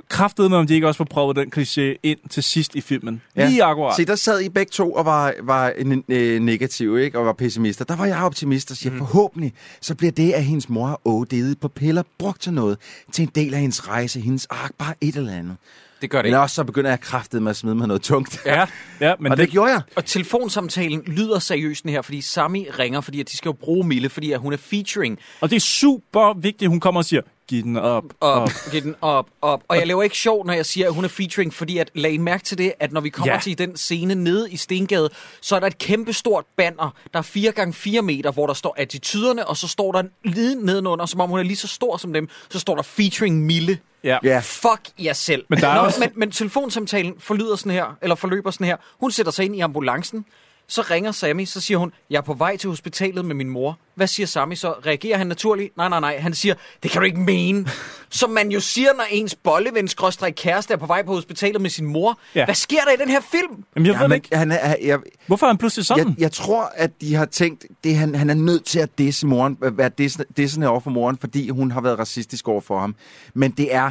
Speaker 3: kraftet med, om de ikke også får prøvet den kliché ind til sidst i filmen. Ja. Lige akkurat.
Speaker 2: Se, der sad I begge to og var, var n- øh, negative, ikke? Og var pessimister. Der var jeg optimist og siger, mm. forhåbentlig, så bliver det, at hendes mor er ådede på piller, brugt til noget, til en del af hendes rejse, hendes ark, bare et eller andet.
Speaker 1: Det gør det
Speaker 2: Eller også så begynder jeg kraftet med at smide mig noget tungt.
Speaker 3: Ja, ja men
Speaker 2: og det, det gjorde jeg.
Speaker 1: Og telefonsamtalen lyder seriøst den her, fordi Sami ringer, fordi at de skal jo bruge Mille, fordi at hun er featuring.
Speaker 3: Og det er super vigtigt, at hun kommer og siger, giv den op,
Speaker 1: Op,
Speaker 3: op.
Speaker 1: giv den op, op. Og jeg laver ikke sjov, når jeg siger, at hun er featuring, fordi at lag I mærke til det, at når vi kommer
Speaker 3: Ja.
Speaker 1: ja. til den scene nede i Stengade, så er der et kæmpe stort banner, der er 4 gange 4 meter, hvor der står attituderne, og så står der lige nedenunder, som om hun er lige så stor som dem, så står der featuring Mille.
Speaker 3: Ja.
Speaker 2: Ja.
Speaker 1: Fuck jer selv.
Speaker 3: Men der er
Speaker 1: Nå,
Speaker 3: også-
Speaker 1: men, men telefonsamtalen forlyder sådan her, eller forløber sådan her. Hun sætter sig ind i ambulancen. Så ringer Sammy, så siger hun, jeg er på vej til hospitalet med min mor. Hvad siger Sammy så? Reagerer han naturligt? Nej, nej, nej. Han siger, det kan du ikke mene. Som man jo siger, når ens bolleven kæreste er på vej på hospitalet med sin mor.
Speaker 2: Ja.
Speaker 1: Ja. Hvad sker der i den her film?
Speaker 2: Jamen, Han er, jeg,
Speaker 3: Hvorfor er han pludselig sådan?
Speaker 2: Jeg, jeg tror, at de har tænkt, det han, han er nødt til at disse moren, at være dissende, dissende over for moren, fordi hun har været racistisk over for ham. Men det er...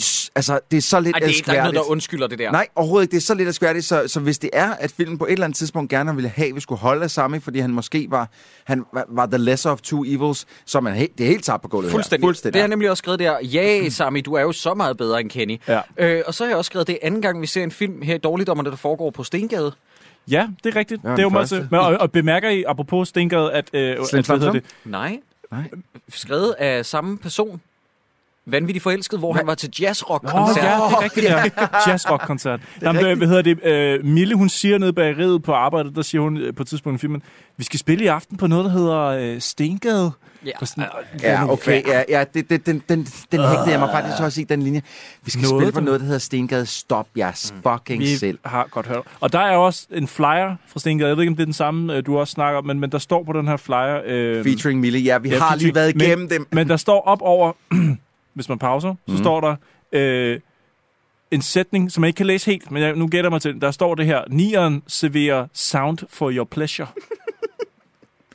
Speaker 2: s- Altså, det er så lidt
Speaker 1: Ej, det er ikke der er ikke noget,
Speaker 2: elskværdigt.
Speaker 1: der undskylder det der.
Speaker 2: Nej, overhovedet ikke. Det er så lidt af skværdigt, så, så hvis det er, at filmen på et eller andet tidspunkt gerne ville have, at vi skulle holde af Sami, fordi han måske var, han var, var the lesser of two evils, så er man helt, det er helt tabt på gulvet
Speaker 1: Fuldstændig.
Speaker 2: her.
Speaker 1: Fuldstændig. Det har jeg nemlig også skrevet der. Ja, Sami, du er jo så meget bedre end Kenny.
Speaker 3: Ja.
Speaker 1: Øh, og så har jeg også skrevet, det er anden gang, vi ser en film her i Dårligdommerne, der foregår på Stengade.
Speaker 3: Ja, det er rigtigt.
Speaker 1: Ja,
Speaker 3: Ja, det
Speaker 1: den
Speaker 3: er jo
Speaker 1: første.
Speaker 3: masse. Men, og, og bemærker I, apropos Stinkeret, at... Øh,
Speaker 1: Slim
Speaker 3: at hvad
Speaker 1: Slam
Speaker 3: hedder
Speaker 1: Slam?
Speaker 3: det?
Speaker 1: Nej.
Speaker 2: Nej.
Speaker 1: Skrevet af samme person. Vanvittigt forelsket, hvor han var til
Speaker 3: Åh,
Speaker 1: jazzrock-koncert.
Speaker 3: ja, det er rigtigt, ja. Jazzrock-koncert. Jamen, hvad- hvad hedder det? Øh, Mille, hun siger nede bag riget på arbejdet, der siger hun øh, på et tidspunkt i filmen, vi skal spille i aften på noget, der hedder øh, Stengade.
Speaker 1: Ja,
Speaker 2: Ja, okay. Ja, ja det, det, den, den, den hægtede jeg mig faktisk også i, den linje. Vi skal
Speaker 3: Noget,
Speaker 2: noget, spille på
Speaker 3: du-
Speaker 2: noget, der hedder Stengade. Stop jeres fucking
Speaker 3: Vi
Speaker 2: selv.
Speaker 3: har godt hørt. Og der er også en flyer fra Stengade. Jeg ved ikke, om det er den samme, øh, du også snakker om, men, men der står på den her flyer... Øh,
Speaker 2: Featuring Mille. Ja, vi har lige
Speaker 3: featuring-
Speaker 2: været
Speaker 3: men-
Speaker 2: igennem dem.
Speaker 3: Men der står op over, hvis man pauser, så
Speaker 2: Mhm.
Speaker 3: står der øh, en sætning, som jeg ikke kan læse helt, men jeg, nu gætter jeg mig til. den. Der står det her, nieren serverer sound for your pleasure.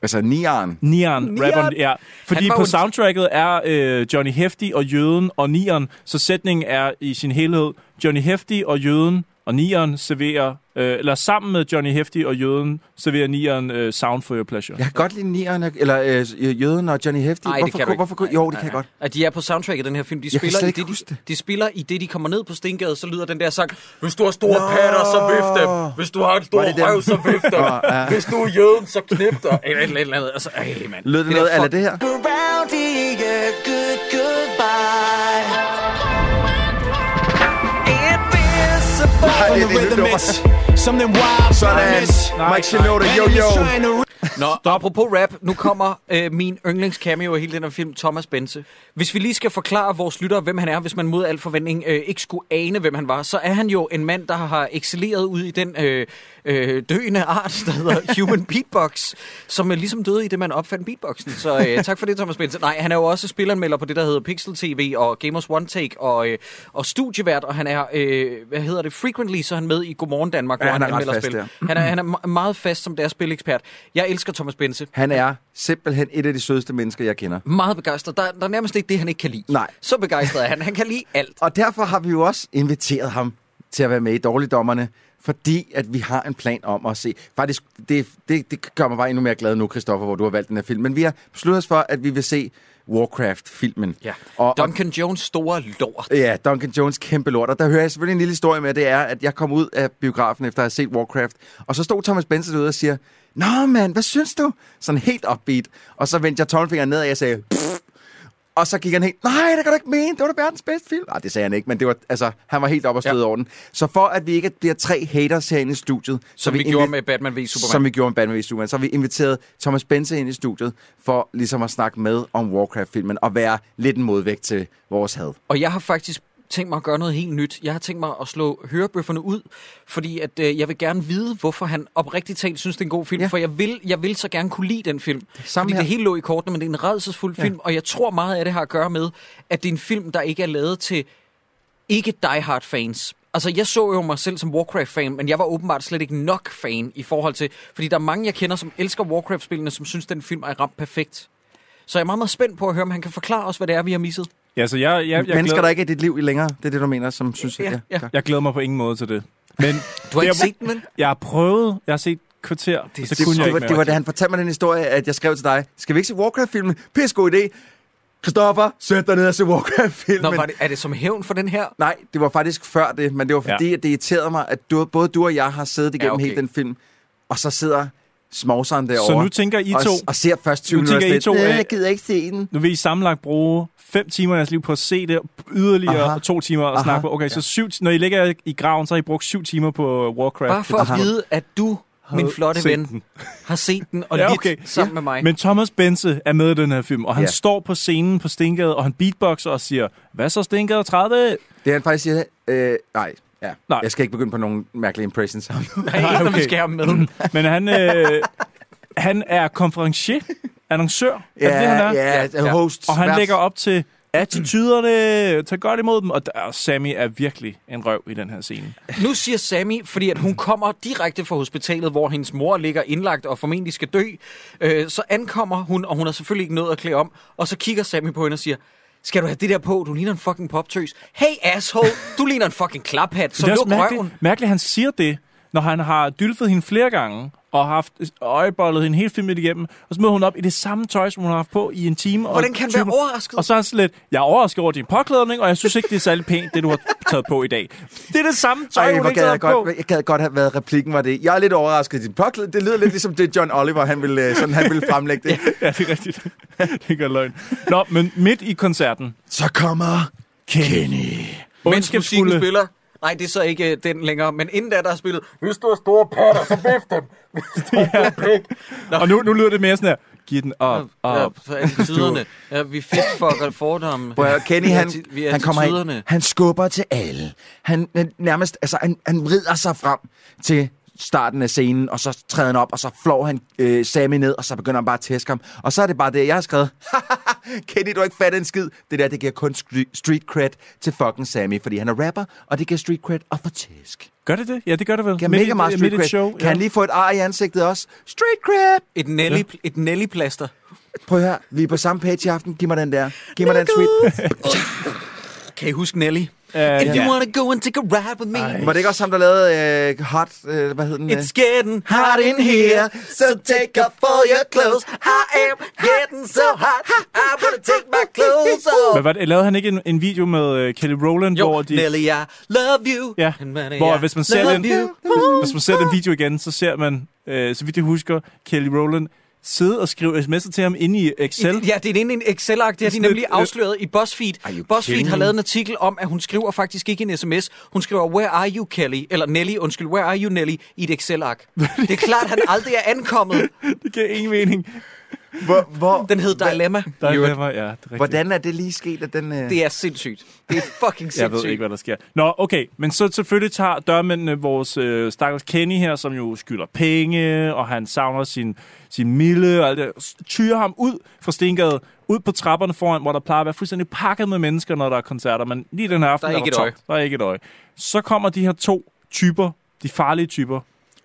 Speaker 2: Altså, Nian.
Speaker 3: Nieren,
Speaker 2: Nieren.
Speaker 3: rapperen, ja. Fordi
Speaker 2: Han var
Speaker 3: på
Speaker 2: jo-
Speaker 3: soundtracket er øh, Johnny Hefti og Jøden og Nieren, så sætningen er i sin helhed, Johnny Hefti og Jøden og Nieren serverer, øh, eller sammen med Johnny Hefti og Jøden, serverer Nieren øh, sound for your pleasure.
Speaker 2: Jeg kan godt lide Nian, eller øh, Jøden og Johnny Hefti.
Speaker 1: Nej, det kan du
Speaker 2: hvorfor, kunne-
Speaker 1: ikke.
Speaker 2: hvorfor, kunne- Jo, det kan jeg godt.
Speaker 1: At de er på soundtracket i den her film. De
Speaker 2: Jeg kan
Speaker 1: spiller,
Speaker 2: slet
Speaker 1: i
Speaker 2: ikke
Speaker 1: det, de, de spiller i det, de kommer ned på Stengade, så lyder den der sang, Hvis du har store patter, så vift dem. Hvis du har en stor
Speaker 2: Var det dem?
Speaker 1: røv, så vift dem.
Speaker 2: Nå, ja.
Speaker 1: Hvis du er jøden, så knip dig. Eller et eller andet. Altså, ej, mand.
Speaker 2: Lød det
Speaker 1: der
Speaker 2: noget af
Speaker 1: fuck-
Speaker 2: det her?
Speaker 11: Around here, good goodbye. Invincible
Speaker 2: Nej, det er
Speaker 11: from the
Speaker 2: det, du
Speaker 11: rhythm
Speaker 2: dummer.
Speaker 11: is something wild. promise. Enemies trying to
Speaker 1: Nå, og apropos rap, nu kommer øh, min yndlingscameo i hele den her film, Thomas Bense. Hvis vi lige skal forklare vores lyttere, hvem han er, hvis man mod al forventning øh, ikke skulle ane, hvem han var, så er han jo en mand, der har excelleret ud i den øh, øh, døende art, der hedder human beatbox, som er ligesom døde i det, man opfandt beatboxen. Så øh, tak for det, Thomas Bense. Nej, han er jo også spilleranmelder på det, der hedder Pixel TV og Gamers One Take og, øh, og studievært, og han er, øh, hvad hedder det, frequently, så er han med i Godmorgen Danmark,
Speaker 2: Ja,
Speaker 1: hvor
Speaker 2: han
Speaker 1: han,
Speaker 2: er ret
Speaker 1: anmelder
Speaker 2: fast
Speaker 1: spil.
Speaker 2: der.
Speaker 1: Han er, han er me- meget fast som deres spilekspert. Jeg elsker Thomas Bense.
Speaker 2: Mm-hmm. Han er simpelthen et af de sødeste mennesker, jeg kender.
Speaker 1: Meget begejstret. Der, der er nærmest ikke det, han ikke kan lide.
Speaker 2: Nej.
Speaker 1: Så begejstret er han. Han kan lide alt.
Speaker 2: Og derfor har vi jo også inviteret ham til at være med i Dårligdommerne, fordi at vi har en plan om at se... Faktisk, det, det, det gør mig bare endnu mere glad nu, Christoffer, hvor du har valgt den her film. Men vi har besluttet os for, at vi vil se Warcraft-filmen.
Speaker 1: Ja.
Speaker 2: Og, og-
Speaker 1: Duncan Jones store lort.
Speaker 2: Ja, Duncan Jones kæmpe lort. Og der hører jeg selvfølgelig en lille historie med, det er, at jeg kom ud af biografen efter at have set Warcraft, og så stod Thomas Benson ude og siger, Nå mand, hvad synes du? Sådan helt upbeat. Og så vendte jeg tommelfingeren ned, og jeg sagde, "Pff." og så gik han helt, nej, det kan du ikke mene, det var da verdens bedste film. Nej, det sagde han ikke, men det var, altså, han var helt op og støde ja. over den. Så for at vi ikke bliver tre haters herinde i studiet, så
Speaker 1: Som vi,
Speaker 2: vi
Speaker 1: gjorde
Speaker 2: invi-
Speaker 1: med Batman v Superman.
Speaker 2: som vi gjorde med Batman vs. Superman. Så har vi inviteret Thomas Bense ind i studiet for ligesom at snakke med om Warcraft-filmen og være lidt en modvægt til vores had.
Speaker 1: Og jeg har faktisk tænkt mig at gøre noget helt nyt. Jeg har tænkt mig at slå hørebøfferne ud, fordi at, øh, jeg vil gerne vide, hvorfor han oprigtigt talt synes, det er en god film. Ja. For jeg vil, jeg vil så gerne kunne lide den film. Sammen fordi
Speaker 2: her.
Speaker 1: det hele lå i kortene, men det er en redselsfuld ja. film. Og jeg tror meget af det har at gøre med, at det er en film, der ikke er lavet til ikke Die Hard fans. Altså, jeg så jo mig selv som Warcraft-fan, men jeg var åbenbart slet ikke nok fan i forhold til... Fordi der er mange, jeg kender, som elsker Warcraft-spillene, som synes, den film er ramt perfekt. Så jeg er meget, meget spændt på at høre, om han kan forklare os, hvad det er, vi har misset.
Speaker 3: Ja, så jeg, jeg, jeg
Speaker 2: jeg Mennesker,
Speaker 3: glæder-
Speaker 2: der ikke er i dit liv i længere, det er det, du mener, som synes...
Speaker 1: Ja, ja.
Speaker 3: Jeg glæder mig på ingen måde til det. Men
Speaker 1: Du har ikke
Speaker 3: jeg,
Speaker 1: set den, vel?
Speaker 3: Jeg har prøvet. Jeg har set kvarter, det, og så
Speaker 2: det,
Speaker 3: kunne jeg
Speaker 2: det, var,
Speaker 3: ikke
Speaker 2: det var, da han fortalte mig den historie, at jeg skrev til dig, skal vi ikke se Warcraft-filmen? Pisse god idé. Christoffer, sæt dig ned og se Warcraft-filmen.
Speaker 1: Nå, var det, er det som hævn for den her?
Speaker 2: Nej, det var faktisk før det, men det var fordi,
Speaker 1: Ja.
Speaker 2: ja. at det irriterede mig, at du, både du og jeg har siddet igennem ja,
Speaker 1: okay.
Speaker 2: okay. hele den film, og så sidder småseren derovre.
Speaker 3: nu tænker I
Speaker 2: og,
Speaker 3: to-
Speaker 2: Og ser først 20
Speaker 3: nu tænker I to,
Speaker 2: minutter.
Speaker 3: at-
Speaker 2: Øh, jeg gider ikke se den.
Speaker 3: Nu vil I sammenlagt bruge fem timer af jeres liv på at se det, yderligere
Speaker 2: Aha.
Speaker 3: Aha. to timer og
Speaker 2: Aha.
Speaker 3: snakke på. Okay,
Speaker 2: Ja.
Speaker 3: så syv, når I ligger i graven, så har I brugt syv timer på øh, Warcraft.
Speaker 2: Ah,
Speaker 1: Bare for at vide, at du, min
Speaker 3: Havde
Speaker 1: flotte
Speaker 3: set
Speaker 1: ven,
Speaker 3: den.
Speaker 1: har set den og ja, okay. lidt sammen ja. med mig.
Speaker 3: Men Thomas Bense er med i den her film, og han
Speaker 1: Ja.
Speaker 3: ja. står på scenen på Stengade, og han beatboxer og siger, hvad så Stengade 30?
Speaker 2: Det er han faktisk siger, øh, nej, Ja. Nej. Jeg skal ikke begynde på nogen mærkelige impressions ham.
Speaker 1: Nej, ikke, når vi skal have ham med.
Speaker 3: Men han, øh, han er konferencier, annoncør. er det det, han er?
Speaker 2: Ja, ja, host.
Speaker 3: Og han
Speaker 2: vært.
Speaker 3: lægger op til attityderne, tager godt imod dem, og der, og Sammy er virkelig en røv i den her scene.
Speaker 1: Nu siger Sammy, fordi at hun kommer direkte fra hospitalet, hvor hendes mor ligger indlagt og formentlig skal dø. Øh, så ankommer hun, og hun har selvfølgelig ikke noget at klæde om. Og så kigger Sammy på hende og siger, skal du have det der på? Du ligner en fucking poptøs. Hey asshole, du ligner en fucking klaphat. Så
Speaker 3: det er også
Speaker 1: luk røven.
Speaker 3: mærkeligt, mærkeligt, at han siger det, når han har dylfet hende flere gange, og har haft øjebollet hende helt filmet igennem, og så møder hun op i det samme tøj, som hun har haft på i en time.
Speaker 1: Hvordan
Speaker 3: og
Speaker 1: kan han
Speaker 3: 20
Speaker 1: være
Speaker 3: minutter.
Speaker 1: overrasket?
Speaker 3: Og så er han sådan lidt, jeg er overrasket over din påklædning, og jeg synes ikke, det er særlig pænt, det du har taget på i dag. Det er det samme tøj,
Speaker 2: Ej,
Speaker 3: hun
Speaker 2: hvor
Speaker 3: ikke
Speaker 2: gad
Speaker 3: tager
Speaker 2: jeg,
Speaker 3: på.
Speaker 2: godt, jeg gad godt have været replikken, var det. Jeg er lidt overrasket i din påklæd. Det lyder lidt ligesom det, John Oliver, han ville, øh, sådan, han ville fremlægge det.
Speaker 3: Ja, det er rigtigt. det er godt løgn. Nå, men midt i koncerten,
Speaker 2: Så kommer Kenny.
Speaker 1: Mens musikken
Speaker 3: ondskabsfulde-
Speaker 1: spiller. Nej, det er så ikke øh, den længere. Men inden da, der er spillet, hvis du har store patter, så vift dem.
Speaker 3: og nu, nu lyder det mere sådan her, giv den op,
Speaker 1: Ja,
Speaker 3: op.
Speaker 1: så attityderne. Ja, vi fistfucker fordomme.
Speaker 2: Prøv at høre, Kenny,
Speaker 1: Vi er
Speaker 2: han,
Speaker 1: atti- vi er
Speaker 2: han kommer ind,
Speaker 1: attityderne.
Speaker 2: han skubber til alle. Han øh, nærmest, altså, han, han rider sig frem til starten af scenen, og så træder han op, og så flår han øh, Sammy ned, og så begynder han bare at tæske ham. Og så er det bare det, jeg har skrevet. Kenny, du har ikke fattet en skid. Det der, det giver kun stre- street cred til fucking Sammy, fordi han er rapper, og det giver street cred at få tæsk.
Speaker 3: Gør det det? Ja, det gør det vel.
Speaker 2: Giver
Speaker 3: Midt i-
Speaker 2: mega meget street
Speaker 3: midt i et
Speaker 2: cred.
Speaker 3: show,
Speaker 2: kan
Speaker 3: ja.
Speaker 2: han lige få et ar i ansigtet også? Street cred!
Speaker 1: Et Nelly, et Nelly-plaster.
Speaker 2: Prøv her, vi er på samme page i aften. Giv mig den der. Giv mig den street.
Speaker 1: Kan I huske Nelly? If
Speaker 3: Øh,
Speaker 1: you
Speaker 3: ja.
Speaker 1: wanna go and take a ride with me,
Speaker 2: Var det ikke også ham, der lavede øh, Hot, øh, hvad hed den? øh?
Speaker 1: it's getting
Speaker 2: hot in here, so take off all your clothes.
Speaker 1: I am getting so hot, I wanna take my clothes
Speaker 3: Hvad
Speaker 1: off.
Speaker 3: var det? Lavede han ikke en, en video med uh, Kelly Rowland,
Speaker 1: Jo,
Speaker 3: hvor de...
Speaker 1: Nelly, I love you.
Speaker 3: Ja,
Speaker 1: And Nelly,
Speaker 3: hvor
Speaker 1: I
Speaker 3: hvis man ser
Speaker 1: love
Speaker 3: den,
Speaker 1: you.
Speaker 3: hvis man ser den video igen, så ser man, øh, så vidt jeg husker, Kelly Rowland sidde og skrive sms'er til ham inde i Excel.
Speaker 1: I, ja, det er inde i en Excel-ark. Det har de
Speaker 3: Sådan
Speaker 1: nemlig
Speaker 3: et, øh,
Speaker 1: afsløret i BuzzFeed.
Speaker 2: you
Speaker 1: BuzzFeed
Speaker 2: kidding
Speaker 1: har
Speaker 2: me?
Speaker 1: lavet en artikel om, at hun skriver faktisk ikke en sms. Hun skriver, where are you, Kelly? Eller Nelly, undskyld, where are you, Nelly? I et Excel-ark. det er klart, at han aldrig er ankommet.
Speaker 3: Det giver ingen mening.
Speaker 2: Hvor, hvor,
Speaker 1: Den hedder Dilemma.
Speaker 3: Der er
Speaker 2: Jo,
Speaker 3: never, ja, det er rigtigt.
Speaker 2: hvordan er det lige sket, at den... Øh...
Speaker 1: Det er sindssygt. Det er fucking sindssygt.
Speaker 3: Jeg ved ikke, hvad der sker. Nå, okay. Men så selvfølgelig tager dørmændene vores øh, stakkels Kenny her, som jo skylder penge, og han savner sin, sin mille og alt det. S- Tyrer ham ud fra Stengade, ud på trapperne foran, hvor der plejer at være fuldstændig pakket med mennesker, når der er koncerter. Men lige den her aften
Speaker 1: Der er ikke
Speaker 3: der
Speaker 1: et
Speaker 3: tomt. Der er ikke et øje. Så kommer de her to typer, de farlige typer,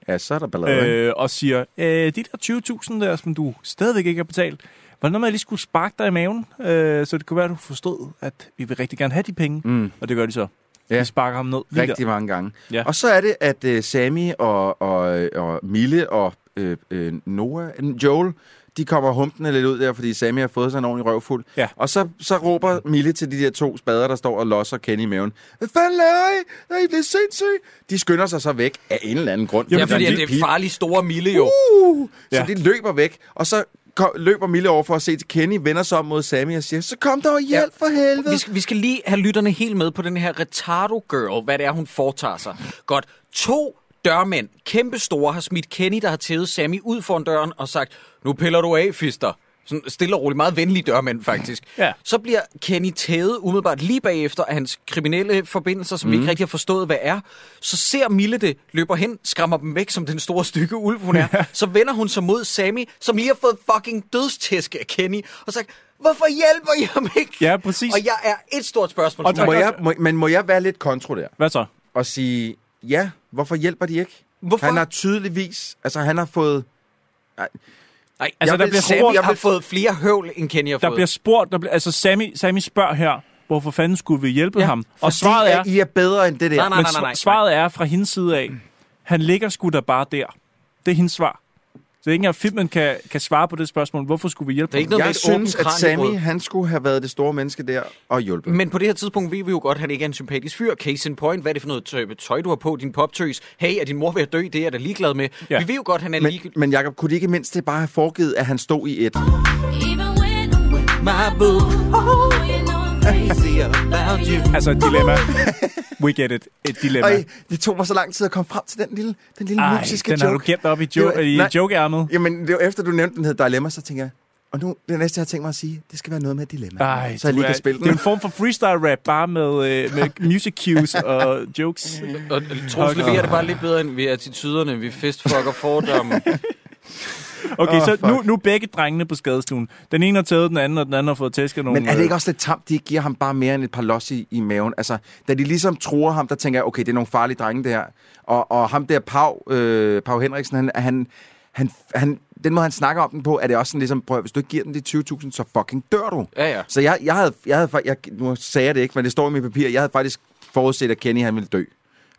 Speaker 2: Ja, så er der ballade. Øh,
Speaker 3: øh, og siger, øh, de der 20.000 der, som du stadigvæk ikke har betalt, var det noget med, at jeg lige skulle sparke dig i maven? Øh, så det kunne være, at du forstod, at vi vil rigtig gerne have de penge.
Speaker 2: Mm.
Speaker 3: Og det gør de så. Ja.
Speaker 2: Ja.
Speaker 3: De sparker ham ned. Lige
Speaker 2: Rigtig mange gange.
Speaker 3: Ja.
Speaker 2: Og så er det, at øh, Sami og, og, øh, og Mille og øh, øh, Noah, Joel, de kommer humpende lidt ud der, fordi Sami har fået sig en ordentlig røvfuld.
Speaker 3: Ja.
Speaker 2: Og så, så råber Mille til de der to spader, der står og losser Kenny i maven. Hvad fanden laver I? Er I blevet sindssyge? De skynder sig så væk af en eller anden grund.
Speaker 1: Ja,
Speaker 3: Jamen,
Speaker 1: fordi
Speaker 2: Der
Speaker 1: at
Speaker 2: en lille
Speaker 1: det er
Speaker 2: pige.
Speaker 1: farlig store Mille jo.
Speaker 2: Uh! Så
Speaker 3: Ja.
Speaker 2: ja. de løber væk, og så ko- løber Mille over for at se til Kenny, vender sig om mod Sammy og siger, så kom der og hjælp ja. for helvede.
Speaker 1: Vi skal, vi skal lige have lytterne helt med på den her retardo girl, hvad det er, hun foretager sig. Godt. To dørmænd, kæmpe store, har smidt Kenny, der har tævet Sammy ud foran døren og sagt, nu piller du af, fister. Sådan stille og roligt, meget venlige dørmænd faktisk.
Speaker 3: Ja.
Speaker 1: Så bliver Kenny tævet umiddelbart lige bagefter af hans kriminelle forbindelser, som mm. vi ikke rigtig har forstået, hvad er. Så ser Mille det, løber hen, skræmmer dem væk, som den store stykke ulv hun er. Så vender hun sig mod Sammy, som lige har fået fucking dødstæsk af Kenny, og sagt, hvorfor hjælper I ham ikke?
Speaker 3: Ja, præcis.
Speaker 1: Og jeg er et stort spørgsmål.
Speaker 3: Og
Speaker 1: Og
Speaker 3: der-
Speaker 2: Må jeg, må, men må jeg være lidt kontro der?
Speaker 3: Hvad så?
Speaker 2: Og sige, ja, hvorfor hjælper de ikke?
Speaker 1: Hvorfor?
Speaker 2: Han har tydeligvis, altså han har fået...
Speaker 1: Nej,
Speaker 3: altså,
Speaker 1: altså,
Speaker 3: Jeg
Speaker 1: der
Speaker 3: der vil-
Speaker 1: bliver
Speaker 3: bliver
Speaker 1: Sammy
Speaker 3: hårdt-
Speaker 1: jeg
Speaker 3: jeg
Speaker 1: har
Speaker 3: vil-
Speaker 1: fået flere høvl, end Kenny har
Speaker 3: Der
Speaker 1: fået.
Speaker 3: bliver spurgt, der bliver, altså Sammy, Sammy spørger her, hvorfor fanden skulle vi hjælpe ja, ham? Og svaret
Speaker 2: Fordi,
Speaker 3: er,
Speaker 2: at I er bedre end det der.
Speaker 1: Nej, nej,
Speaker 3: men
Speaker 1: nej, nej, nej.
Speaker 3: sv- svaret er fra hendes side af, han ligger sgu da bare der. Det er hendes svar. Så ikke engang Fitman kan, kan svare på det spørgsmål, hvorfor skulle vi hjælpe
Speaker 1: Det er
Speaker 3: ham?
Speaker 1: ikke noget med
Speaker 2: Jeg
Speaker 1: et åbent
Speaker 2: synes, at
Speaker 1: kraniebrud.
Speaker 2: Sammy, han skulle have været det store menneske der og hjulpet.
Speaker 1: Men på det her tidspunkt ved vi jo godt, at han ikke er en sympatisk fyr. Case in point, hvad er det for noget tø- tøj, du har på, din poptøs? Hey, er din mor ved at dø? Det er jeg da ligeglad med.
Speaker 3: Ja.
Speaker 1: Ja. Vi ved jo godt, at han er
Speaker 2: Men,
Speaker 1: ligeglad.
Speaker 2: men Jacob, kunne de ikke mindst det bare have foregivet, at han stod i et?
Speaker 6: Even when I'm with
Speaker 1: My boo.
Speaker 6: oh, you know I'm crazy
Speaker 1: about you.
Speaker 3: Altså et dilemma. We get it. Et dilemma.
Speaker 2: Øj, det tog mig så lang tid at komme frem til den lille, den lille
Speaker 3: Ej,
Speaker 2: musiske
Speaker 3: den
Speaker 2: joke.
Speaker 3: har du gemt op i,
Speaker 2: Det var-
Speaker 3: jo- i
Speaker 2: nej.
Speaker 3: jokeærmet.
Speaker 2: Jamen, det var efter du nævnte, den hed Dilemma, så tænker jeg, Og nu, det næste, jeg har tænkt mig at sige, det skal være noget med et dilemma.
Speaker 3: Ej,
Speaker 2: så jeg lige
Speaker 3: du
Speaker 2: kan
Speaker 3: er-
Speaker 2: spille
Speaker 3: Det er en form for freestyle rap, bare med, øh, med music cues og jokes.
Speaker 2: Mm-hmm.
Speaker 1: Og Troels leverer det bare lidt bedre, end vi er attituderne. Vi fistfucker fordomme.
Speaker 3: Okay,
Speaker 1: Åh,
Speaker 3: så
Speaker 1: fuck.
Speaker 3: nu, nu er begge drengene på skadestuen. Den ene har taget den anden, og den anden har fået tæsk af nogle... øh,
Speaker 2: Men er det ikke også lidt tamt, de giver ham bare mere end et par los i, i maven? Altså, da de ligesom tror ham, der tænker jeg, okay, det er nogle farlige drenge, det her. Og, og ham der, Pau, øh, Pau Henriksen, han, han, han, han, den måde, han snakker om den på, er det også sådan ligesom, prøv at, hvis du ikke giver den de 20.000, så fucking dør du.
Speaker 1: Ja, ja.
Speaker 2: Så jeg, jeg havde, jeg havde, fa- jeg, nu sagde jeg det ikke, men det står i mit papir, jeg havde faktisk forudset, at Kenny han ville dø.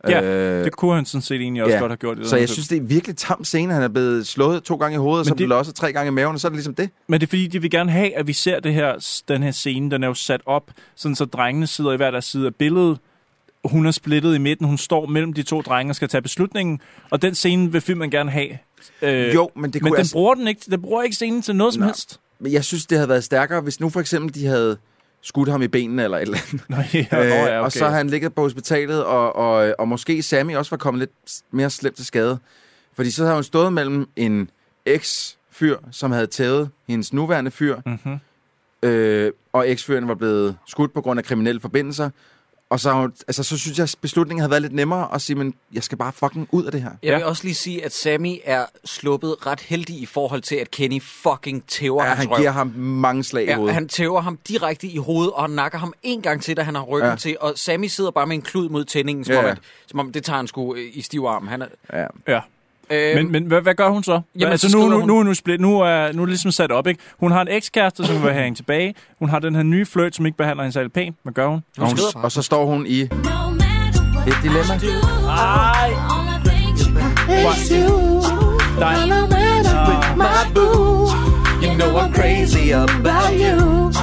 Speaker 3: Ja, det kunne han sådan set egentlig også godt have gjort. i
Speaker 2: Øh, Så
Speaker 3: den
Speaker 2: jeg
Speaker 3: film.
Speaker 2: synes, det er virkelig tam scene. Han er blevet slået to gange i hovedet, og så
Speaker 3: Men
Speaker 2: det...
Speaker 3: det-
Speaker 2: blev også tre gange i maven, og så er det ligesom det.
Speaker 3: Men det er fordi, de vil gerne have, at vi ser det her, den her scene, den er jo sat op, sådan så drengene sidder i hver deres side af billedet. Hun er splittet i midten, hun står mellem de to drenge og skal tage beslutningen, og den scene vil filmen gerne have. Øh,
Speaker 2: Jo, men det kunne
Speaker 3: men den
Speaker 2: altså-
Speaker 3: bruger den ikke, den bruger ikke scenen til noget som
Speaker 2: Nå.
Speaker 3: helst.
Speaker 2: Men jeg synes, det havde været stærkere, hvis nu for eksempel de havde skudt ham i benene eller et eller andet. Øh,
Speaker 3: Nå, ja, nå, ja, okay.
Speaker 2: Og så har han ligget på hospitalet, og, og, og måske Sammy også var kommet lidt s- mere slemt til skade. Fordi så havde hun stået mellem en eks-fyr, som havde tævet hendes nuværende fyr,
Speaker 3: Mm-hmm.
Speaker 2: øh, og eksføren var blevet skudt på grund af kriminelle forbindelser. Og så, har hun- altså, så synes jeg, at beslutningen havde været lidt nemmere at sige, men jeg skal bare fucking ud af det her.
Speaker 1: Jeg vil også lige sige, at Sammy er sluppet ret heldig i forhold til, at Kenny fucking tæver
Speaker 2: Ja,
Speaker 1: hans
Speaker 2: han
Speaker 1: røv.
Speaker 2: giver ham mange slag i
Speaker 1: Ja,
Speaker 2: hovedet.
Speaker 1: han tæver ham direkte i hovedet, og han nakker ham en gang til, da han har ryggen
Speaker 2: Ja.
Speaker 1: ja. til. Og Sammy sidder bare med en klud mod tændingen, som,
Speaker 2: Ja,
Speaker 1: ja. om,
Speaker 2: ja.
Speaker 1: at, som om det tager han sgu øh, i stiv arm. Han er,
Speaker 2: Ja.
Speaker 3: Ja.
Speaker 1: Øhm,
Speaker 3: men men hvad, hvad gør hun så? Jamen, altså,
Speaker 1: så
Speaker 3: nu,
Speaker 1: skrider
Speaker 3: nu,
Speaker 1: hun-
Speaker 3: nu, er nu, split, nu, er, nu er det ligesom sat op, ikke? Hun har en ekskæreste, som vil have hende tilbage. Hun har den her nye fløjt, som ikke behandler hende særlig pænt. Hvad gør hun?
Speaker 2: Og, hun, og så står hun i et dilemma.
Speaker 3: Ej.
Speaker 11: Uh, You know I'm crazy about you.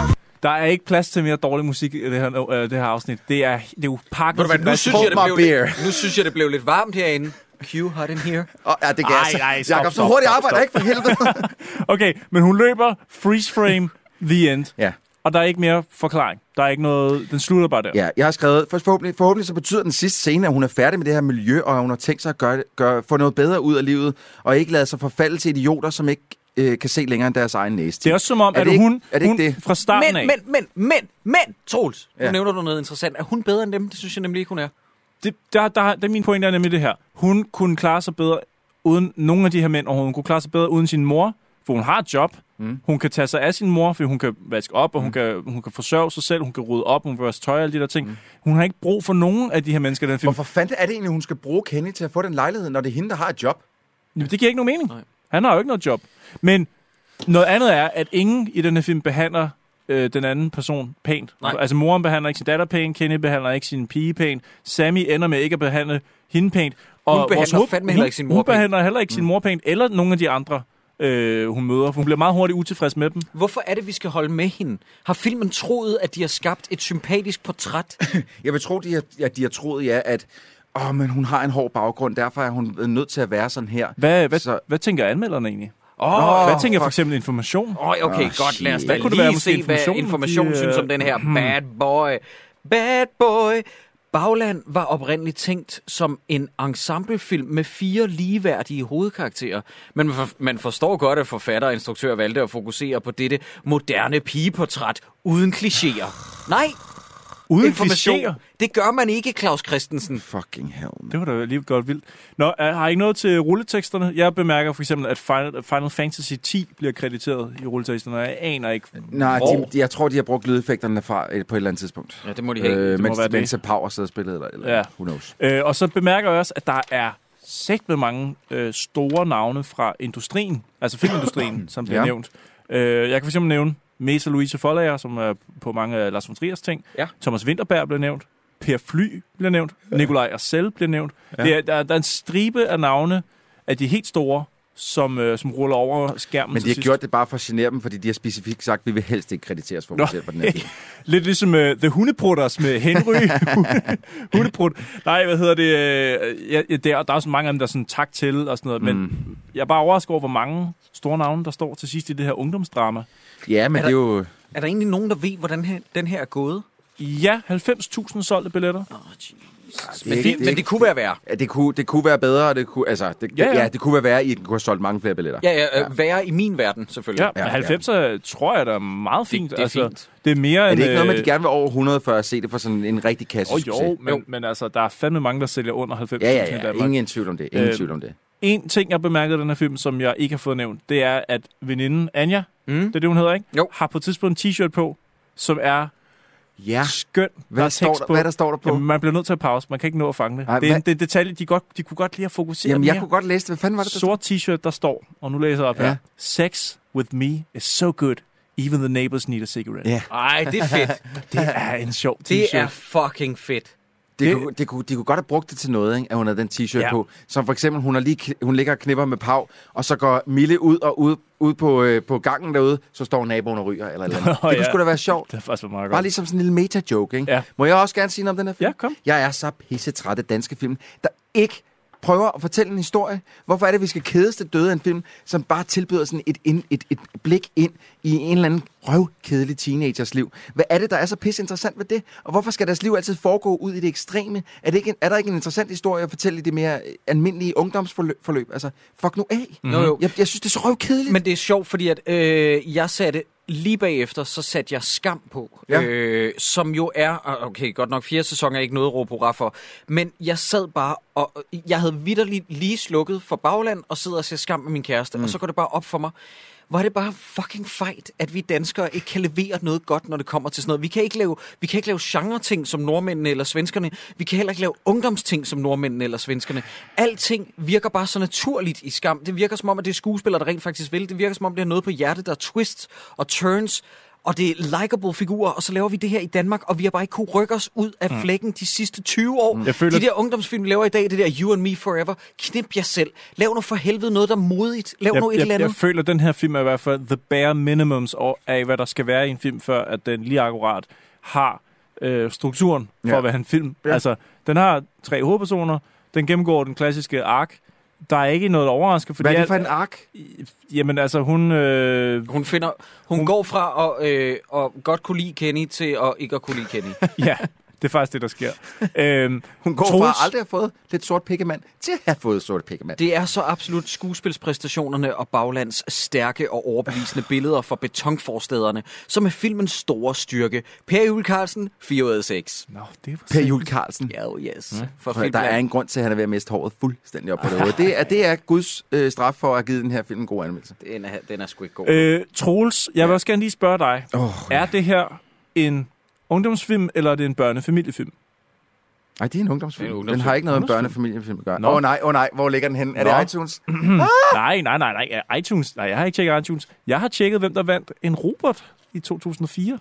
Speaker 3: Der er ikke plads til mere dårlig musik i det her, øh, det her afsnit. Det er, det er jo pakket.
Speaker 1: Ved du hvad,
Speaker 3: til
Speaker 1: nu,
Speaker 3: plads.
Speaker 1: synes jeg, det
Speaker 3: Hold
Speaker 1: blev
Speaker 3: mig beer.
Speaker 1: lidt, nu synes jeg, det blev lidt varmt herinde. Q hot in here.
Speaker 2: Og, ja, det
Speaker 3: Ej, ej, stop,
Speaker 2: Jakob, så
Speaker 3: stop,
Speaker 2: hurtigt
Speaker 3: stop,
Speaker 2: arbejder
Speaker 3: stop.
Speaker 2: ikke for helvede.
Speaker 3: Okay, men hun løber freeze frame the end.
Speaker 2: Ja.
Speaker 3: Og der er ikke mere forklaring. Der er ikke noget... Den slutter bare der.
Speaker 2: Ja, jeg har skrevet, for forhåbentlig, forhåbentlig så betyder den sidste scene, at hun er færdig med det her miljø, og at hun har tænkt sig at gøre, gøre, få noget bedre ud af livet, og ikke lade sig forfalde til idioter, som ikke øh, kan se længere end deres egen næse.
Speaker 3: Det er også som om,
Speaker 2: Er
Speaker 3: er
Speaker 2: det
Speaker 3: at
Speaker 2: ikke-
Speaker 3: hun,
Speaker 2: er det ikke
Speaker 3: hun
Speaker 2: det?
Speaker 3: fra starten af...
Speaker 1: Men, men, men, men, men, Troels, nu
Speaker 3: Ja.
Speaker 1: nævner du noget interessant. Er hun bedre end dem? Det synes jeg nemlig ikke, hun er.
Speaker 3: det, der, der, der, min pointe er nemlig det her. Hun kunne klare sig bedre uden nogle af de her mænd, og hun kunne klare sig bedre uden sin mor, for hun har et job. Mm. Hun kan tage sig af sin mor, for hun kan vaske op, og mm. hun, kan, hun kan forsørge sig selv, hun kan rydde op, hun kan vaske tøj og alle de der ting. Mm. Hun har ikke brug for nogen af de her mennesker i den film.
Speaker 2: Hvorfor fanden er det egentlig, hun skal bruge Kenny til at få den lejlighed, når det er hende, der har et job?
Speaker 3: Jamen, det giver ikke nogen mening. Nej. Han har jo ikke noget job. Men noget andet er, at ingen i den her film behandler øh, den anden person pænt.
Speaker 1: Nej.
Speaker 3: Altså moren behandler ikke sin datter pænt, Kenny behandler ikke sin pige pænt, Sammy ender med ikke at behandle hende pænt. Og
Speaker 1: Hun behandler
Speaker 3: vores hoved-
Speaker 1: fandme
Speaker 3: hun-
Speaker 1: heller ikke sin mor
Speaker 3: Hun
Speaker 1: pænt. Mm.
Speaker 3: behandler heller ikke sin mor pænt, eller nogen af de andre, øh, hun møder. For hun bliver meget hurtigt utilfreds med dem.
Speaker 1: Hvorfor er det, vi skal holde med hende? Har filmen troet, at de har skabt et sympatisk portræt?
Speaker 2: Jeg vil tro, de har, ja, de har troet, ja, at åh, men hun har en hård baggrund, derfor er hun nødt til at være sådan her.
Speaker 3: Hvad, hvad,
Speaker 2: Så-
Speaker 3: hvad tænker anmelderne egentlig?
Speaker 1: Åh,
Speaker 3: hvad tænker
Speaker 2: fuck.
Speaker 3: for eksempel information?
Speaker 1: Åh, oh, okay,
Speaker 3: Åh,
Speaker 1: oh, godt. Lad os da
Speaker 3: Ah, shit. Kunne det
Speaker 1: lige
Speaker 3: være, måske
Speaker 1: se, hvad
Speaker 3: Information,
Speaker 1: information
Speaker 3: de, øh,
Speaker 1: synes om den her bad boy. Bad boy. Bagland var oprindeligt tænkt som en ensemblefilm med fire ligeværdige hovedkarakterer. Men for- man forstår godt, at forfatter og instruktør valgte at fokusere på dette moderne pigeportræt uden klichéer. Nej,
Speaker 3: Uden
Speaker 1: information.
Speaker 3: klichéer?
Speaker 1: Det gør man ikke, Claus Christensen.
Speaker 2: Fucking hell.
Speaker 3: Det var da lige godt vildt. Nå, er, har I noget til rulleteksterne? Jeg bemærker for eksempel, at Final, Final Fantasy 10 bliver krediteret i rulleteksterne, og jeg aner ikke,
Speaker 2: Nej,
Speaker 3: hvor.
Speaker 2: de, de, jeg tror, de har brugt lydeffekterne fra øh, på et eller andet tidspunkt.
Speaker 1: Ja, det må de have.
Speaker 2: Øh,
Speaker 1: Det
Speaker 3: må
Speaker 2: mens,
Speaker 3: være det.
Speaker 2: mens Power sidder og spillede, eller, eller
Speaker 3: Ja.
Speaker 2: who knows.
Speaker 3: Øh, og så bemærker jeg også, at der er sæt med mange øh, store navne fra industrien, altså filmindustrien, som bliver
Speaker 2: Ja.
Speaker 3: ja. nævnt. Øh, jeg kan for eksempel nævne Mesa Louise Follager, som er på mange af Lars von Triers ting.
Speaker 1: Ja.
Speaker 3: Thomas Winterberg bliver nævnt. Per Fly bliver nævnt. Nikolaj Arcel bliver nævnt.
Speaker 2: Ja.
Speaker 3: Ja. Det er, der, der er en stribe af navne af de helt store, som, øh, som ruller over skærmen
Speaker 2: Men
Speaker 3: til
Speaker 2: de har
Speaker 3: sidst.
Speaker 2: gjort det bare for at genere dem, fordi de har specifikt sagt, at vi vil helst ikke krediteres for at på den her film.
Speaker 3: Lidt ligesom uh, The Hundeprutters med Henry. Hundeprut. Nej, hvad hedder det? øh, Ja, ja, der, der er også mange af dem, der er sådan tak til og sådan noget. Men
Speaker 2: Mm.
Speaker 3: jeg er bare overrasket over, hvor mange store navne, der står til sidst i det her ungdomsdrama.
Speaker 2: Ja, men
Speaker 1: Er
Speaker 2: det er jo...
Speaker 1: Er der egentlig nogen, der ved, hvordan her, den her er gået?
Speaker 3: Ja, 90.000 solgte billetter.
Speaker 1: Oh, Men det- men det kunne være værre.
Speaker 2: Ja, det kunne, det kunne være bedre, og det kunne, altså, det,
Speaker 1: Ja,
Speaker 2: ja,
Speaker 1: ja.
Speaker 2: ja. ja, det kunne være værre i, at den kunne have solgt mange flere billetter.
Speaker 1: Ja, ja, øh, være i min verden, selvfølgelig.
Speaker 2: Ja, men
Speaker 3: 90'er øh, tror jeg, der er meget fint. Altså,
Speaker 2: det er fint.
Speaker 3: Det er mere
Speaker 2: Er det
Speaker 3: end,
Speaker 2: ikke noget med, at
Speaker 3: øh,
Speaker 2: de gerne vil over 100 for at se det for sådan en rigtig kasse?
Speaker 3: Åh oh, jo, men, men altså, der er fandme mange, der sælger under 90.000
Speaker 2: Ja, ja,
Speaker 3: i
Speaker 2: ja.
Speaker 3: Danmark.
Speaker 2: Ingen tvivl om det. Ingen
Speaker 3: Øh,
Speaker 2: tvivl om det.
Speaker 3: En ting, jeg bemærkede i den her film, som jeg ikke har fået nævnt, det er, at veninden Anja, mm. det er det, hun hedder, ikke? Jo. har på et tidspunkt en t-shirt på, som er
Speaker 2: ja.
Speaker 3: skøn.
Speaker 2: Hvad
Speaker 3: er
Speaker 2: står
Speaker 3: tekst
Speaker 2: der- hvad der står der på?
Speaker 3: Jamen, man bliver nødt til at pause. Man kan ikke nå at fange det.
Speaker 2: Ej,
Speaker 3: Ej, det, er en,
Speaker 2: hvad-
Speaker 3: det er en detalje, de, godt, de kunne godt lide at fokusere
Speaker 2: Jamen,
Speaker 3: mere.
Speaker 2: jeg kunne godt læse det. Hvad fanden var det, der
Speaker 3: Sort t-shirt, der står, og nu læser jeg op
Speaker 2: Ja.
Speaker 3: ja. her. Sex with me is so good, even the neighbors need a cigarette. Ah,
Speaker 2: Ja.
Speaker 1: Ej, det er fedt.
Speaker 3: det er en sjov t-shirt.
Speaker 1: Det er fucking fedt.
Speaker 2: Det, det, kunne, det kunne, de kunne godt have brugt det til noget, ikke? at hun havde den t-shirt
Speaker 1: Ja.
Speaker 2: ja. på. Som for eksempel, hun, har lige, kn- hun ligger og knipper med Pau, og så går Mille ud og ud, ud på, øh, på gangen derude, så står naboen og ryger. Eller, et eller. andet. det kunne
Speaker 3: ja.
Speaker 2: sgu da være sjovt.
Speaker 3: Det er faktisk meget godt.
Speaker 2: Bare ligesom sådan en lille meta-joke. Ikke?
Speaker 3: Ja.
Speaker 2: Må jeg også gerne sige noget om den her film?
Speaker 3: Ja, kom.
Speaker 2: Jeg er så pissetræt af danske film, der ikke prøver at fortælle en historie. Hvorfor er det, at vi skal kedes det døde af en film, som bare tilbyder sådan et, ind, et, et blik ind i en eller anden røvkedelig teenagers liv? Hvad er det, der er så pisse interessant ved det? Og hvorfor skal deres liv altid foregå ud i det ekstreme? Er, det ikke en, er der ikke en interessant historie at fortælle i det mere øh, almindelige ungdomsforløb? Altså, fuck nu af.
Speaker 1: Mhm. Jo, jo.
Speaker 2: Jeg, jeg synes, det er så røvkedeligt.
Speaker 1: Men det er sjovt, fordi at, øh, jeg satte lige bagefter, så satte jeg Skam på, ja.
Speaker 2: Ja.
Speaker 1: øh, som jo er, og okay, godt nok fire sæsoner er ikke noget at råbe hurra for, men jeg sad bare, og jeg havde vidderligt lige slukket for bagland, og sidder og ser Skam med min kæreste, mm. og så går det bare op for mig, hvor er det bare fucking fejt, at vi danskere ikke kan levere noget godt, når det kommer til sådan noget. Vi kan ikke lave, vi kan ikke lave genre-ting som nordmændene eller svenskerne. Vi kan heller ikke lave ungdomsting som nordmændene eller svenskerne. Alting virker bare så naturligt i skam. Det virker som om, at det er skuespillere, der rent faktisk vil. Det virker som om, det er noget på hjertet, der er twists og turns. Og det er likable figurer, og så laver vi det her i Danmark, og vi har bare ikke kunne rykke os ud af
Speaker 3: Mm.
Speaker 1: flækken de sidste 20 år.
Speaker 3: Jeg føler-
Speaker 1: De der ungdomsfilm, vi laver i dag, det der You and Me Forever, knip jer selv. Lav nu for helvede noget, der er modigt. Lav nu et
Speaker 3: jeg,
Speaker 1: eller andet.
Speaker 3: Jeg føler, at den her film er i hvert fald the bare minimums og- af, hvad der skal være i en film, før at den lige akkurat har øh, strukturen for
Speaker 2: Ja.
Speaker 3: at være en film.
Speaker 2: Ja.
Speaker 3: Altså, den har tre hovedpersoner, den gennemgår den klassiske ark. Der er ikke noget overraskende, fordi...
Speaker 2: Hvad er det
Speaker 3: alt-
Speaker 2: for en ark?
Speaker 3: Jamen altså, hun... Øh,
Speaker 1: Hun finder... Hun, hun går fra at, øh, at godt kunne lide Kenny til at ikke at kunne lide Kenny.
Speaker 3: ja, det er faktisk det, der sker. øhm,
Speaker 2: Hun går
Speaker 3: Troels-
Speaker 2: Troels. fra aldrig at have fået lidt sort pikkemand til at have fået sort pikkemand.
Speaker 1: Det er så absolut skuespilspræstationerne og baglands stærke og overbevisende billeder fra betonforstederne, som er filmens store styrke. Per Juel Carlsen, 4 ud af 6.
Speaker 3: Nå, det var
Speaker 2: Per Jul Carlsen.
Speaker 1: Ja, oh yes. Mm. For
Speaker 2: For der
Speaker 1: Finland.
Speaker 2: er en grund til, at han er ved at miste håret fuldstændig op på det hoved. Det er, det er Guds øh, straf for at have givet den her film en god anmeldelse.
Speaker 1: Den er, den er sgu ikke god.
Speaker 3: Øh, Troels, jeg vil også gerne lige spørge dig.
Speaker 2: Åh,
Speaker 3: Er det her en ungdomsfilm, eller er det en børnefamiliefilm?
Speaker 2: Nej, det er en ungdomsfilm.
Speaker 3: Det er
Speaker 2: Den
Speaker 3: en
Speaker 2: har
Speaker 3: ungdomsfilm.
Speaker 2: ikke noget med
Speaker 3: Ungdomsfilm.
Speaker 2: børnefamiliefilm at gøre. Åh
Speaker 3: Nå.
Speaker 2: oh, nej, åh oh, nej, hvor ligger den henne? Er
Speaker 3: Nå.
Speaker 2: det iTunes?
Speaker 3: nej, nej, nej, nej. iTunes. Nej, jeg har ikke tjekket iTunes. Jeg har tjekket, hvem der vandt en Robert i 2004.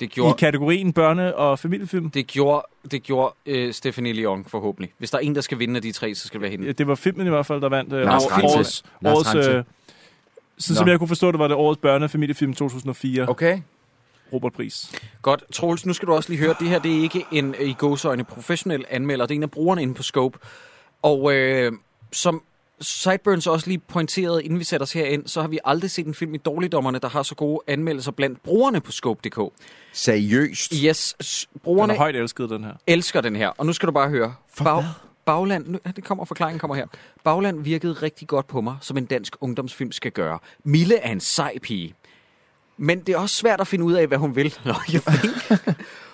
Speaker 1: Det
Speaker 3: Gjorde. I
Speaker 1: gjorde,
Speaker 3: kategorien børne- og familiefilm.
Speaker 1: det gjorde, det gjorde øh, Stephanie Leon forhåbentlig. Hvis der er en, der skal vinde af de tre, så skal det være hende.
Speaker 3: Det var filmen i hvert fald, der vandt øh,
Speaker 1: Lars
Speaker 3: årets-
Speaker 1: Ranthe.
Speaker 3: årets...
Speaker 1: Lars
Speaker 3: årets
Speaker 1: Ranthe.
Speaker 3: øh, sådan som
Speaker 1: Nå.
Speaker 3: jeg kunne forstå, det var det årets børne- og familiefilm 2004.
Speaker 2: Okay.
Speaker 3: Robert Pris.
Speaker 1: Godt. Troels, nu skal du også lige høre, det her det er ikke en øh, i gåsøjne professionel anmelder, det er en af brugerne inde på Scope. Og øh, som Sideburns også lige pointerede, inden vi satte os herind, så har vi aldrig set en film i Dårligdommerne, der har så gode anmeldelser blandt brugerne på Scope.dk.
Speaker 2: Seriøst?
Speaker 1: Yes, s-
Speaker 3: Den
Speaker 1: brugerne
Speaker 3: er højt elsket, den her.
Speaker 1: elsker den her, og nu skal du bare høre. Bag, bagland, nu, ja, det kommer, forklaringen kommer her. Bagland virkede rigtig godt på mig, som en dansk ungdomsfilm skal gøre. Mille er en sej pige. Men det er også svært at finde ud af, hvad hun vil. Nå, jeg think.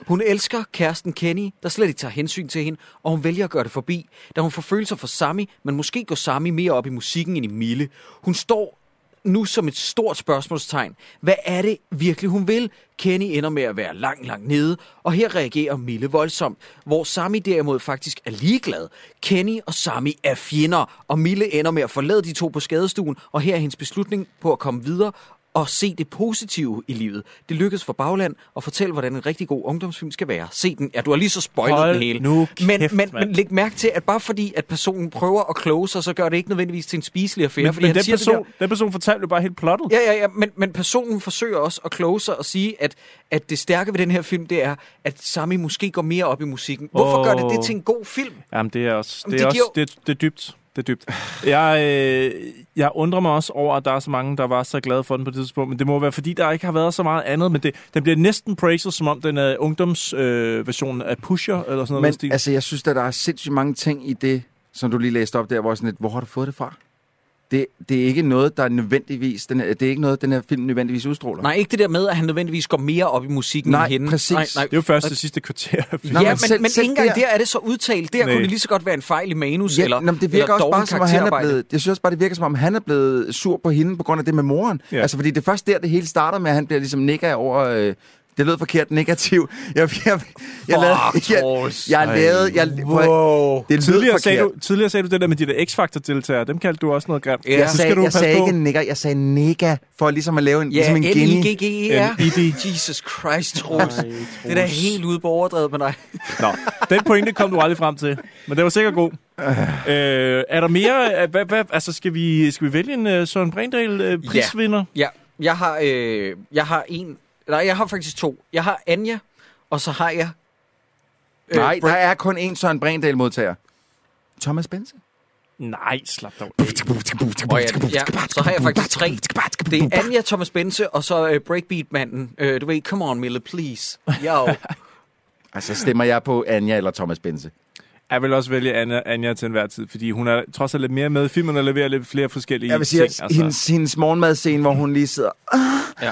Speaker 1: Hun elsker kæresten Kenny, der slet ikke tager hensyn til hende, og hun vælger at gøre det forbi, da hun får følelser for Sami, men måske går Sami mere op i musikken end i Mille. Hun står nu som et stort spørgsmålstegn. Hvad er det virkelig, hun vil? Kenny ender med at være langt, langt nede, og her reagerer Mille voldsomt, hvor Sami derimod faktisk er ligeglad. Kenny og Sami er fjender, og Mille ender med at forlade de to på skadestuen, og her er hendes beslutning på at komme videre og se det positive i livet. Det lykkedes for Bagland at fortælle, hvordan en rigtig god ungdomsfilm skal være. Se den. Ja, du har lige så spoilet
Speaker 3: Hold
Speaker 1: den hele.
Speaker 3: nu
Speaker 1: men,
Speaker 3: kæft,
Speaker 1: men,
Speaker 3: mand.
Speaker 1: men læg mærke til, at bare fordi, at personen prøver at kloge sig, så gør det ikke nødvendigvis til en spiselig affære.
Speaker 3: Men,
Speaker 1: fordi
Speaker 3: men
Speaker 1: han
Speaker 3: den,
Speaker 1: siger det der-
Speaker 3: person, den person fortalte jo bare helt plottet.
Speaker 1: Ja, ja, ja, men, men personen forsøger også at kloge sig og sige, at, at det stærke ved den her film, det er, at Sami måske går mere op i musikken. Hvorfor oh. gør det det
Speaker 3: Åh.
Speaker 1: til en god film?
Speaker 3: Jamen, det er også,
Speaker 1: Jamen,
Speaker 3: det
Speaker 1: det
Speaker 3: er også
Speaker 1: giver
Speaker 3: det, det er dybt. det er dybt. Jeg, øh, jeg undrer mig også over, at der er så mange, der var så glade for den på det tidspunkt, men det må være, fordi der ikke har været så meget andet, men det, den bliver næsten praised, som om den er ungdomsversionen øh, af Pusher, eller sådan noget.
Speaker 2: Men
Speaker 3: den stil.
Speaker 2: altså, jeg synes, at der er sindssygt mange ting i det, som du lige læste op der, hvor jeg sådan lidt, hvor har du fået det fra? Det, det er ikke noget, der er nødvendigvis, den, er- det er ikke noget, den her film nødvendigvis udstråler.
Speaker 1: Nej, ikke det der med, at han nødvendigvis går mere op i musikken
Speaker 2: Nej,
Speaker 1: end hende.
Speaker 2: præcis.
Speaker 3: det er jo først det sidste kvarter.
Speaker 1: Nå, ja, men, selv, men ikke engang der... er det så udtalt. Der
Speaker 3: Nej.
Speaker 1: kunne det lige så godt være en fejl i manus,
Speaker 2: Ja,
Speaker 1: eller,
Speaker 2: nå, men det
Speaker 1: eller
Speaker 2: virker også
Speaker 1: dårlig
Speaker 2: bare som om, han er
Speaker 1: karakterarbejde.
Speaker 2: blevet, jeg synes også bare, det virker som om, han er blevet sur på hende på grund af det med moren.
Speaker 3: Ja.
Speaker 2: Ja. Altså, fordi det er først der, det hele starter med, at han bliver ligesom nikker over... Øh, det lød forkert negativ. Jeg, jeg, jeg, lavede, jeg, jeg lavede... Jeg, wow. Det lød
Speaker 3: Tidligere
Speaker 2: forkert.
Speaker 3: sagde, du, tidligere sagde du det der med de der X-Factor-deltagere. Dem kaldte du også noget grimt.
Speaker 2: jeg,
Speaker 3: Så
Speaker 2: sagde,
Speaker 3: du
Speaker 2: jeg
Speaker 3: passe
Speaker 2: sagde
Speaker 3: på.
Speaker 2: ikke nigger, jeg sagde nigger, for ligesom at lave en, ligesom en
Speaker 1: Ja,
Speaker 2: guinea.
Speaker 1: L-I-G-G-E-R.
Speaker 3: En ID.
Speaker 1: E Jesus Christ, Troels. det er da helt ude på overdrevet med dig.
Speaker 3: Nå, den pointe kom du aldrig frem til, men det var sikkert god. øh, er der mere? øh, Hvad, hvad, altså, skal vi, skal vi vælge en øh, Søren Brindal øh, prisvinder?
Speaker 1: Ja, jeg har, øh, jeg har en... Nej, jeg har faktisk to. Jeg har Anja, og så har jeg... Øh,
Speaker 2: Nej,
Speaker 1: Brent-
Speaker 2: der er kun én Søren Brindal-modtager. Thomas Bense.
Speaker 3: Nej, slap dog.
Speaker 1: Og ja, ja, så har jeg faktisk tre. Det er Anja, Thomas Bense, og så øh, Breakbeat-manden. Øh, du ved, come on, Mille, please. Yo.
Speaker 2: Altså, stemmer jeg på Anja eller Thomas Bense?
Speaker 3: Jeg vil også vælge Anja, Anja til enhver tid, fordi hun er trods alt lidt mere med i filmen og leverer lidt flere forskellige
Speaker 2: Jeg vil sige,
Speaker 3: ting. altså.
Speaker 2: at hendes, hendes morgenmadscene, hvor hun lige sidder...
Speaker 1: Ja.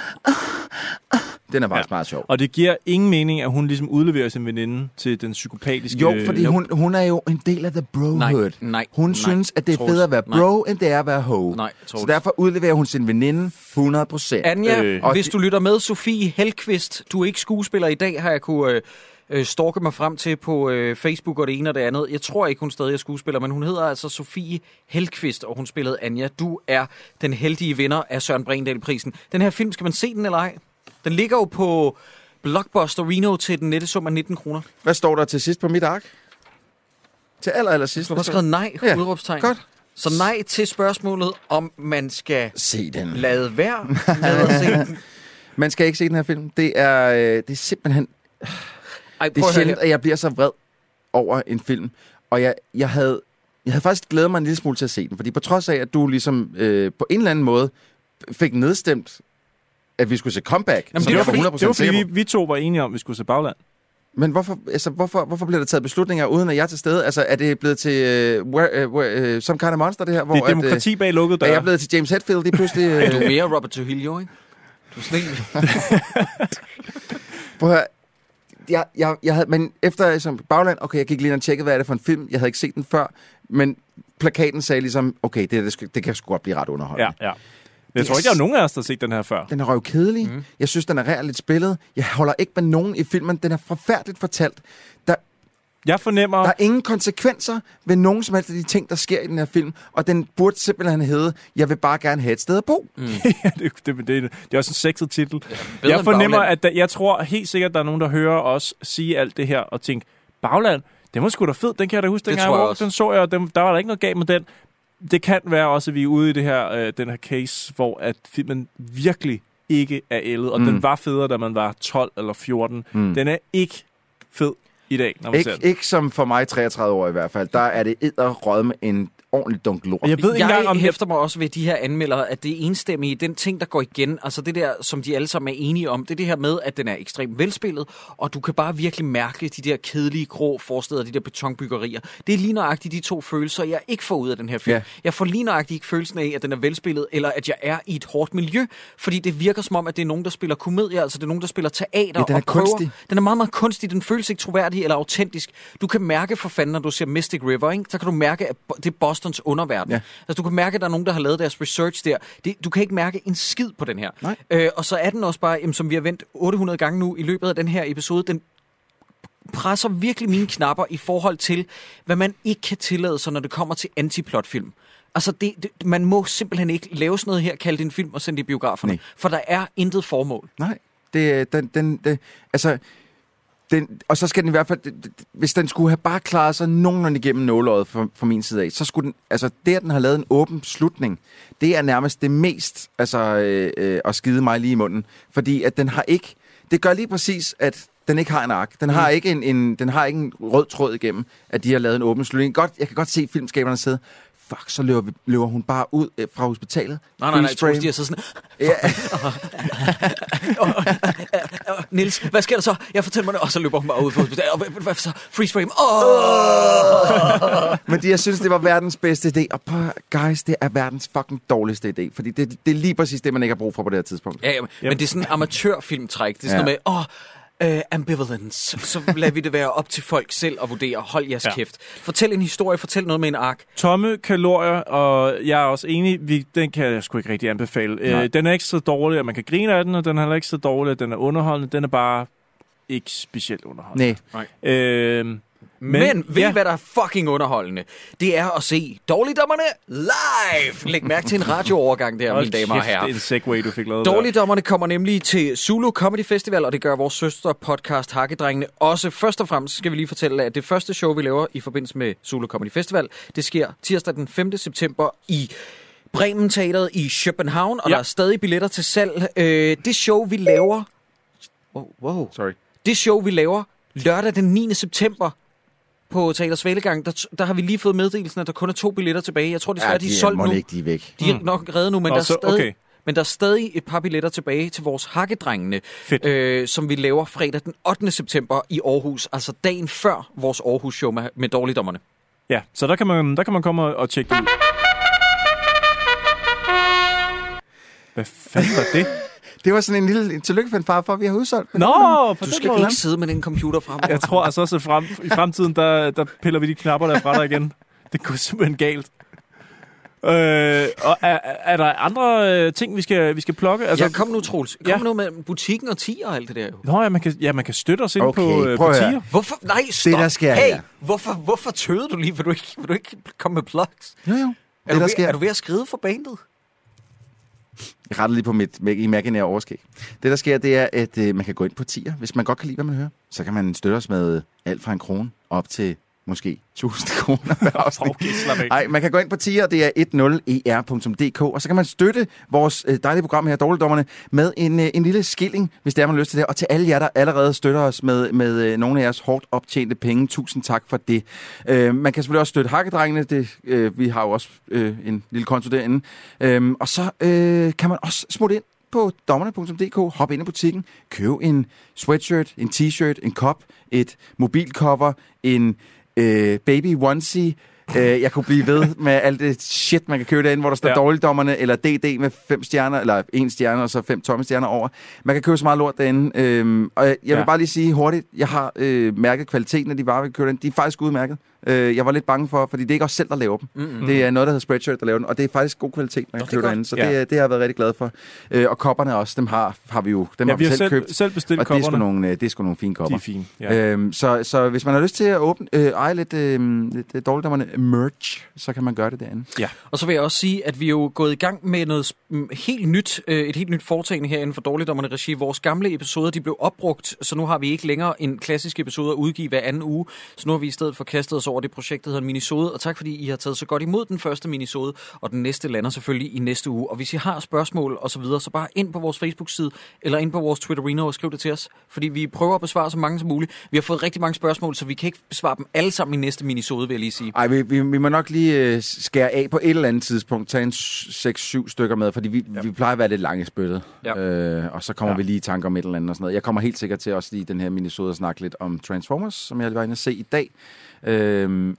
Speaker 2: Den er faktisk ja. meget sjov.
Speaker 3: Og det giver ingen mening, at hun ligesom udleverer sin veninde til den psykopatiske...
Speaker 2: Jo, fordi hun, hun er jo en del af the brohood.
Speaker 1: Øh, Nej, nej,
Speaker 2: hun
Speaker 1: nej,
Speaker 2: synes, at det er
Speaker 1: Troels,
Speaker 2: federe at være
Speaker 1: nej.
Speaker 2: bro, end det er at være ho.
Speaker 1: Nej, Troels.
Speaker 2: Så derfor udleverer hun sin veninde 100 procent.
Speaker 1: Anja,
Speaker 2: Øh,
Speaker 1: øh,
Speaker 2: og
Speaker 1: hvis
Speaker 2: de-
Speaker 1: du lytter med, Sofie Helqvist, du er ikke skuespiller i dag, har jeg kunne øh, øh, stalke mig frem til på øh, Facebook og det ene og det andet. Jeg tror ikke, hun stadig er skuespiller, men hun hedder altså Sofie Helqvist, og hun spillede Anja. Du er den heldige vinder af Søren Brindahl-prisen. Den her film, skal man se den eller ej? Den ligger jo på Blockbuster Reno til den nette sum af 19 kroner.
Speaker 2: Hvad står der til sidst på mit ark? Til aller, aller sidst. Altså-
Speaker 1: Du har skrevet nej, ja, udråbstegn.
Speaker 2: Godt.
Speaker 1: Så nej til spørgsmålet, om man skal
Speaker 2: Se den.
Speaker 1: lade være med at se den.
Speaker 2: Man skal ikke se den her film. Det er, øh, det er simpelthen...
Speaker 1: Ej,
Speaker 2: Det
Speaker 1: prøv
Speaker 2: er
Speaker 1: at høre her.
Speaker 2: sjældent, at jeg bliver så vred over en film. Og jeg, jeg, havde, jeg havde faktisk glædet mig en lille smule til at se den. Fordi på trods af, at du ligesom øh, på en eller anden måde fik nedstemt, at vi skulle se comeback, Jamen,
Speaker 3: Jamen,
Speaker 2: som
Speaker 3: det, var
Speaker 2: jeg var
Speaker 3: fordi,
Speaker 2: 100%
Speaker 3: det var fordi,
Speaker 2: sikker
Speaker 3: vi,
Speaker 2: på.
Speaker 3: vi to var enige om, at vi skulle se bagland.
Speaker 2: Men hvorfor, altså, hvorfor, hvorfor bliver der taget beslutninger, uden at jeg er til stede? Altså, er det blevet til øh, where, uh, where, uh, Some Kind of Monster, det her? Hvor
Speaker 3: Det er demokrati bag lukkede
Speaker 2: At, øh, er jeg
Speaker 3: døre.
Speaker 2: blevet til James Hetfield lige pludselig?
Speaker 1: Er du
Speaker 2: Øh,
Speaker 1: mere Robert Trujillo, ikke? Du er sådan en-
Speaker 2: prøv at høre. Jeg, jeg, jeg havde, men efter som bagland, okay, jeg gik lige ind og tjekkede, hvad er det for en film? Jeg havde ikke set den før, men plakaten sagde ligesom, okay, det, det, skal- det kan sgu godt blive ret underholdende.
Speaker 3: Ja, ja. Men Jeg tror ikke, der er nogen af os, der har set den her før.
Speaker 2: Den er røvkedelig. Mm. Jeg synes, den er rærligt spillet. Jeg holder ikke med nogen i filmen. Den er forfærdeligt fortalt. Der,
Speaker 3: Jeg fornemmer...
Speaker 2: Der er ingen konsekvenser ved nogen som helst af de ting, der sker i den her film, og den burde simpelthen hedde, jeg vil bare gerne have et sted at bo. Mm.
Speaker 3: Ja, det, det, det, det er også en sexet titel. Ja,
Speaker 1: bedre
Speaker 3: jeg
Speaker 1: end
Speaker 3: fornemmer,
Speaker 1: Bagland.
Speaker 3: at der, jeg tror helt sikkert, at der er nogen, der hører os sige alt det her og tænke, Bagland, den var sgu da fed, den kan jeg da huske, den
Speaker 1: Det tror jeg også.
Speaker 3: den så jeg, og den, der var der ikke noget galt med den. Det kan være også, at vi er ude i det her, øh, den her case, hvor at filmen virkelig ikke er ældet, og mm. den var federe, da man var 12 eller 14. Mm. Den er ikke fed i dag, når man
Speaker 2: Ikke,
Speaker 3: ser den.
Speaker 2: ikke som for mig 33 år i hvert fald. Der er det edderrød med en ordentlig dunk lort.
Speaker 3: Og Jeg ved ikke
Speaker 1: jeg
Speaker 3: engang, om
Speaker 1: hæfter mig også ved de her anmeldere, at det er enstemmige, den ting, der går igen, altså det der, som de alle sammen er enige om, det er det her med, at den er ekstremt velspillet, og du kan bare virkelig mærke de der kedelige, grå forsteder, de der betonbyggerier. Det er lige nøjagtigt de to følelser, jeg ikke får ud af den her film.
Speaker 2: Ja.
Speaker 1: Ja. Jeg får lige nøjagtigt ikke følelsen af, at den er velspillet, eller at jeg er i et hårdt miljø, fordi det virker som om, at det er nogen, der spiller komedie, altså det er nogen, der spiller teater
Speaker 2: Ja, den er
Speaker 1: og prøver-
Speaker 2: kunstig.
Speaker 1: Den er meget, meget kunstig. Den føles ikke troværdig eller autentisk. Du kan mærke for fanden, når du ser Mystic River, ikke? så kan du mærke, at bo- det er Bostons underverden.
Speaker 2: Ja.
Speaker 1: Ja. Altså, du kan mærke, at der er nogen, der har lavet deres research der. Det, du kan ikke mærke en skid på den her.
Speaker 2: Nej.
Speaker 1: Øh, og så er den også bare, jamen, som vi har vendt 800 gange nu i løbet af den her episode, den presser virkelig mine knapper i forhold til, hvad man ikke kan tillade sig, når det kommer til antiplotfilm. Altså, det, det, man må simpelthen ikke lave sådan noget her, kalde det en film og sende det i biograferne.
Speaker 2: Nej.
Speaker 1: Nej. For der er intet formål.
Speaker 2: Nej, det, er- den, den, det, altså, den, og så skal den i hvert fald, det- det- hvis den skulle have bare klaret sig nogenlunde igennem nåløjet fra, fra min side af, så skulle den, altså det, at den har lavet en åben slutning, det er nærmest det mest, altså øh, øh, at skide mig lige i munden, fordi at den har ikke, det gør lige præcis, at den ikke har en ark. Den
Speaker 1: Mm.
Speaker 2: har, ikke en, en, den har ikke en rød tråd igennem, at de har lavet en åben slutning. Godt, jeg kan godt se filmskaberne sidde. fuck, så løber, vi- løber hun bare ud øh, fra hospitalet.
Speaker 1: Nej, nej, nej,
Speaker 2: Freeze frame.
Speaker 1: Troels, de er så sådan...
Speaker 2: Ja.
Speaker 1: Nils, hvad sker der så? Jeg fortæller mig det. Og så løber hun bare ud på hospitalet. Og hvad, hvad, hvad så? Freeze frame. Åh!
Speaker 2: Men de, jeg synes, det var verdens bedste idé. Og prøv, guys, det er verdens fucking dårligste idé. Fordi det, det er lige præcis det, man ikke har brug for på det her tidspunkt.
Speaker 1: Ja, ja, men men det er sådan en amatørfilmtræk. Det er sådan
Speaker 2: Ja.
Speaker 1: noget med, åh, øh, ambivalence. Så lader vi det være op til folk selv at vurdere. Hold jeres ja. kæft. Fortæl en historie, fortæl noget med en ark.
Speaker 3: Tomme kalorier, og jeg er også enig, vi, den kan jeg sgu ikke rigtig anbefale.
Speaker 1: Nej.
Speaker 3: Øh, den er ikke så dårlig, at man kan grine af den, og den er heller ikke så dårlig, at den er underholdende. Den er bare ikke specielt underholdende.
Speaker 1: Nej.
Speaker 3: Øh, men,
Speaker 1: Men ved ja.
Speaker 3: ja,
Speaker 1: I, hvad der er fucking underholdende? Det er at se Dårligdommerne live! Læg mærke til en radioovergang der, mine
Speaker 3: hold
Speaker 1: damer og
Speaker 3: kæft, det er
Speaker 1: herrer.
Speaker 3: en segway, du fik lavet der.
Speaker 1: Dårligdommerne kommer nemlig til Zulu Comedy Festival, og det gør vores søsterpodcast Hakkedrengene også. Først og fremmest skal vi lige fortælle, at det første show, vi laver i forbindelse med Zulu Comedy Festival, det sker tirsdag den 5. september i Bremen Teateret i København, og ja. der er stadig billetter til salg. Øh, det show, vi laver... Wow, wow.
Speaker 3: Sorry.
Speaker 1: Det show, vi laver lørdag den 9. september på Teater Svalegang, der, der har vi lige fået meddelelsen, at der kun er to billetter tilbage. Jeg tror desværre, ja, de er solgt
Speaker 2: må
Speaker 1: nu.
Speaker 2: ikke, de er væk.
Speaker 1: De er nok reddet nu, men,
Speaker 3: Mm. Nå,
Speaker 1: der er
Speaker 3: så-
Speaker 1: stadig,
Speaker 3: okay.
Speaker 1: men der er stadig et par billetter tilbage til vores hakkedrengene, øh, som vi laver fredag den 8. september i Aarhus, altså dagen før vores Aarhus-show med, med dårligdommerne.
Speaker 3: Ja, så der kan man, der kan man komme og, og tjekke det ud. Hvad fanden var det?
Speaker 2: Det var sådan en lille tillykke for en far, for at vi har udsolgt.
Speaker 3: Nå,
Speaker 1: Du
Speaker 3: på den
Speaker 1: skal
Speaker 3: måde.
Speaker 1: ikke sidde med den computer frem.
Speaker 3: Jeg tror altså også, at frem, i fremtiden, der, der piller vi de knapper der fra dig igen. Det går simpelthen galt. Øh, og er, er der andre øh, ting, vi skal, vi skal plukke?
Speaker 1: Altså, ja, kom nu, Troels. Kom
Speaker 3: Ja.
Speaker 1: ja. nu med butikken og tier og alt det der. Jo.
Speaker 3: Nå, ja, man kan, ja, man kan støtte os ind
Speaker 2: Okay,
Speaker 3: på, øh,
Speaker 2: prøv
Speaker 3: på
Speaker 2: at høre.
Speaker 3: tier.
Speaker 1: Hvorfor? Nej, stop.
Speaker 2: der sker
Speaker 1: hey,
Speaker 2: her.
Speaker 1: hvorfor, hvorfor tøvede du lige? Vil du ikke, vil du ikke komme med plugs?
Speaker 2: Jo, jo.
Speaker 1: Er, du
Speaker 2: der
Speaker 1: ved,
Speaker 2: sker.
Speaker 1: er du ved at skride for bandet?
Speaker 2: Jeg retter lige på mit ma- imaginære overskæg. Det, der sker, det er, at øh, man kan gå ind på tier. Hvis man godt kan lide, hvad man hører, så kan man støtte os med alt fra en krone op til måske 1000 kroner per afsnit.
Speaker 3: Okay, slap af.
Speaker 2: Nej, man kan gå ind på tier, det er E 10er.dk, og så kan man støtte vores øh, dejlige program her, Dårligdommerne, med en, øh, en lille skilling, hvis det er, man har lyst til det. Og til alle jer, der allerede støtter os med, med øh, nogle af jeres hårdt optjente penge, tusind tak for det. Øh, man kan selvfølgelig også støtte Hakkedrengene, det, øh, vi har jo også øh, en lille konto derinde. Øh, og så øh, kan man også smutte ind på dommerne.dk, hop ind i butikken, køb en sweatshirt, en t-shirt, en kop, et mobilcover, en øh, baby onesie. Øh, jeg kunne blive ved med alt det shit, man kan købe derinde, hvor der står
Speaker 3: Ja.
Speaker 2: ja. dårligdommerne, eller DD med fem stjerner, eller en stjerne, og så fem tomme stjerner over. Man kan købe så meget lort derinde. Øhm, og jeg vil
Speaker 3: Ja.
Speaker 2: ja. bare lige sige hurtigt, jeg har øh, mærket kvaliteten af de varer, vi køber derinde. De er faktisk udmærket. Øh, jeg var lidt bange for, fordi det er ikke os selv, der laver dem. Mm-hmm. Det er noget, der hedder Spreadshirt, der laver den, og det er faktisk god kvalitet, man kan købe derinde. Så
Speaker 3: Ja.
Speaker 2: det, er- det har jeg været rigtig glad for. Øh, og kopperne også, dem har, har vi jo dem
Speaker 3: Ja,
Speaker 2: har
Speaker 3: vi
Speaker 2: vi
Speaker 3: har
Speaker 2: selv,
Speaker 3: selv,
Speaker 2: købt.
Speaker 3: selv bestilt
Speaker 2: og det er, sgu
Speaker 3: kopperne.
Speaker 2: nogle, øh, det er sgu nogle fine
Speaker 3: De
Speaker 2: kopper.
Speaker 3: er fine. Ja. Øh,
Speaker 2: Øhm, så, så hvis man har lyst til at åbne, øh, eje lidt, øh, lidt øh, dårligdommerne merch, så kan man gøre det derinde.
Speaker 1: Og så vil jeg også sige, at vi er jo gået i gang med noget sp- mm, helt nyt, øh, et helt nyt foretagende herinde for Dårligdommerne Regi. Vores gamle episoder, de blev opbrugt, så nu har vi ikke længere en klassisk episode at udgive hver anden uge. Så nu har vi i stedet for kastet os over det projekt, der hedder Minisode. Og tak fordi I har taget så godt imod den første Minisode, og den næste lander selvfølgelig i næste uge. Og hvis I har spørgsmål og så videre, så bare ind på vores Facebook-side eller ind på vores Twitterino og skriv det til os. Fordi vi prøver at besvare så mange som muligt. Vi har fået rigtig mange spørgsmål, så vi kan ikke besvare dem alle sammen i næste Minisode, vil jeg lige sige.
Speaker 2: Ej, vi, vi, vi må nok lige øh, skære af på et eller andet tidspunkt. Tag en 6-7 stykker med, fordi vi, ja. vi plejer at være lidt lange i spyttet.
Speaker 1: Ja.
Speaker 2: Øh, og så kommer ja.
Speaker 3: Ja.
Speaker 2: vi lige i tanker om et eller andet og sådan noget. Jeg kommer helt sikkert til også lige i den her minisode at snakke lidt om Transformers, som jeg var inde at se i dag. Øh,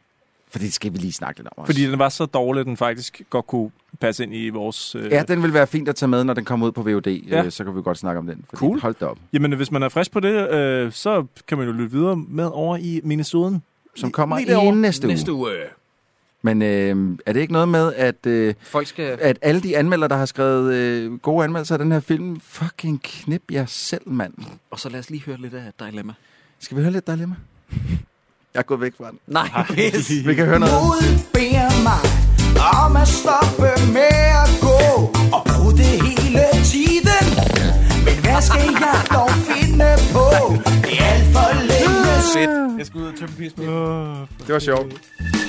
Speaker 2: fordi det skal vi lige snakke lidt om også.
Speaker 3: fordi den var så dårlig, at den faktisk godt kunne passe ind i vores... Øh,
Speaker 2: Ja, den vil være fint at tage med, når den kommer ud på VOD.
Speaker 3: Ja.
Speaker 2: Ja. Øh, så kan vi godt snakke om den. Fordi,
Speaker 3: Cool.
Speaker 2: Hold da op.
Speaker 3: Jamen, hvis man er frisk på det, øh, så kan man jo lytte videre med over i Minnesoten.
Speaker 2: Som kommer
Speaker 3: lige derovre.
Speaker 2: i næste,
Speaker 1: Næste
Speaker 2: uge.
Speaker 1: uge.
Speaker 2: Men øh, er det ikke noget med, at... Øh,
Speaker 1: Folk skal...
Speaker 2: at alle de anmeldere, der har skrevet øh, gode anmeldelser af den her film, fucking knip jer selv, mand.
Speaker 1: Og så lad os lige høre lidt af Dilemma.
Speaker 2: Skal vi høre lidt dilemma? Jeg er gået væk fra den.
Speaker 1: Nej, pis.
Speaker 2: Vi kan høre noget.
Speaker 11: Modet beder mig om at stoppe med at gå og bruge det hele tiden. Men hvad skal jeg dog finde på? Det er alt for længe siden.
Speaker 2: Det var sjovt.